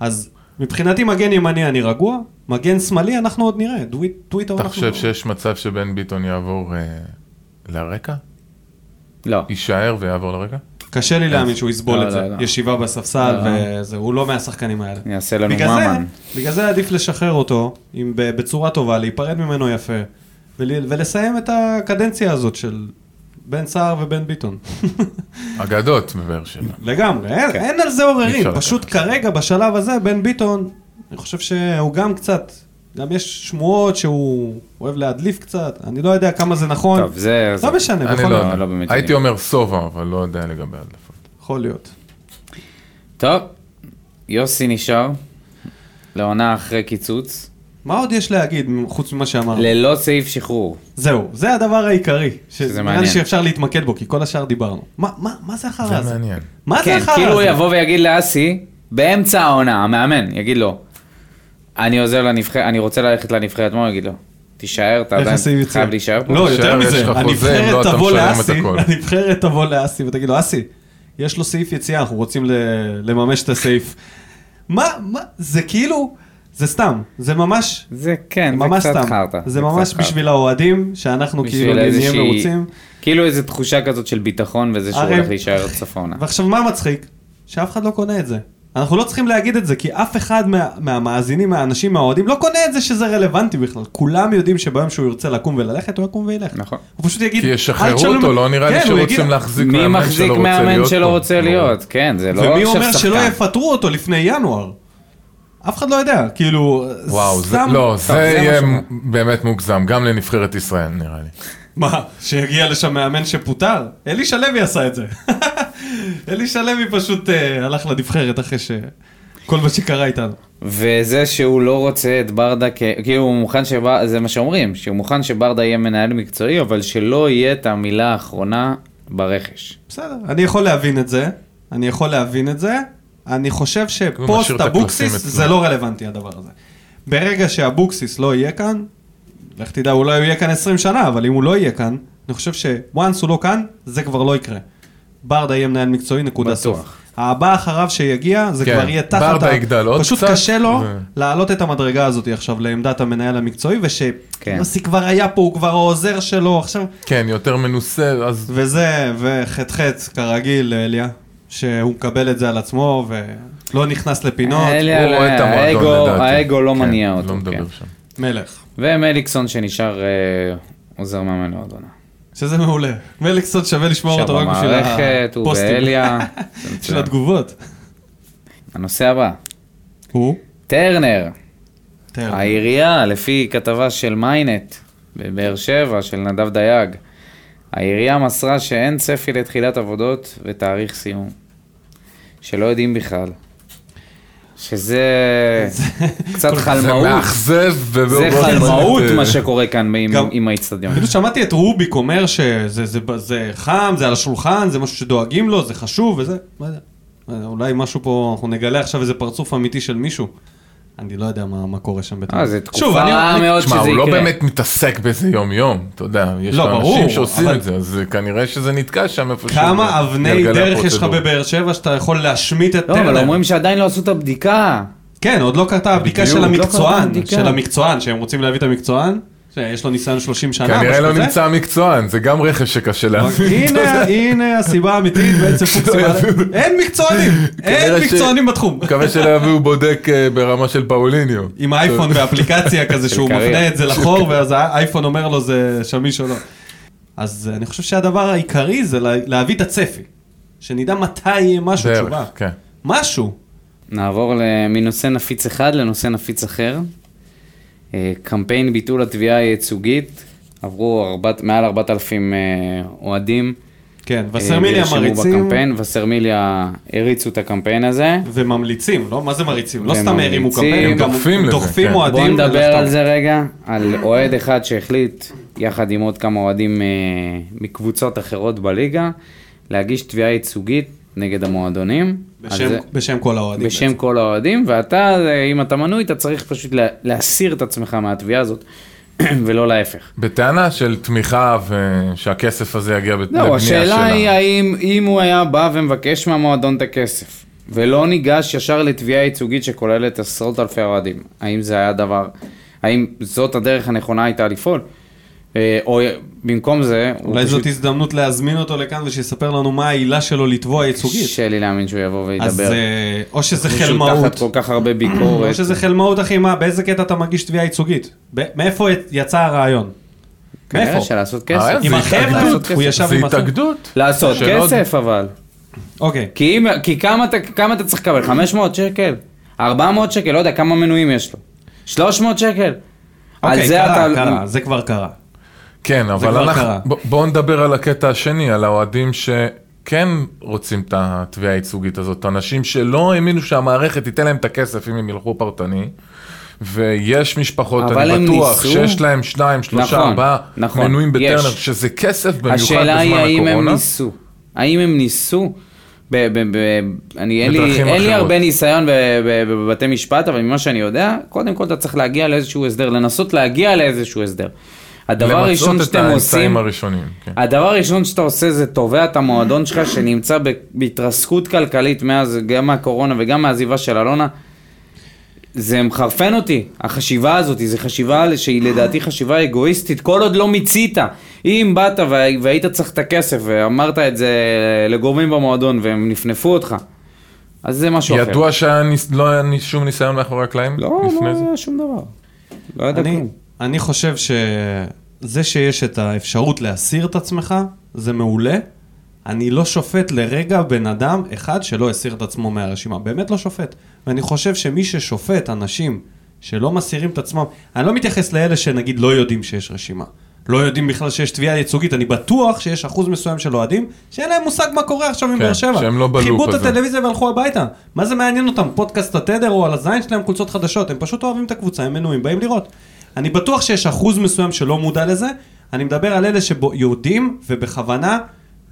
אז מבחינתי מגן ימני אני רגוע, מגן שמאלי אנחנו עוד נראה, דווי- טוויטר
אתה
אנחנו... לא.
חושב שיש מצב שבן ביטון יעבור אה, לרקע?
לא.
יישאר ויעבור לרקע?
קשה לי להאמין שהוא יסבול
לא,
את זה,
לא, לא.
ישיבה בספסל
לא.
וזה, הוא לא מהשחקנים האלה.
אני אעשה לנו
בגלל זה,
ממן.
בגלל זה עדיף לשחרר אותו עם, ב- בצורה טובה, להיפרד ממנו יפה, ול, ולסיים את הקדנציה הזאת של בן סער ובן ביטון.
אגדות בבאר שבע.
אה, לגמרי, אין,
כן.
אין על זה
אי
עוררין,
אפשר
פשוט כרגע בשלב הזה בן ביטון, אני חושב שהוא גם קצת, גם יש שמועות שהוא אוהב להדליף קצת, אני לא יודע כמה זה נכון,
טוב, זה... זה-
לא משנה,
אני
בכל
לא
זאת,
יודע.
לא באמת
הייתי
יודע.
אומר סובה, אבל לא יודע לגבי הדלפות.
יכול להיות.
טוב, יוסי נשאר, לעונה אחרי קיצוץ,
מה עוד יש להגיד חוץ ממה שאמרנו?
ללא סעיף שחרור.
זהו, זה הדבר העיקרי, שזה נראה לי
מעניין.
שאפשר להתמקד בו, כי כל השאר דיברנו. מה- מה מה זה החרא
זה
הזה?
מעניין.
מה זה
כן,
החרא הזה?
כאילו הוא יבוא ויגיד לאסי, באמצע העונה, המאמן, יגיד לו, אני עוזר לנבחרת, אני רוצה ללכת לנבחרת, מה הוא יגיד לו? תישאר, אתה
איך
עדיין
הסיב יצא?
חייב להישאר פה.
לא,
תישאר,
יותר
יש לך
מזה,
חוזה, לא,
הנבחרת
אתה
תבוא
משלם את
לאסי,
הכל.
הנבחרת תבוא לאסי ותגיד לו, אסי, יש לו סעיף יציאה, אנחנו רוצים ל- לממש את הסעיף. מה, מה, זה כאילו, זה סתם, זה ממש,
זה כן, זה
ממש
קצת
סתם.
חרטא.
זה
קצת
ממש
חרטא.
בשביל האוהדים, שאנחנו
בשביל
כאילו נהיה
איזושהי-
מרוצים.
כאילו איזו תחושה כזאת של ביטחון וזה שהוא
הרי-
הולך להישאר צפונה.
ועכשיו מה מצחיק? שאף אחד לא קונה את זה. אנחנו לא צריכים להגיד את זה, כי אף אחד מה, מהמאזינים, מהאנשים, מהאוהדים, לא קונה את זה שזה רלוונטי בכלל. כולם יודעים שביום שהוא ירצה לקום וללכת, הוא יקום וילך.
נכון.
הוא פשוט יגיד...
כי
"אל
ישחררו
תשאלו
אותו,
מ-"
לא נראה לי
כן, הוא יגיד-
שרוצים להחזיק
מי
מאמן
מחזיק
שלא רוצה
מאמן
להיות
שלא
פה.
רוצה להיות? כן, זה לא
ומי
עכשיו
אומר שלא
שחקן.
יפטרו אותו לפני ינואר? אף אחד לא יודע, כאילו...
וואו, זה,
סתם-
לא,
סתם,
זה יהיה
מה
באמת מוגזם, גם לנבחרת ישראל נראה לי.
ש- מה, שיגיע לשם מאמן שפוטר? אלישע לוי עשה את זה. אלישע לוי פשוט אה, הלך לנבחרת אחרי ש... כל מה שקרה איתנו.
וזה שהוא לא רוצה את ברדה, כ... כאילו הוא מוכן שברדה, זה מה שאומרים, שהוא מוכן שברדה יהיה מנהל מקצועי, אבל שלא יהיה את המילה האחרונה ברכש.
בסדר, אני יכול להבין את זה, אני יכול להבין את זה, אני חושב
הוא משאיר
שפוסט
את הקלפים
אבוקסיס
אצלו.
זה לא רלוונטי הדבר הזה. ברגע שאבוקסיס לא יהיה כאן, לך תדע, הוא לא יהיה כאן 20 שנה, אבל אם הוא לא יהיה כאן, אני חושב שוואנס הוא לא כאן, זה כבר לא יקרה. ברדה יהיה מנהל מקצועי, נקודה
בטוח.
סוף. הבא אחריו שיגיע, זה
כן,
כבר יהיה תחת...
ברדה
ה-
יגדל עוד
פשוט
קצת,
קשה לו
ו-
להעלות את המדרגה הזאת עכשיו לעמדת המנהל המקצועי,
כן.
ושיוסי כבר היה פה, הוא כבר העוזר שלו, עכשיו...
כן, יותר מנוסה, אז
וזה, וחטחט, כרגיל, אליה, שהוא מקבל את זה על עצמו, ולא נכנס לפינות,
אלה-
הוא רואה את המועדון
האגו-
לדעתי.
האגו לא
כן,
מניע אותו,
לא מדבר
כן.
שם.
מלך.
ומליקסון שנשאר אה, עוזר מאמן לעוד עונה.
שזה מעולה. מליקסון שווה לשמור
עכשיו
אותו רק בשביל
במערכת, הוא ואליה. זה
בשביל
מצוין.
התגובות.
הנושא הבא,
הוא?
טרנר,
כן.
תאר.
העירייה, לפי כתבה של מיינט בבאר שבע, של נדב דייג, העירייה מסרה שאין צפי לתחילת עבודות ותאריך סיום. שלא יודעים בכלל. שזה קצת
זה
חלמאות.
מאכזב.
זה
ובאופן-
חלמאות
אה,
מה שקורה כאן עם-
גם-
עם האיצטדיון.
כאילו שמעתי את רוביק אומר שזה זה, זה חם, זה על השולחן, זה משהו שדואגים לו, זה חשוב וזה, לא יודע. אולי משהו פה, אנחנו נגלה עכשיו איזה פרצוף אמיתי של מישהו. אני לא יודע מה, מה קורה שם בטח.
אה, זו תקופה רעה מאוד שזה
תשמע,
יקרה.
הוא לא באמת מתעסק בזה יום-יום, אתה יודע, יש
לא,
לו
ברור,
אנשים שעושים
אבל-
את זה, אז כנראה שזה נתקע שם איפשהו.
כמה אבני
בגלגלי
דרך יש לך
הפרוצדורה.
בבאר שבע שאתה יכול להשמיט את
לא, אבל
טרנר?
אומרים שעדיין לא עשו את הבדיקה.
כן, עוד לא קרתה הבדיקה
בדיוק,
של
לא
קרתה
המקצוען,
הבדיקה.
של המקצוען, שהם רוצים להביא את המקצוען, שיש לו ניסיון 30 שנה,
כנראה
משהו
לא
כזה. אוקיי.
נמצא מקצוען, זה גם רכש שקשה להבין.
הנה, הנה הסיבה האמיתית בעצם פוקסים. אין מקצוענים, אין
כנראה ש-
מקצוענים בתחום.
מקווה שלא יביאו בודק אה, ברמה של פאוליניו.
עם האייפון באפליקציה כזה שהוא
קריירה.
מפנה את זה לחור ואז האייפון אומר לו זה שמיש או לא. אז אני חושב שהדבר העיקרי זה לה- להביא את הצפי. שנדע מתי יהיה משהו,
בערך,
תשובה.
כן.
משהו.
נעבור ל- מנושא נפיץ אחד לנושא נפיץ אחר. אה, קמפיין ביטול התביעה הייצוגית, עברו ארבעת- מעל 4,000 אה, אוהדים.
כן,
אה,
וסרמיליה
נרשמו
מריצים
בקמפיין, וסרמיליה הריצו את הקמפיין הזה.
וממליצים, לא? מה זה מריצים? לא סתם
וממליצים.
הרימו קמפיין,
הם
גם
דוחפים לזה,
דוחפים
כן.
אוהדים.
בואו נדבר
לחתום.
על זה רגע, על אוהד אחד שהחליט, יחד עם עוד כמה אוהדים אה, מקבוצות אחרות בליגה, להגיש תביעה ייצוגית נגד המועדונים.
בשם-
על זה-
בשם כל האוהדים.
בשם כל האוהדים, ואתה, אה, אם אתה מנוי, אתה צריך פשוט לה- להסיר את עצמך מהתביעה הזאת, ולא להפך.
בטענה של תמיכה ושהכסף הזה יגיע בת- לבנייה שלה.
זהו, לא, השאלה היא האם אם הוא היה בא ומבקש מהמועדון את הכסף, ולא ניגש ישר לתביעה ייצוגית שכוללת עשרות אלפי אוהדים, האם זה היה דבר, האם זאת הדרך הנכונה הייתה לפעול? אה, או במקום זה, הוא
אולי זאת
פשוט-
הזדמנות להזמין אותו לכאן ושיספר לנו מה העילה שלו לתבוע ייצוגית.
קשה לי להאמין שהוא יבוא וידבר.
אז אה, או שזה
מישהו תחת
חלמאות.
כל כך הרבה ביקורת.
או שזה חלמאות, אחי, מה, באיזה קטע אתה מגיש תביעה ייצוגית? ב- מאיפה יצא הרעיון?
כנראה
מאיפה?
שלעשות כסף.
עם
זה
החבר'ה,
התאגדות,
אה, הוא
לעשות כסף.
ישב
זה
עם החבר'ה.
התאגדות.
לעשות
שלא-
כסף אבל.
אוקיי.
כי, אם, כי כמה, אתה, כמה אתה צריך לקבל? 500 שקל? 400 שקל? לא יודע, כמה מנויים יש לו? 300 שקל?
אוקיי, קרה,
לא.
קרה, זה כבר קרה.
כן, אבל
כבר
אנחנו...
קרה.
ב- בואו נדבר על הקטע השני, על האוהדים שכן רוצים את התביעה הייצוגית הזאת, אנשים שלא האמינו שהמערכת תיתן להם את הכסף אם הם ילכו פרטני. ויש משפחות,
אבל
אני
הם
בטוח,
ניסו.
שיש להם שניים, שלושה,
נכון,
ארבעה
נכון,
מנויים בטרנר,
יש.
שזה כסף במיוחד בזמן הקורונה.
השאלה היא האם הם ניסו. האם הם ניסו? ב, ב, ב, אני, אין, לי,
בדרכים
אין לי
אחרות.
הרבה ניסיון ב- ב- בבתי משפט, אבל ממה שאני יודע, קודם כל אתה צריך להגיע לאיזשהו הסדר, לנסות להגיע לאיזשהו הסדר. הדבר הראשון
למצות את
שאתם
האמצעים
עושים,
הראשונים. כן.
הדבר הראשון שאתה עושה זה תובע את המועדון שלך שנמצא ב- בהתרסקות כלכלית מאז, גם מהקורונה וגם מהעזיבה של אלונה. זה מחרפן אותי, החשיבה הזאת, זו חשיבה שהיא לדעתי חשיבה אגואיסטית, כל עוד לא מיצית. אם באת וה- והיית צריך את הכסף ואמרת את זה לגורמים במועדון והם נפנפו אותך, אז זה משהו אחר.
ידוע שלא היה ניס- שום ניסיון מאחורי הקלעים
לא, לא
לפני זה?
היה שום דבר. לא היה
אני-
כלום.
אני חושב שזה שיש את האפשרות להסיר את עצמך, זה מעולה. אני לא שופט לרגע בן אדם אחד שלא הסיר את עצמו מהרשימה. באמת לא שופט. ואני חושב שמי ששופט אנשים שלא מסירים את עצמם, אני לא מתייחס לאלה שנגיד לא יודעים שיש רשימה. לא יודעים בכלל שיש תביעה ייצוגית, אני בטוח שיש אחוז מסוים של אוהדים שאין להם מושג מה קורה עכשיו עם
כן,
באר שבע.
שהם לא בלופ
חיברו את
הזה.
הטלוויזיה והלכו הביתה. מה זה מעניין אותם? פודקאסט התדר או על הזין שלהם חולצות חדשות. הם פשוט אוהבים את הקבוצה, הם מנויים, באים לראות. אני בטוח שיש אחוז מסוים שלא מודע לזה. אני מדבר על אלה שיודעים ובכוונה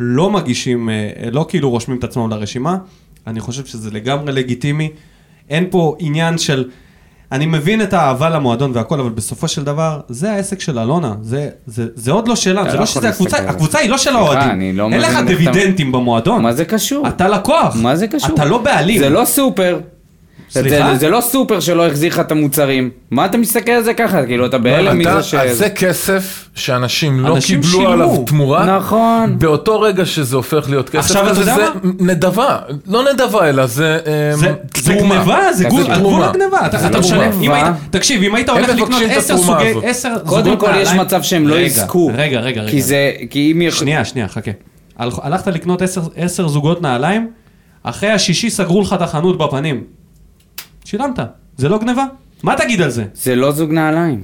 לא מגישים, אה, לא כאילו רושמים את עצמם לרשימה. אני חושב שזה לגמרי לגיטימי. אין פה עניין של... אני מבין את האהבה למועדון והכל, אבל בסופו של דבר, זה העסק של אלונה. זה, זה, זה עוד לא שלה,
אתה
זה
לא
לא
יכול
שזה הקבוצה,
להסתכל על זה.
הקבוצה היא לא של
סליחה,
האוהדים.
אני לא
אין לך
מבין איך אתה-
דיבידנדים במועדון.
מה זה קשור?
אתה לקוח.
מה זה קשור?
אתה לא בעלים.
זה לא סופר.
סליחה?
זה, זה לא סופר שלא החזיר לך את המוצרים. מה אתה מסתכל על זה ככה? כאילו, אתה
לא,
בהלם
לא, אתה-
מזה ש...
אז זה כסף שאנשים לא
אנשים
קיבלו
שילמו.
עליו תמורה.
נכון.
באותו רגע שזה הופך להיות כסף,
עכשיו אתה
כזה,
יודע
זה
מה?
נדבה, לא נדבה אלא זה אה,
זה- זה
תרומה.
גנבה, זה
זה
גול, על גבול
תרומה.
הגנבה. אתה
זה
אתה
לא
משלם,
תרומה.
אם היית-
מה?
תקשיב, אם היית הולך לקנות
מבקשים את
10
התרומה
סוגי,
הזאת.
10 זוגות
קודם כל, יש
נעליים-
מצב שהם לא
רגע,
יזכו.
רגע, רגע, רגע.
כי זה... כי אם... יכ-
שנייה, שנייה, חכה. הל- הלכת לקנות 10 זוגות נעליים, אחרי השישי סגרו לך את החנות בפנים. שילמת. זה לא גנבה? מה תגיד על זה?
זה לא זוג נעליים.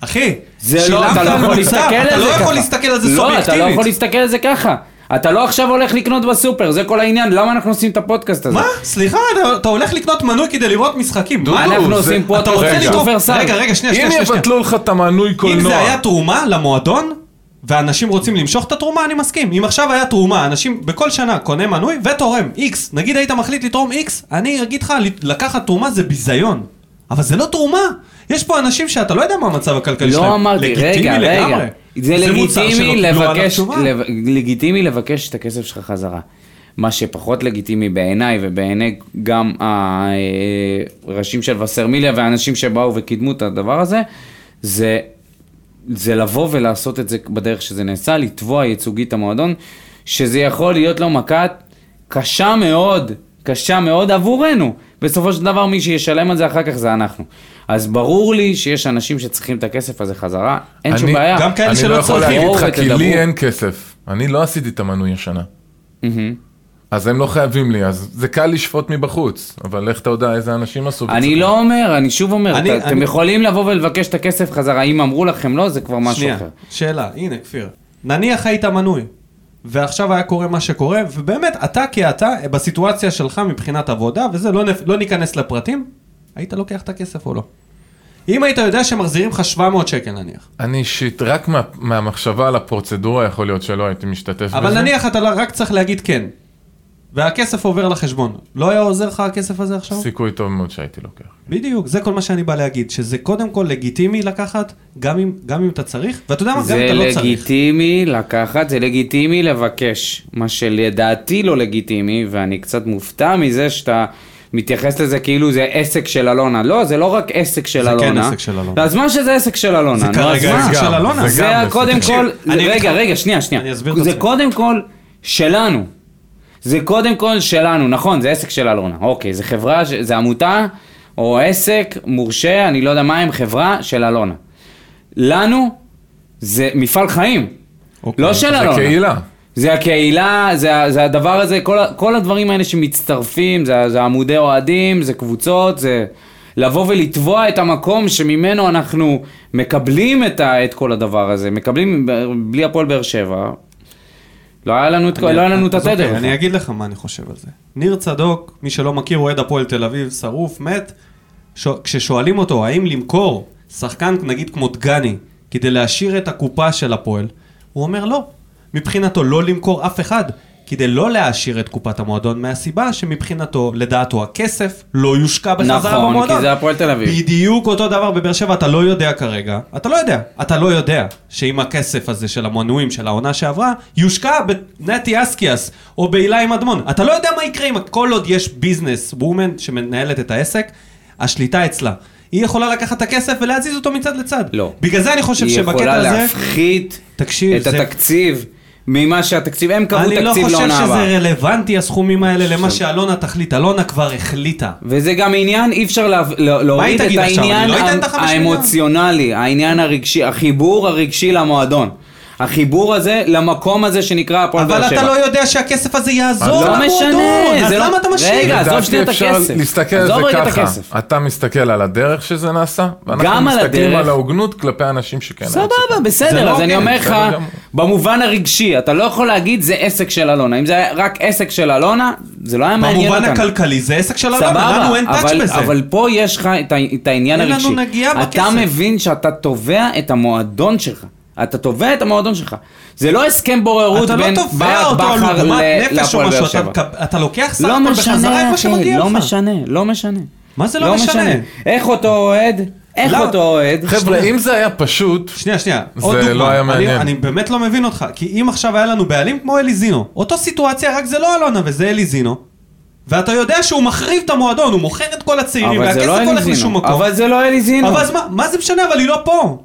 אחי,
זה לא, אתה לא
על
יכול
מוצר,
להסתכל
אתה
על זה ככה.
לא יכול להסתכל על זה
לא, אתה לא יכול
סובייקטיבית.
להסתכל על זה ככה. אתה לא עכשיו הולך לקנות בסופר, זה כל העניין, למה אנחנו עושים את הפודקאסט הזה?
מה? סליחה, אתה- אתה הולך לקנות מנוי כדי לראות משחקים. מה?
אנחנו
זה-
עושים פה
אתה
אתה
רוצה
רוצה
לטרוף...
שופרסל.
רגע, רגע, שנייה,
אם
שנייה, שנייה. שנייה.
יבטלו לך את המנוי
אם זה
קולנוע,
היה תרומה למועדון, ואנשים רוצים למשוך את התרומה, אני מסכים. אם עכשיו היה תרומה, אנשים בכל שנה קונה מנוי ותורם איקס. נגיד היית מחליט לתרום איקס, אני אגיד לך, לקחת תרומה זה ביזיון. אבל זה לא תרומה. יש פה אנשים שאתה לא יודע מה המצב הכלכלי שלהם.
לא אמרתי,
לגיטימי
רגע,
לגמרי.
רגע. זה
מוצר
לגיטימי
שנתנו עליו
לבקש,
תשובה.
לב- לגיטימי לבקש את הכסף שלך חזרה. מה שפחות לגיטימי בעיניי ובעיני גם הראשים של וסרמיליה והאנשים שבאו וקידמו את הדבר הזה, זה, זה לבוא ולעשות את זה בדרך שזה נעשה, לתבוע ייצוגית המועדון, שזה יכול להיות לו מכת קשה מאוד, קשה מאוד עבורנו. בסופו של דבר מי שישלם על זה אחר כך זה אנחנו. אז ברור לי שיש אנשים שצריכים את הכסף הזה חזרה, אין שום
אני-
בעיה.
גם כאלה
אני
שלא
לא יכול
צורכים.
להגיד
בואו
איתך, כי
ותדברו.
לי אין כסף. אני לא עשיתי את המנוי השנה.
מהמם.
אז הם לא חייבים לי, אז זה קל לשפוט מבחוץ, אבל איך אתה יודע איזה אנשים עשו?
אני
בצורה?
לא אומר, אני שוב אומר,
אני-
אתה- אתם
אני-
יכולים לבוא ולבקש את הכסף חזרה, אם אמרו לכם לא, זה כבר משהו אחר.
שאלה, הנה כפיר. נניח היית מנוי, ועכשיו היה קורה מה שקורה, ובאמת, אתה כאתה, בסיטואציה שלך מבחינת עבודה, וזה, לא, נפ- לא ניכנס לפרטים, היית לוקח את הכסף או לא. אם היית יודע שמחזירים לך 700 שקל נניח,
אני אישית, רק מה- מהמחשבה על הפרוצדורה יכול להיות שלא הייתי משתתף בזה.
אבל נניח אתה לא- רק צריך להגיד כן, והכסף עובר לחשבון, לא היה עוזר לך הכסף הזה עכשיו?
סיכוי טוב מאוד שהייתי לוקח.
בדיוק, זה כל מה שאני בא להגיד, שזה קודם כל לגיטימי לקחת, גם אם, גם אם אתה צריך, ואתה יודע מה, גם אם
זה
אתה לא צריך.
לגיטימי לקחת, זה לגיטימי לבקש. מה שלדעתי לא לגיטימי, ואני קצת מופתע מזה שאתה מתייחס לזה כאילו זה עסק של אלונה. לא, זה לא רק עסק של
זה כן
אלונה.
עסק של אלונה.
אז מה שזה עסק של אלונה,
זה
נו, אז
כרגע
מה?
עסק של
גם,
אלונה.
זה
זה
גם
היה קודם
בסדר.
כל,
אני אגיד
רגע,
לך-
רגע, שנייה, שנייה.
אני אסביר את
זה
עצמי.
קודם כל שלנו. זה קודם כל שלנו, נכון, זה עסק של אלונה. אוקיי, זה חברה, ש- זה עמותה או עסק מורשה, אני לא יודע מה הם, חברה של אלונה. לנו זה מפעל חיים,
אוקיי,
לא של
זה
אלונה.
קהילה.
זה הקהילה, זה, ה- זה הדבר הזה, כל, ה- כל הדברים האלה שמצטרפים, זה, ה- זה עמודי אוהדים, זה קבוצות, זה לבוא ולתבוע את המקום שממנו אנחנו מקבלים את, ה, את כל הדבר הזה, מקבלים ב- בלי הפועל באר שבע. לא היה לנו את, כל- לא היה לנו את
אז
התדר.
אוקיי,
בכלל.
אני אגיד לך מה אני חושב על זה. ניר צדוק, מי שלא מכיר, אוהד הפועל תל אביב, שרוף, מת. ש... כששואלים אותו האם למכור שחקן נגיד כמו דגני כדי להשאיר את הקופה של הפועל, הוא אומר לא. מבחינתו לא למכור אף אחד כדי לא להעשיר את קופת המועדון מהסיבה שמבחינתו, לדעתו, הכסף לא יושקע בחזרה
נכון, כי
במועדון.
זה הפועל תל אביב.
בדיוק אותו דבר בבאר שבע, אתה לא יודע כרגע, אתה לא יודע, אתה לא יודע שאם הכסף הזה של המנויים של העונה שעברה, יושקע בנטי אסקיאס או בהילה עם אדמון. אתה לא יודע מה יקרה אם כל עוד יש ביזנס וומן שמנהלת את העסק, השליטה אצלה. היא יכולה לקחת את הכסף ולהזיז אותו מצד לצד.
לא.
בגלל זה אני חושב
היא
שבקטע
יכולה
הזה...
להפחית
תקשיב,
את
זה-
התקציב ממה שהתקציב, הם קבעו
אני
תקציב
לא
לעונה
חושב
הבאה.
שזה רלוונטי הסכומים האלה למה שאלונה תחליט. אלונה כבר החליטה.
וזה גם עניין, אי אפשר לה, לה, להוריד את
תגיד עכשיו? אני
העניין
לא אתן את
הא-
החמש מיליון.
האמוציונלי, העניין הרגשי, החיבור הרגשי למועדון. החיבור הזה למקום הזה שנקרא הפועל באר
אבל
שבע.
אתה לא יודע שהכסף הזה יעזור
לא משנה,
למועדון, אז
זה לא-
למה אתה משאיר?
רגע, עזוב
לדעתי
שנייה את
אפשר
הכסף.
להסתכל על זה
עזוב רגע את הכסף.
ככה. אתה מסתכל על הדרך שזה נעשה, ואנחנו
גם על
מסתכלים
הדרך.
על ההוגנות כלפי האנשים שכן. היה
סבבה,
צריך.
זה
בסדר,
לא
אז אני
הוגן,
אומר לך,
בסדר גמור.
במובן הרגשי, אתה לא יכול להגיד זה עסק של אלונה. אם זה היה רק עסק של אלונה, זה לא היה מעניין
במובן
אותנו.
הכלכלי זה עסק של אלונה,
סבבה,
לא, לנו אין טאץ'
אבל,
בזה.
אבל פה יש לך את, ה- את העניין
אין לנו
הרגשי.
נגיעה
אתה
בכסף.
מבין שאתה תובע את המועדון שלך. אתה תובע את המועדון שלך. זה לא הסכם בוררות
אתה לא
בין
תובע
ברק
אותו על
בכר
עוגמת
ל-
נפש או
להפועל
משהו,
באר
אתה
שבע.
מקב- אתה לוקח סך
לא
הכל בחזרה
משנה,
איפה
אחי,
שמגיע
לא
לך.
משנה, לא משנה.
מה זה לא משנה? לא.
איך אותו אוהד? איך
למה?
אותו אוהד?
חבר'ה, אם זה היה פשוט,
שנייה, שנייה,
זה
עוד דוגמה,
לא היה
אני-
מעניין.
אני באמת לא מבין אותך, כי אם עכשיו היה לנו בעלים כמו אליזינו, אותו סיטואציה, רק זה לא אלונה וזה אליזינו, ואתה יודע שהוא מחריב את המועדון, הוא מוכר את כל הצעירים,
אבל זה לא
והכסף הולך לשום
אליזינו.
מקום.
אבל זה לא אליזינו.
אבל אז מה, מה זה משנה? אבל היא לא פה.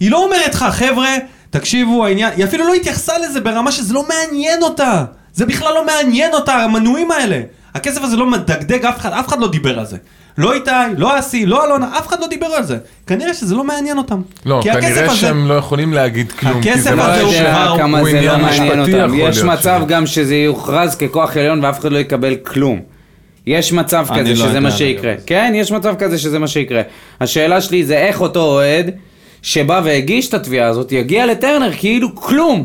היא לא אומרת לך, חבר'ה, תקשיבו, העניין... היא אפילו לא התייחסה לזה ברמה שזה לא מעניין אותה. זה בכלל לא מעניין אותה, המנויים האלה. הכסף הזה לא מדגדג אף אחד, אף אחד לא דיבר על זה. לא איתי, לא אסי, לא אלונה, אף אחד לא דיבר על זה. כנראה שזה לא מעניין אותם.
לא,
כי הכסף
כנראה
הזה-
שהם לא יכולים להגיד כלום, כי
הכסף
זה לא
הזה
לא
היה
הוא
שם.
כבר-
יודע כמה
הוא
זה לא
עניין
מעניין
משפטי
אותם.
יכול
יש
להיות
מצב
שזה.
גם שזה יוכרז ככוח עליון ואף אחד לא יקבל כלום. יש מצב
אני
כזה
לא
שזה
יודע
מה
על
שיקרה.
זה.
כן, יש מצב כזה שזה מה שיקרה. השאלה שלי זה איך אותו אוהד שבא והגיש את התביעה הזאת יגיע לטרנר כאילו כלום.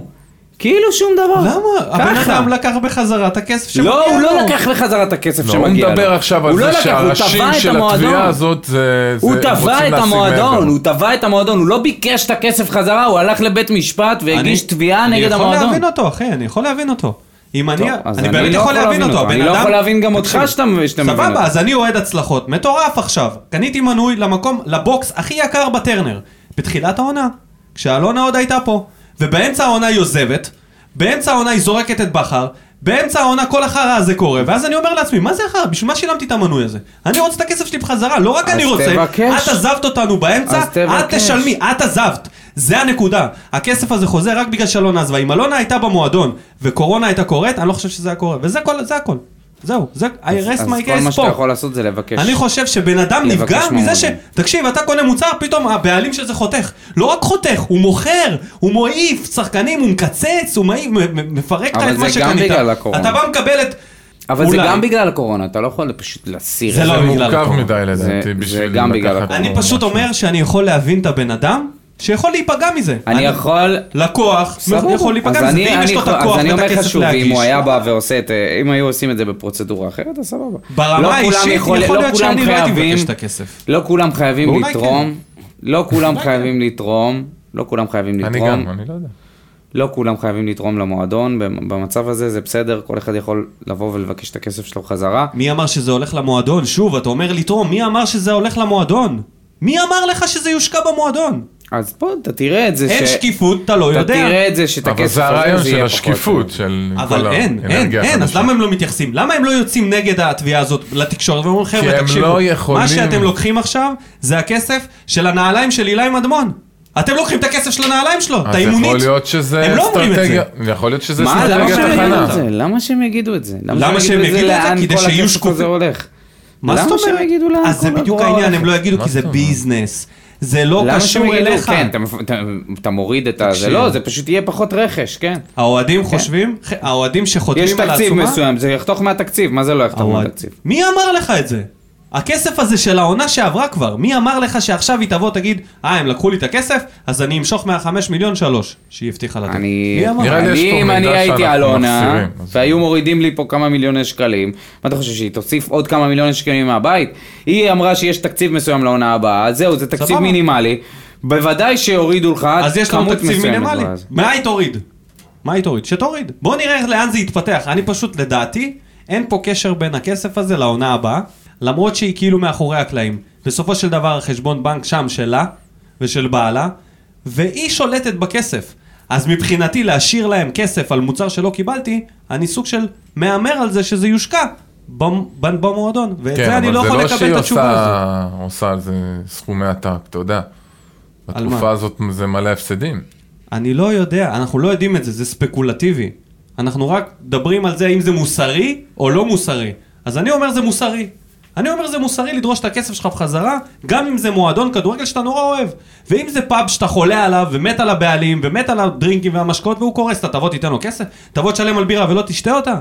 כאילו שום דבר.
למה? הבן
ככה.
אדם לקח בחזרה את הכסף שמגיע
לא,
לו.
הוא לא לקח בחזרה את הכסף
לא, הוא
שמגיע לו.
מדבר עכשיו על
הוא לא
זה
לקח, הוא תבע
שהראשים
את
של
המועדון.
התביעה הזאת, זה...
הוא
זה- הם
תבע
רוצים
את
להשיג
המועדון,
מעבר.
הוא תבע את המועדון, הוא לא ביקש את הכסף חזרה, הוא הלך לבית משפט והגיש
אני-
תביעה נגד
אני יכול
המועדון.
להבין אותו, אחי, אני יכול להבין אותו. אם אני,
טוב, אז
אני באמת
לא
יכול להבין אותו, הבן
אני לא
אדם-
יכול להבין גם אותך
תקשיב,
שאתה שאתה מבין אותו.
סבבה, אז אני אוהד הצלחות. מטורף עכשיו. קניתי מנוי למקום, לבוקס הכי יקר בטרנר. בתחילת העונה, כשאלונה עוד הייתה פה. ובאמצע העונה היא עוזבת, באמצע העונה היא זורקת את בכר, באמצע העונה כל החרא הזה קורה, ואז אני אומר לעצמי, מה זה החרא? בשביל מה שילמתי את המנוי הזה? אני רוצה את הכסף שלי בחזרה, לא רק אני רוצה.
תבקש.
את עזבת אותנו באמצע,
אז
את
תבקש.
תשלמי, את עזבת. זה הנקודה. הכסף הזה חוזר רק בגלל שאלונה עזבה. אם אלונה הייתה במועדון וקורונה הייתה קורית, אני לא חושב שזה היה קורה. וזה כל, זה הכל. זהו, זה, I rest
אז
my
כל מה
case
שאתה
פה.
יכול לעשות זה לבקש.
אני חושב שבן אדם
לבקש
נפגע מזה
מהמועדון.
ש... תקשיב, אתה קונה מוצר, פתאום הבעלים של זה חותך. לא רק חותך, הוא מוכר, הוא מעיף שחקנים, הוא מקצץ, הוא מעיף, מ- מ- מפרק לך
אבל
את מה
זה גם
שקנית.
בגלל הקורונה.
אתה בא מקבל את...
אבל זה
אולי.
גם בגלל הקורונה, אתה לא יכול פשוט להסיר
זה
את
לא
זה
בגלל
מורכב
הקורונה.
מדי
זה
לדעתי בשביל
גם בגלל
לקחת-
הקורונה.
אני פשוט אומר שאני יכול להבין את הבן אדם שיכול להיפגע מזה.
אני יכול...
לקוח, יכול להיפגע
אז
מזה,
אני-
ואם יש
אני
לו את
יכול-
הכוח
אז אני
ואת
אומר לך
הכסף
שוב,
להגיש.
אם הוא היה בא ועושה את... אם היו עושים את זה בפרוצדורה אחרת, אז סבבה.
ברמה
לא כולם
האישית, יכול
לא
להיות
כולם
שאני לא הייתי
חייבים-
מבקש את הכסף. כן.
לא כולם חייבים
ואולי
לתרום. לא כולם חייבים
כן.
לתרום. לא כולם חייבים
אני
לתרום.
גם, אני לא יודע.
לא כולם חייבים לתרום למועדון, במצב הזה זה בסדר, כל אחד יכול לבוא ולבקש את הכסף שלו חזרה.
מי אמר שזה הולך למועדון? שוב, אתה אומר לתרום, מי אמר שזה הולך למועדון? מי אמר לך שזה יושקע במועדון?
אז פה אתה תראה את זה
אין שקיפות, אתה לא
אתה
יודע.
תראה את זה שאת הכסף
אבל זה
הזה,
הרעיון של
יהיה פחות.
השקיפות, של
אבל
כל
אין, אין,
האנרגיה
אין, אז
החדשה.
למה הם לא מתייחסים? למה הם לא יוצאים נגד התביעה הזאת לתקשורת ואומרים
כי
חבר'ה,
הם
תקשיבו,
לא יכולים."
מה שאתם לוקחים עכשיו זה הכסף של הנעליים של אילי מדמון. אתם לוקחים את הכסף של הנעליים שלו, את
אז יכול
האימונית.
להיות שזה
הם לא אומרים את זה.
אסטרטגיה, יכול להיות שזה
מה, למה
אסטרטגיה
שהם יגידו את
תחנה.
זה? למה שהם יגידו את זה?
למה שהם יגידו את זה?
לאן
כדי
כל
שיהיו
הכסף הזה
שקופים.
הולך?
מה זאת
למה
אומרת?
שהם יגידו לאן
אז זה
כל
בדיוק
התורה
העניין,
הולכת?
הם לא יגידו
מה
כי זה
זאת אומרת?
ביזנס. זה לא
למה שהם
קשור
יגידו,
אליך.
כן, אתה מפ- אתה- אתה מוריד את ה... זה
תקשיב.
לא, זה פשוט יהיה פחות רכש, כן.
האוהדים חושבים, האוהדים
יש
שחותמים על
תקציב
העצומה,
מסוים, זה יחתוך מהתקציב, מה זה לא יחתוך
האוהד-
מהתקציב?
מי אמר לך את זה? הכסף הזה של העונה שעברה כבר, מי אמר לך שעכשיו היא תבוא תגיד, אה הם לקחו לי את הכסף, אז אני אמשוך מהחמש מיליון שלוש, שהיא הבטיחה לתת.
אני,
מי אמר?
אוקיי. נראה לי יש
אני,
פה
אם
מידע
אני הייתי
שאנחנו
אלונה,
מחסירים, אז-
והיו מורידים לי פה כמה מיליוני שקלים, מה אתה חושב, שהיא תוסיף עוד כמה מיליוני שקלים מהבית? היא אמרה שיש תקציב מסוים לעונה הבאה, אז זהו, זה תקציב
סבבה.
מינימלי, בוודאי שהורידו לך
אז יש לנו
כמות
תקציב
מסוימת
מינימלי.
באז.
מה היא תוריד? מה היא תוריד? שתוריד. בואו נראה איך- לאן זה יתפתח. אני פשוט, לדעתי, אין פה קשר בין הכסף הזה לעונה הבאה, למרות שהיא כאילו מאחורי הקלעים. בסופו של דבר החשבון בנק שם שלה ושל בעלה, והיא שולטת בכסף. אז מבחינתי להשאיר להם כסף על מוצר שלא קיבלתי, אני סוג של מהמר על זה שזה יושקע במ- במ- במועדון. ואת
כן,
זה אני
אבל
לא
זה
יכול
לא
לקבל
שהיא
את התשובה הזאת.
עושה- עושה על זה סכומי עתק, אתה יודע.
על מה?
בתקופה הזאת זה מלא הפסדים.
אני לא יודע, אנחנו לא יודעים את זה, זה ספקולטיבי. אנחנו רק מדברים על זה אם זה מוסרי או לא מוסרי. אז אני אומר זה מוסרי. אני אומר זה מוסרי לדרוש את הכסף שלך בחזרה, גם אם זה מועדון כדורגל שאתה נורא אוהב. ואם זה פאב שאתה חולה עליו, ומת על הבעלים, ומת על הדרינקים והמשקאות, והוא קורס, אתה תבוא תיתן לו כסף? תבוא תשלם על בירה ולא תשתה אותה?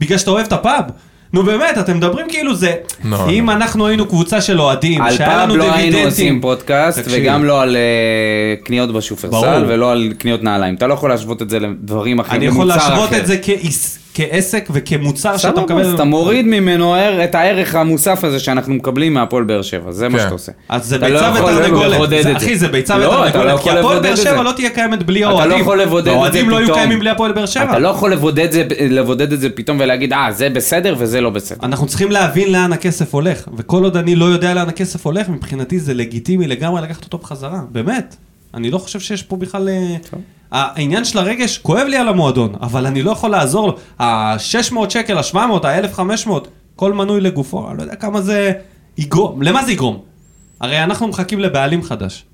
בגלל שאתה אוהב את הפאב? נו באמת, אתם מדברים כאילו זה...
לא,
אם
לא.
אנחנו היינו קבוצה של אוהדים,
על
שהיה
פעם
לנו
לא היינו
דיבידנדים...
עושים פודקאסט,
תקשיב.
וגם לא על אה, קניות בשופרסל,
ברור.
ולא על קניות נעליים. אתה לא יכול להשוות את זה לדברים אחרים,
אני יכול
למוצר
להשוות
אחר.
את זה כעס- כעסק וכמוצר שאתה
סבבה,
מקבל.
אז אתה מוריד ממנו הער- את הערך המוסף הזה שאנחנו מקבלים מהפועל באר שבע, זה מה
כן.
שאתה עושה.
אז זה
אתה לא
ביצה
יכול
ותרנגולת.
לבודד
זה-
את זה.
אחי, זה ביצה
לא, אתה לא
ותרנגולת. כי
יכול
הפועל
לבודד
באר
את
שבע
זה.
לא תהיה קיימת בלי
אתה לא
האוהדים.
יכול לבודד את זה
האוהדים לא יהיו
פתאום.
קיימים בלי הפועל באר שבע.
אתה לא יכול לבודד, זה, לבודד את זה פתאום ולהגיד, אה, זה בסדר וזה לא בסדר.
אנחנו צריכים להבין לאן הכסף הולך, וכל עוד אני לא יודע לאן הכסף הולך, מבחינתי זה לגיטימי לגמרי לקחת אותו בחזרה, באמת. אני לא חושב שיש פה בכלל... אה, העניין של הרגש כואב לי על המועדון, אבל אני לא יכול לעזור לו. ה-600 שקל, ה-700, ה-1500, כל מנוי לגופו, אני לא יודע כמה זה יגרום, למה זה יגרום? הרי אנחנו מחכים לבעלים חדש.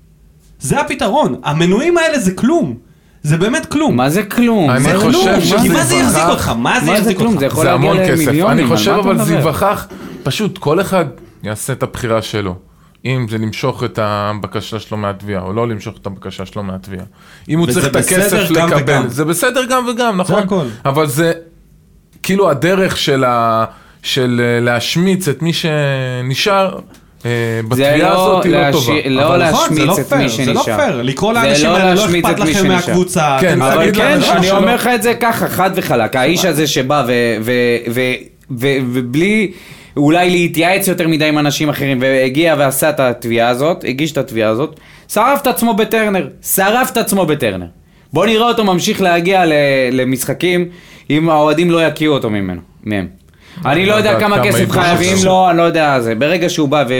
זה הפתרון, המנויים האלה זה כלום. זה באמת כלום.
מה זה כלום?
אני
זה
חושב
כלום,
שזה
כי
מה
מה זה
יבחר?
יחזיק אותך? מה זה
מה זה
יחזיק
כלום?
אותך?
זה יכול
זה
להגיע
המון כסף.
למיליונים,
אני
על מה
חושב
אתה
אבל זה
מדבר?
ייווכח, פשוט כל אחד יעשה את הבחירה שלו. אם זה למשוך את הבקשה שלו מהתביעה, או לא למשוך את הבקשה שלו מהתביעה. אם הוא
וזה
צריך את
בסדר
הכסף
גם וגם.
לקבל, זה בסדר גם וגם, נכון?
הכל.
אבל זה כאילו הדרך של ה- של אה, להשמיץ את מי שנשאר, אה,
זה
בתביעה
לא
הזאת היא לא טובה.
להשי-
אבל
לא
נכון, זה
להשמיץ
לא
את
פייר,
מי
זה
שנשאר.
לא פייר. לקרוא
זה
לאנשים
לא
האלה, לא
להשמיץ
אכפת
את מי
לכם
שנשאר.
מהקבוצה.
כן,
אתם
אבל
תגיד
אבל
להגיד
כן,
לאנשים
אני
שלא-
אומר לך את זה ככה, חד וחלק. האיש הזה שבא ו- ו- ו- ו- ובלי אולי להתייעץ יותר מדי עם אנשים אחרים, והגיע ועשה את התביעה הזאת, הגיש את התביעה הזאת, שרף את עצמו בטרנר. שרף את עצמו בטרנר. בוא נראה אותו ממשיך להגיע ל- למשחקים אם האוהדים לא יקיאו אותו ממנו, מהם. אני לא יודע
יודעת
כמה
כמה
כסף
יתבוש
חייבים
עכשיו.
לו, אני לא יודע זה. ברגע שהוא בא ו-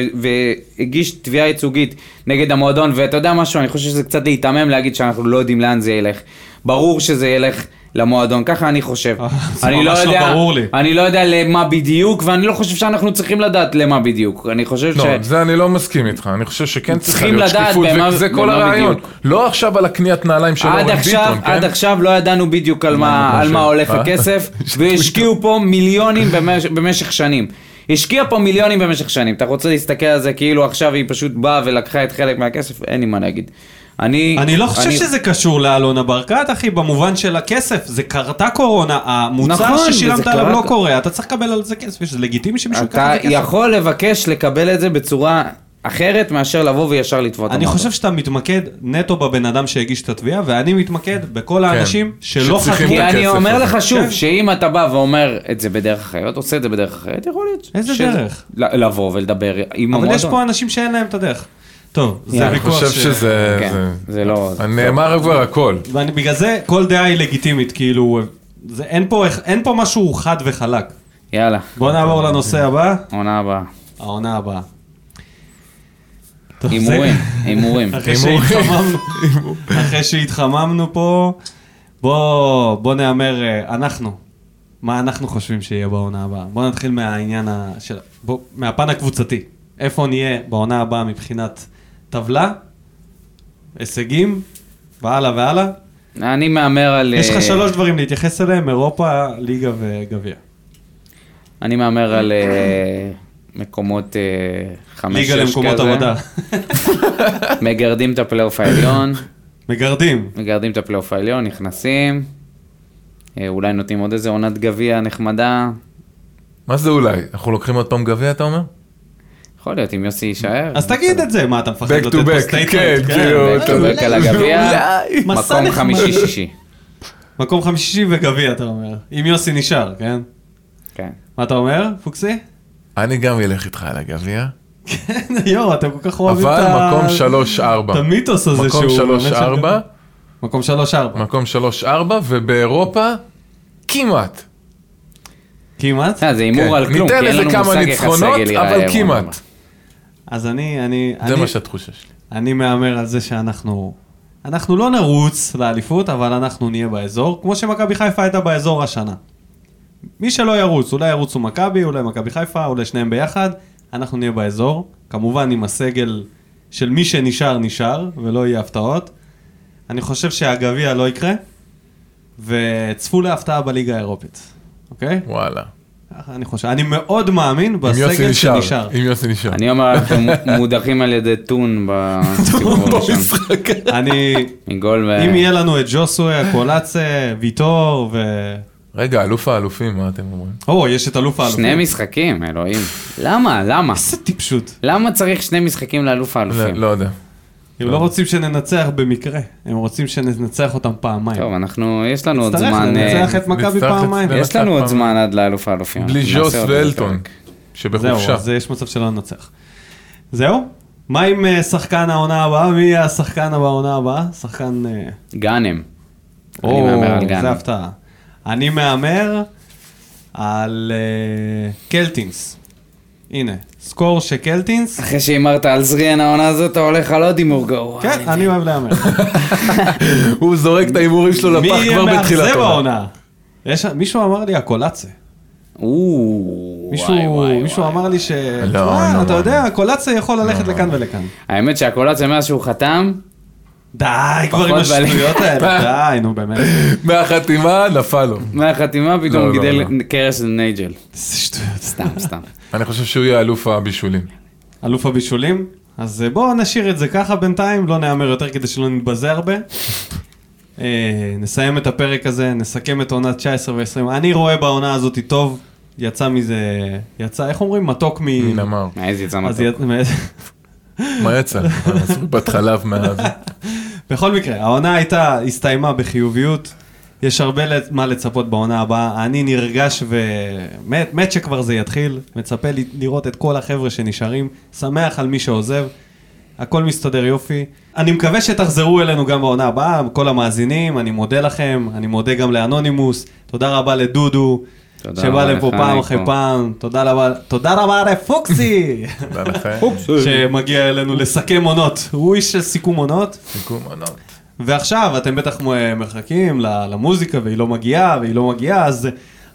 והגיש תביעה ייצוגית נגד המועדון, ואתה יודע משהו, אני חושב שזה קצת להיתמם להגיד שאנחנו לא יודעים לאן זה ילך. ברור שזה ילך למועדון, ככה אני חושב.
זה
אני
ממש לא
יודע,
ברור לי.
אני לא יודע למה בדיוק, ואני לא חושב שאנחנו צריכים לדעת למה בדיוק. אני חושב
לא,
ש...
זה אני לא מסכים איתך, אני חושב שכן צריכה
צריכים
להיות
לדעת
שקיפות,
במה-
וזה כל
במה
הרעיון.
בדיוק.
לא עכשיו על הקניית נעליים של אורן
עד
ביטון,
עכשיו,
כן?
עד עכשיו לא ידענו בדיוק על מה,
אני
על מה
חושב?
הולך
אה?
הכסף, והשקיעו פה מיליונים במש, במשך שנים. השקיעה פה מיליונים במשך שנים. אתה רוצה להסתכל על זה כאילו עכשיו היא פשוט באה ולקחה את חלק מהכסף? אין לי מה להגיד. אני...
אני לא חושב שזה קשור לאלונה ברקת, אחי, במובן של הכסף. זה קרתה קורונה, המוצר
נכון,
ששילמת
וזה
עליו לא
קרה-
קורה, אתה צריך לקבל על זה כסף, וזה לגיטימי שמישהו ייקח
אתה
על זה כסף.
יכול לבקש לקבל את זה בצורה אחרת מאשר לבוא וישר לתבוע את
אני חושב שאתה מתמקד נטו בבן אדם שהגיש את התביעה, ואני מתמקד
כן.
בכל האנשים שלא חתמו.
שצריכים
כי אני
הכסף
אומר
הזה.
לך שוב,
כן.
שאם אתה בא ואומר את זה בדרך אחרת, עושה את זה בדרך אחרת, יכול להיות.
איזה
שזה-
דרך?
ל- לבוא ולדבר עם המועדון.
אבל יש פה אנשים שאין להם את הדרך. טוב, זה
יאללה.
אני
ויכוח
חושב שזה...
כן,
זה-
זה לא...
נאמר כבר הכל.
ואני בגלל זה, כל דעה היא לגיטימית, כאילו, זה, אין, פה, אין פה משהו חד וחלק.
יאללה,
בואו נעבור לנושא הבא,
עונה הבאה.
העונה הבאה. טוב, זה-
הימורים, הימורים.
אחרי
הימורים.
שהתחממנו, אחרי שהתחממנו פה, בוא, בוא נאמר אה, אנחנו, מה אנחנו חושבים שיהיה בעונה הבאה. בוא נתחיל מהעניין ה- של, בוא, מהפן הקבוצתי. איפה נהיה בעונה הבאה מבחינת טבלה, הישגים, והלאה והלאה.
אני מהמר על...
יש
אה,
לך שלוש דברים להתייחס אליהם, אירופה, ליגה וגביע.
אני מהמר על אה, מקומות אה, חמש, שש
ליגה
כזה.
למקומות עבודה.
מגרדים את הפלייאוף העליון,
מגרדים.
מגרדים את הפלייאוף העליון, נכנסים. אה, אולי נותנים עוד איזה עונת גביע נחמדה.
מה זה אולי? אנחנו לוקחים עוד פעם גביע, אתה אומר?
יכול להיות, אם יוסי יישאר.
אז תגיד את זה, מה אתה מפחד
Back to
לתת פה
back,
סטייטמנט?
כן, כאילו,
back to back על הגביע,
מסע
מקום
נחמד.
חמישי-שישי.
מקום חמישי וגביע, אתה אומר. אם יוסי נשאר, כן?
כן.
מה אתה אומר, פוקסי?
אני גם אלך איתך על הגביע,
כן, יואו, אתם כל כך אוהבים את
אבל
ה...
מקום 3-4.
את המיתוס הזה שהוא...
מקום
באמת של-
3-4,
מקום שלוש ארבע.
מקום 3-4, ובאירופה, כמעט.
כמעט.
אה, זה
כן.
הימור על כלום, כי
ניתן
אין
לזה
לנו
כמה
מושג איך
ניצחונות,
הסגל ייראה.
אבל
בעונה
כמעט.
הבאה.
אז אני, אני,
זה
אני-
מה שהתחושה שלי.
אני מהמר על זה שאנחנו... אנחנו לא נרוץ לאליפות, אבל אנחנו נהיה באזור, כמו שמכבי חיפה הייתה באזור השנה. מי שלא ירוץ, אולי ירוצו מכבי, אולי מכבי חיפה, אולי שניהם ביחד, אנחנו נהיה באזור. כמובן עם הסגל של מי שנשאר, נשאר, ולא יהיה הפתעות. אני חושב שהגביע לא יקרה, וצפו להפתעה בליגה האירופית, אוקיי?
וואלה.
ככה אני חושב. אני מאוד מאמין
אם יוסי
בסגל
נשאר.
שנשאר.
אם יוסי נשאר.
אני אומר, אנחנו מ- מודחים על ידי טון בסיבוב הראשון.
אני...
מגול ו...
אם יהיה לנו את ג'וסווה, קולאצה, ויטור ו...
רגע, אלוף האלופים, מה אתם אומרים?
או, יש את אלוף האלופים.
שני משחקים, אלוהים. למה? למה?
איזה טיפשות.
למה צריך שני משחקים לאלוף האלופים?
לא לא יודע.
הם לא רוצים שננצח במקרה, הם רוצים שננצח אותם פעמיים.
טוב, אנחנו, יש לנו עוד
לא. נצטרך
זמן... אה,
לנצח את מכבי
נצטרך
פעמיים.
לנצח.
יש לנו עוד
פעם.
זמן עד לאלוף האלופים.
בלי
אנחנו
ז'וס
נעשה עוד איזה
ואלטון,
פרק.
שבחופשה.
זהו, אז אה, יש מצב שלא ננצח. זהו? מה עם אה, שחקן העונה הבאה? מי יהיה השחקן בעונה הבאה? שחקן... אה,
גאנם. אני
או,
מהמר על
זה
גאנם.
הפתעה. אני מהמר על אה, קלטינס. הנה, סקור שקלטינס.
אחרי שהימרת על זריאן העונה הזאת, אתה הולך על עוד הימור גרוע.
כן, אני אוהב להמר.
הוא זורק את ההימורים שלו
מי
לפח
יהיה
כבר
מאכזב
בתחילת העונה.
העונה? יש- מישהו אמר לי הקולאצה.
או,
מישהו
וואי, וואי,
מישהו
וואי.
אמר לי ש...
לא,
"אה,
לא,
אתה
לא.
יודע, הקולאצה יכול
לא,
ללכת לכאן ולכאן.
האמת שהקולציה מאז שהוא חתם,
די, כבר עם
פחות בעלי-
השטויות האלה, די, נו באמת.
מהחתימה נפל לו.
מהחתימה פתאום
לא, לא,
גידל
לא.
קרס לנייג'ל.
איזה שטויות.
סתם, סתם.
אני חושב שהוא יהיה אלוף הבישולים.
אלוף הבישולים, אז אה, בואו נשאיר את זה ככה בינתיים, לא נהמר יותר כדי שלא נתבזה הרבה. אה, נסיים את הפרק הזה, נסכם את עונת 19 ו-20. אני רואה בעונה הזאת טוב, יצא מזה, יצא, איך אומרים? מתוק מ...
מן אמר,
מאיזה יצא
אז
מתוק.
יצא- מאיזה-
מה יצא? בת חלב מה... זה.
בכל מקרה, העונה הייתה, הסתיימה בחיוביות. יש הרבה לצ- מה לצפות בעונה הבאה. אני נרגש ומת מת שכבר זה יתחיל. מצפה ל- לראות את כל החבר'ה שנשארים. שמח על מי שעוזב. הכל מסתדר יופי. אני מקווה שתחזרו אלינו גם בעונה הבאה, כל המאזינים, אני מודה לכם, אני מודה גם לאנונימוס, תודה רבה לדודו,
תודה
שבא
רבה
לפה
לך,
פעם
ניקו.
אחרי פעם, תודה רבה, תודה רבה לפוקסי,
תודה לכם.
שמגיע אלינו לסכם עונות, הוא איש של סיכום עונות,
סיכום עונות.
ועכשיו אתם בטח מ- מחכים ל- למוזיקה והיא לא מגיעה והיא לא מגיעה אז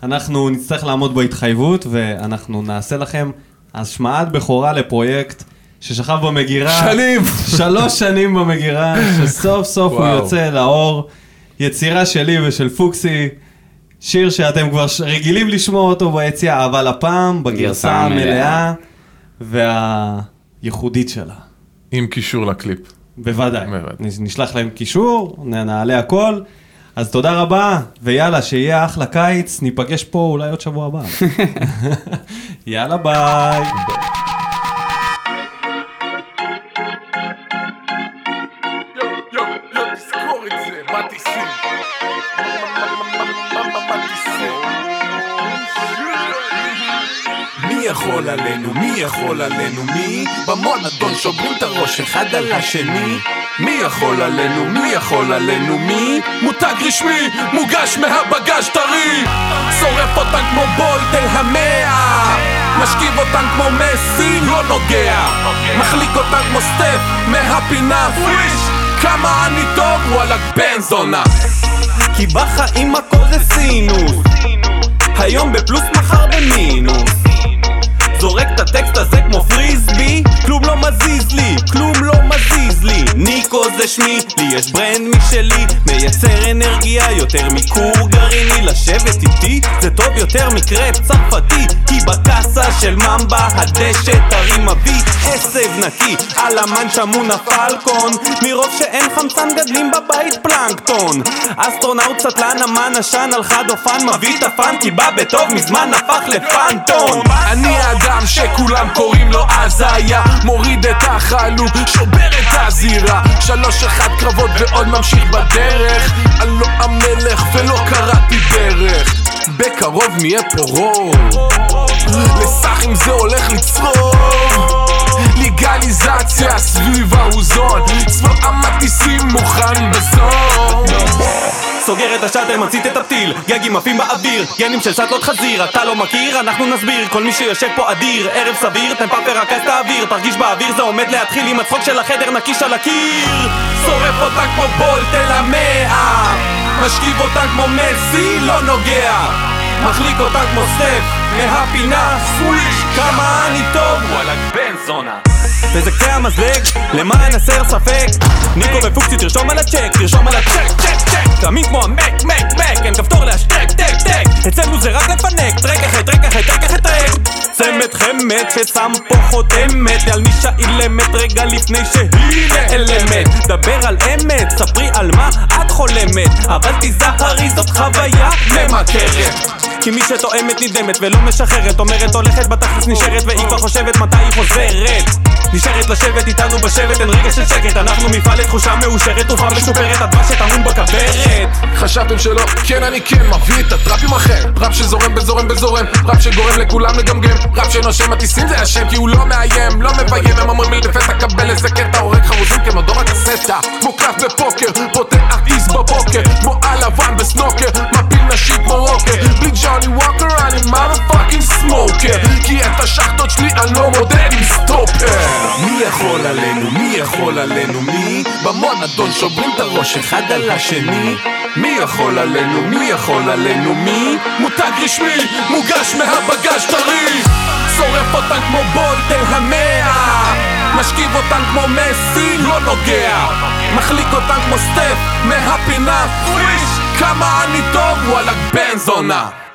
אנחנו נצטרך לעמוד בהתחייבות ואנחנו נעשה לכם השמעת בכורה לפרויקט ששכב במגירה.
שנים!
שלוש שנים במגירה שסוף סוף הוא
וואו.
יוצא לאור. יצירה שלי ושל פוקסי. שיר שאתם כבר ש- רגילים לשמוע אותו ביציאה אבל הפעם בגרסה
גרסה
המלאה
המלאה.
והייחודית שלה.
עם קישור לקליפ.
בוודאי.
בוודאי.
נ- נשלח להם קישור, נ- נעלה הכל. אז תודה רבה, ויאללה, שיהיה אחלה קיץ, ניפגש פה אולי עוד שבוע הבא. יאללה, ביי.
יו, יו, יו, תזכור את זה, מטיסים. מטיסים. מי יכול עלינו? מי יכול עלינו? מי? במונדון שוברים את הראש אחד על השני. מי יכול עלינו? מי יכול עלינו? מי? מותג רשמי, מוגש מהבגש טרי! שורף אותן כמו בולט אל המאה! משכיב אותן כמו מסי, לא נוגע! מחליק אותן כמו סטף, מהפינה פריש! כמה אני טוב, וואלכ בן זונה!
כי בחיים הכל זה סינוס היום בפלוס, מחר במינוס זורק את הטקסט הזה כמו פריסבי כלום לא מזיז לי, כלום לא מזיז לי ניקו זה שמי, לי יש ברנד משלי מייצר אנרגיה יותר מכור גרעיני לשבת איתי זה טוב יותר מקרפ צרפתי כי בקאסה של ממבה הדשא טרי מביא עשב נקי על המנצ'ה מונה פלקון מרוב שאין חמצן גדלים בבית פלנקטון אסטרונאוט סטלן אמן עשן על חד אופן מביא את הפאן כי בא בטוב מזמן הפך לפאנטום
אני האדם שכולם קוראים לו הזיה מוריד את החלוק, שובר את הזירה שלוש אחד קרבות ועוד ממשיך בדרך אני לא המלך ולא קראתי דרך בקרוב נהיה פה רוב לסחים זה הולך לצרוב לגליזציה סביב האוזון צבא המטיסים מוכן בזון
סוגר את השאטר, מצית את הפתיל גגים עפים באוויר, גנים של שטלות חזיר אתה לא מכיר, אנחנו נסביר כל מי שיושב פה אדיר, ערב סביר, טמפרפר רכז את האוויר תרגיש באוויר, זה עומד להתחיל עם הצחוק של החדר נקיש על הקיר
שורף אותה כמו בולט אל המאה משכיב אותה כמו מסי, לא נוגע מחליק אותה כמו סטף מהפינה סוויש כמה אני טוב וואלכ בן זונה
וזה קצה המזלג, למען הסר ספק ניקו ופוקסי תרשום על הצ'ק, תרשום על הצ'ק, צ'ק, צ'ק קמים כמו המק, מק, מק, אין כפתור להשתק, טק, טק אצלנו זה רק לפנק, טרק אחרי טרק אחרי טרק אחרי טרק צמד חמד ששם פה חותמת על מי שאילמת רגע לפני שהיא נעלמת דבר על אמת, ספרי על מה את חולמת אבל תיזהרי זאת חוויה ממכרת כי מי שתואמת נדהמת ולא משחררת אומרת הולכת בתכלס נשארת והיא כבר חושבת מתי היא חוזרת נשארת לשבת איתנו בשבט אין רגע של שקט אנחנו מפעל לתחושה מאושרת תרופה משופרת הדבש שטמון בכוורת
חשבתם שלא? כן אני כן מביא את הטראפים אחר ראפ שזורם בזורם בזורם ראפ שגורם לכולם לגמגם ראפ שנושם הטיסים זה השם כי הוא לא מאיים לא מביים הם אומרים לי לפתע קבל איזה קטע הורג חרוזים כמו דור הקסטה כמו קלף בפוקר פותח איס בבוקר כמו הלבן בסנוקר מפיל נשים כמו רוקר בלי ג'וני ווקר אני מרפאקינג סמוקר כי את השחטות שלי אני לא מודד עם סטופר מי יכול עלינו? מי יכול עלינו? מי? במונדון שוברים את הראש אחד על השני מי יכול עלינו? מי יכול עלינו? מי? מותג רשמי, מוגש מהבגש טרי שורף אותן כמו בולט אל המאה משכיב אותן כמו מסי, לא נוגע מחליק אותן כמו סטף מהפינה פריש כמה אני טוב, וואלכ בן זונה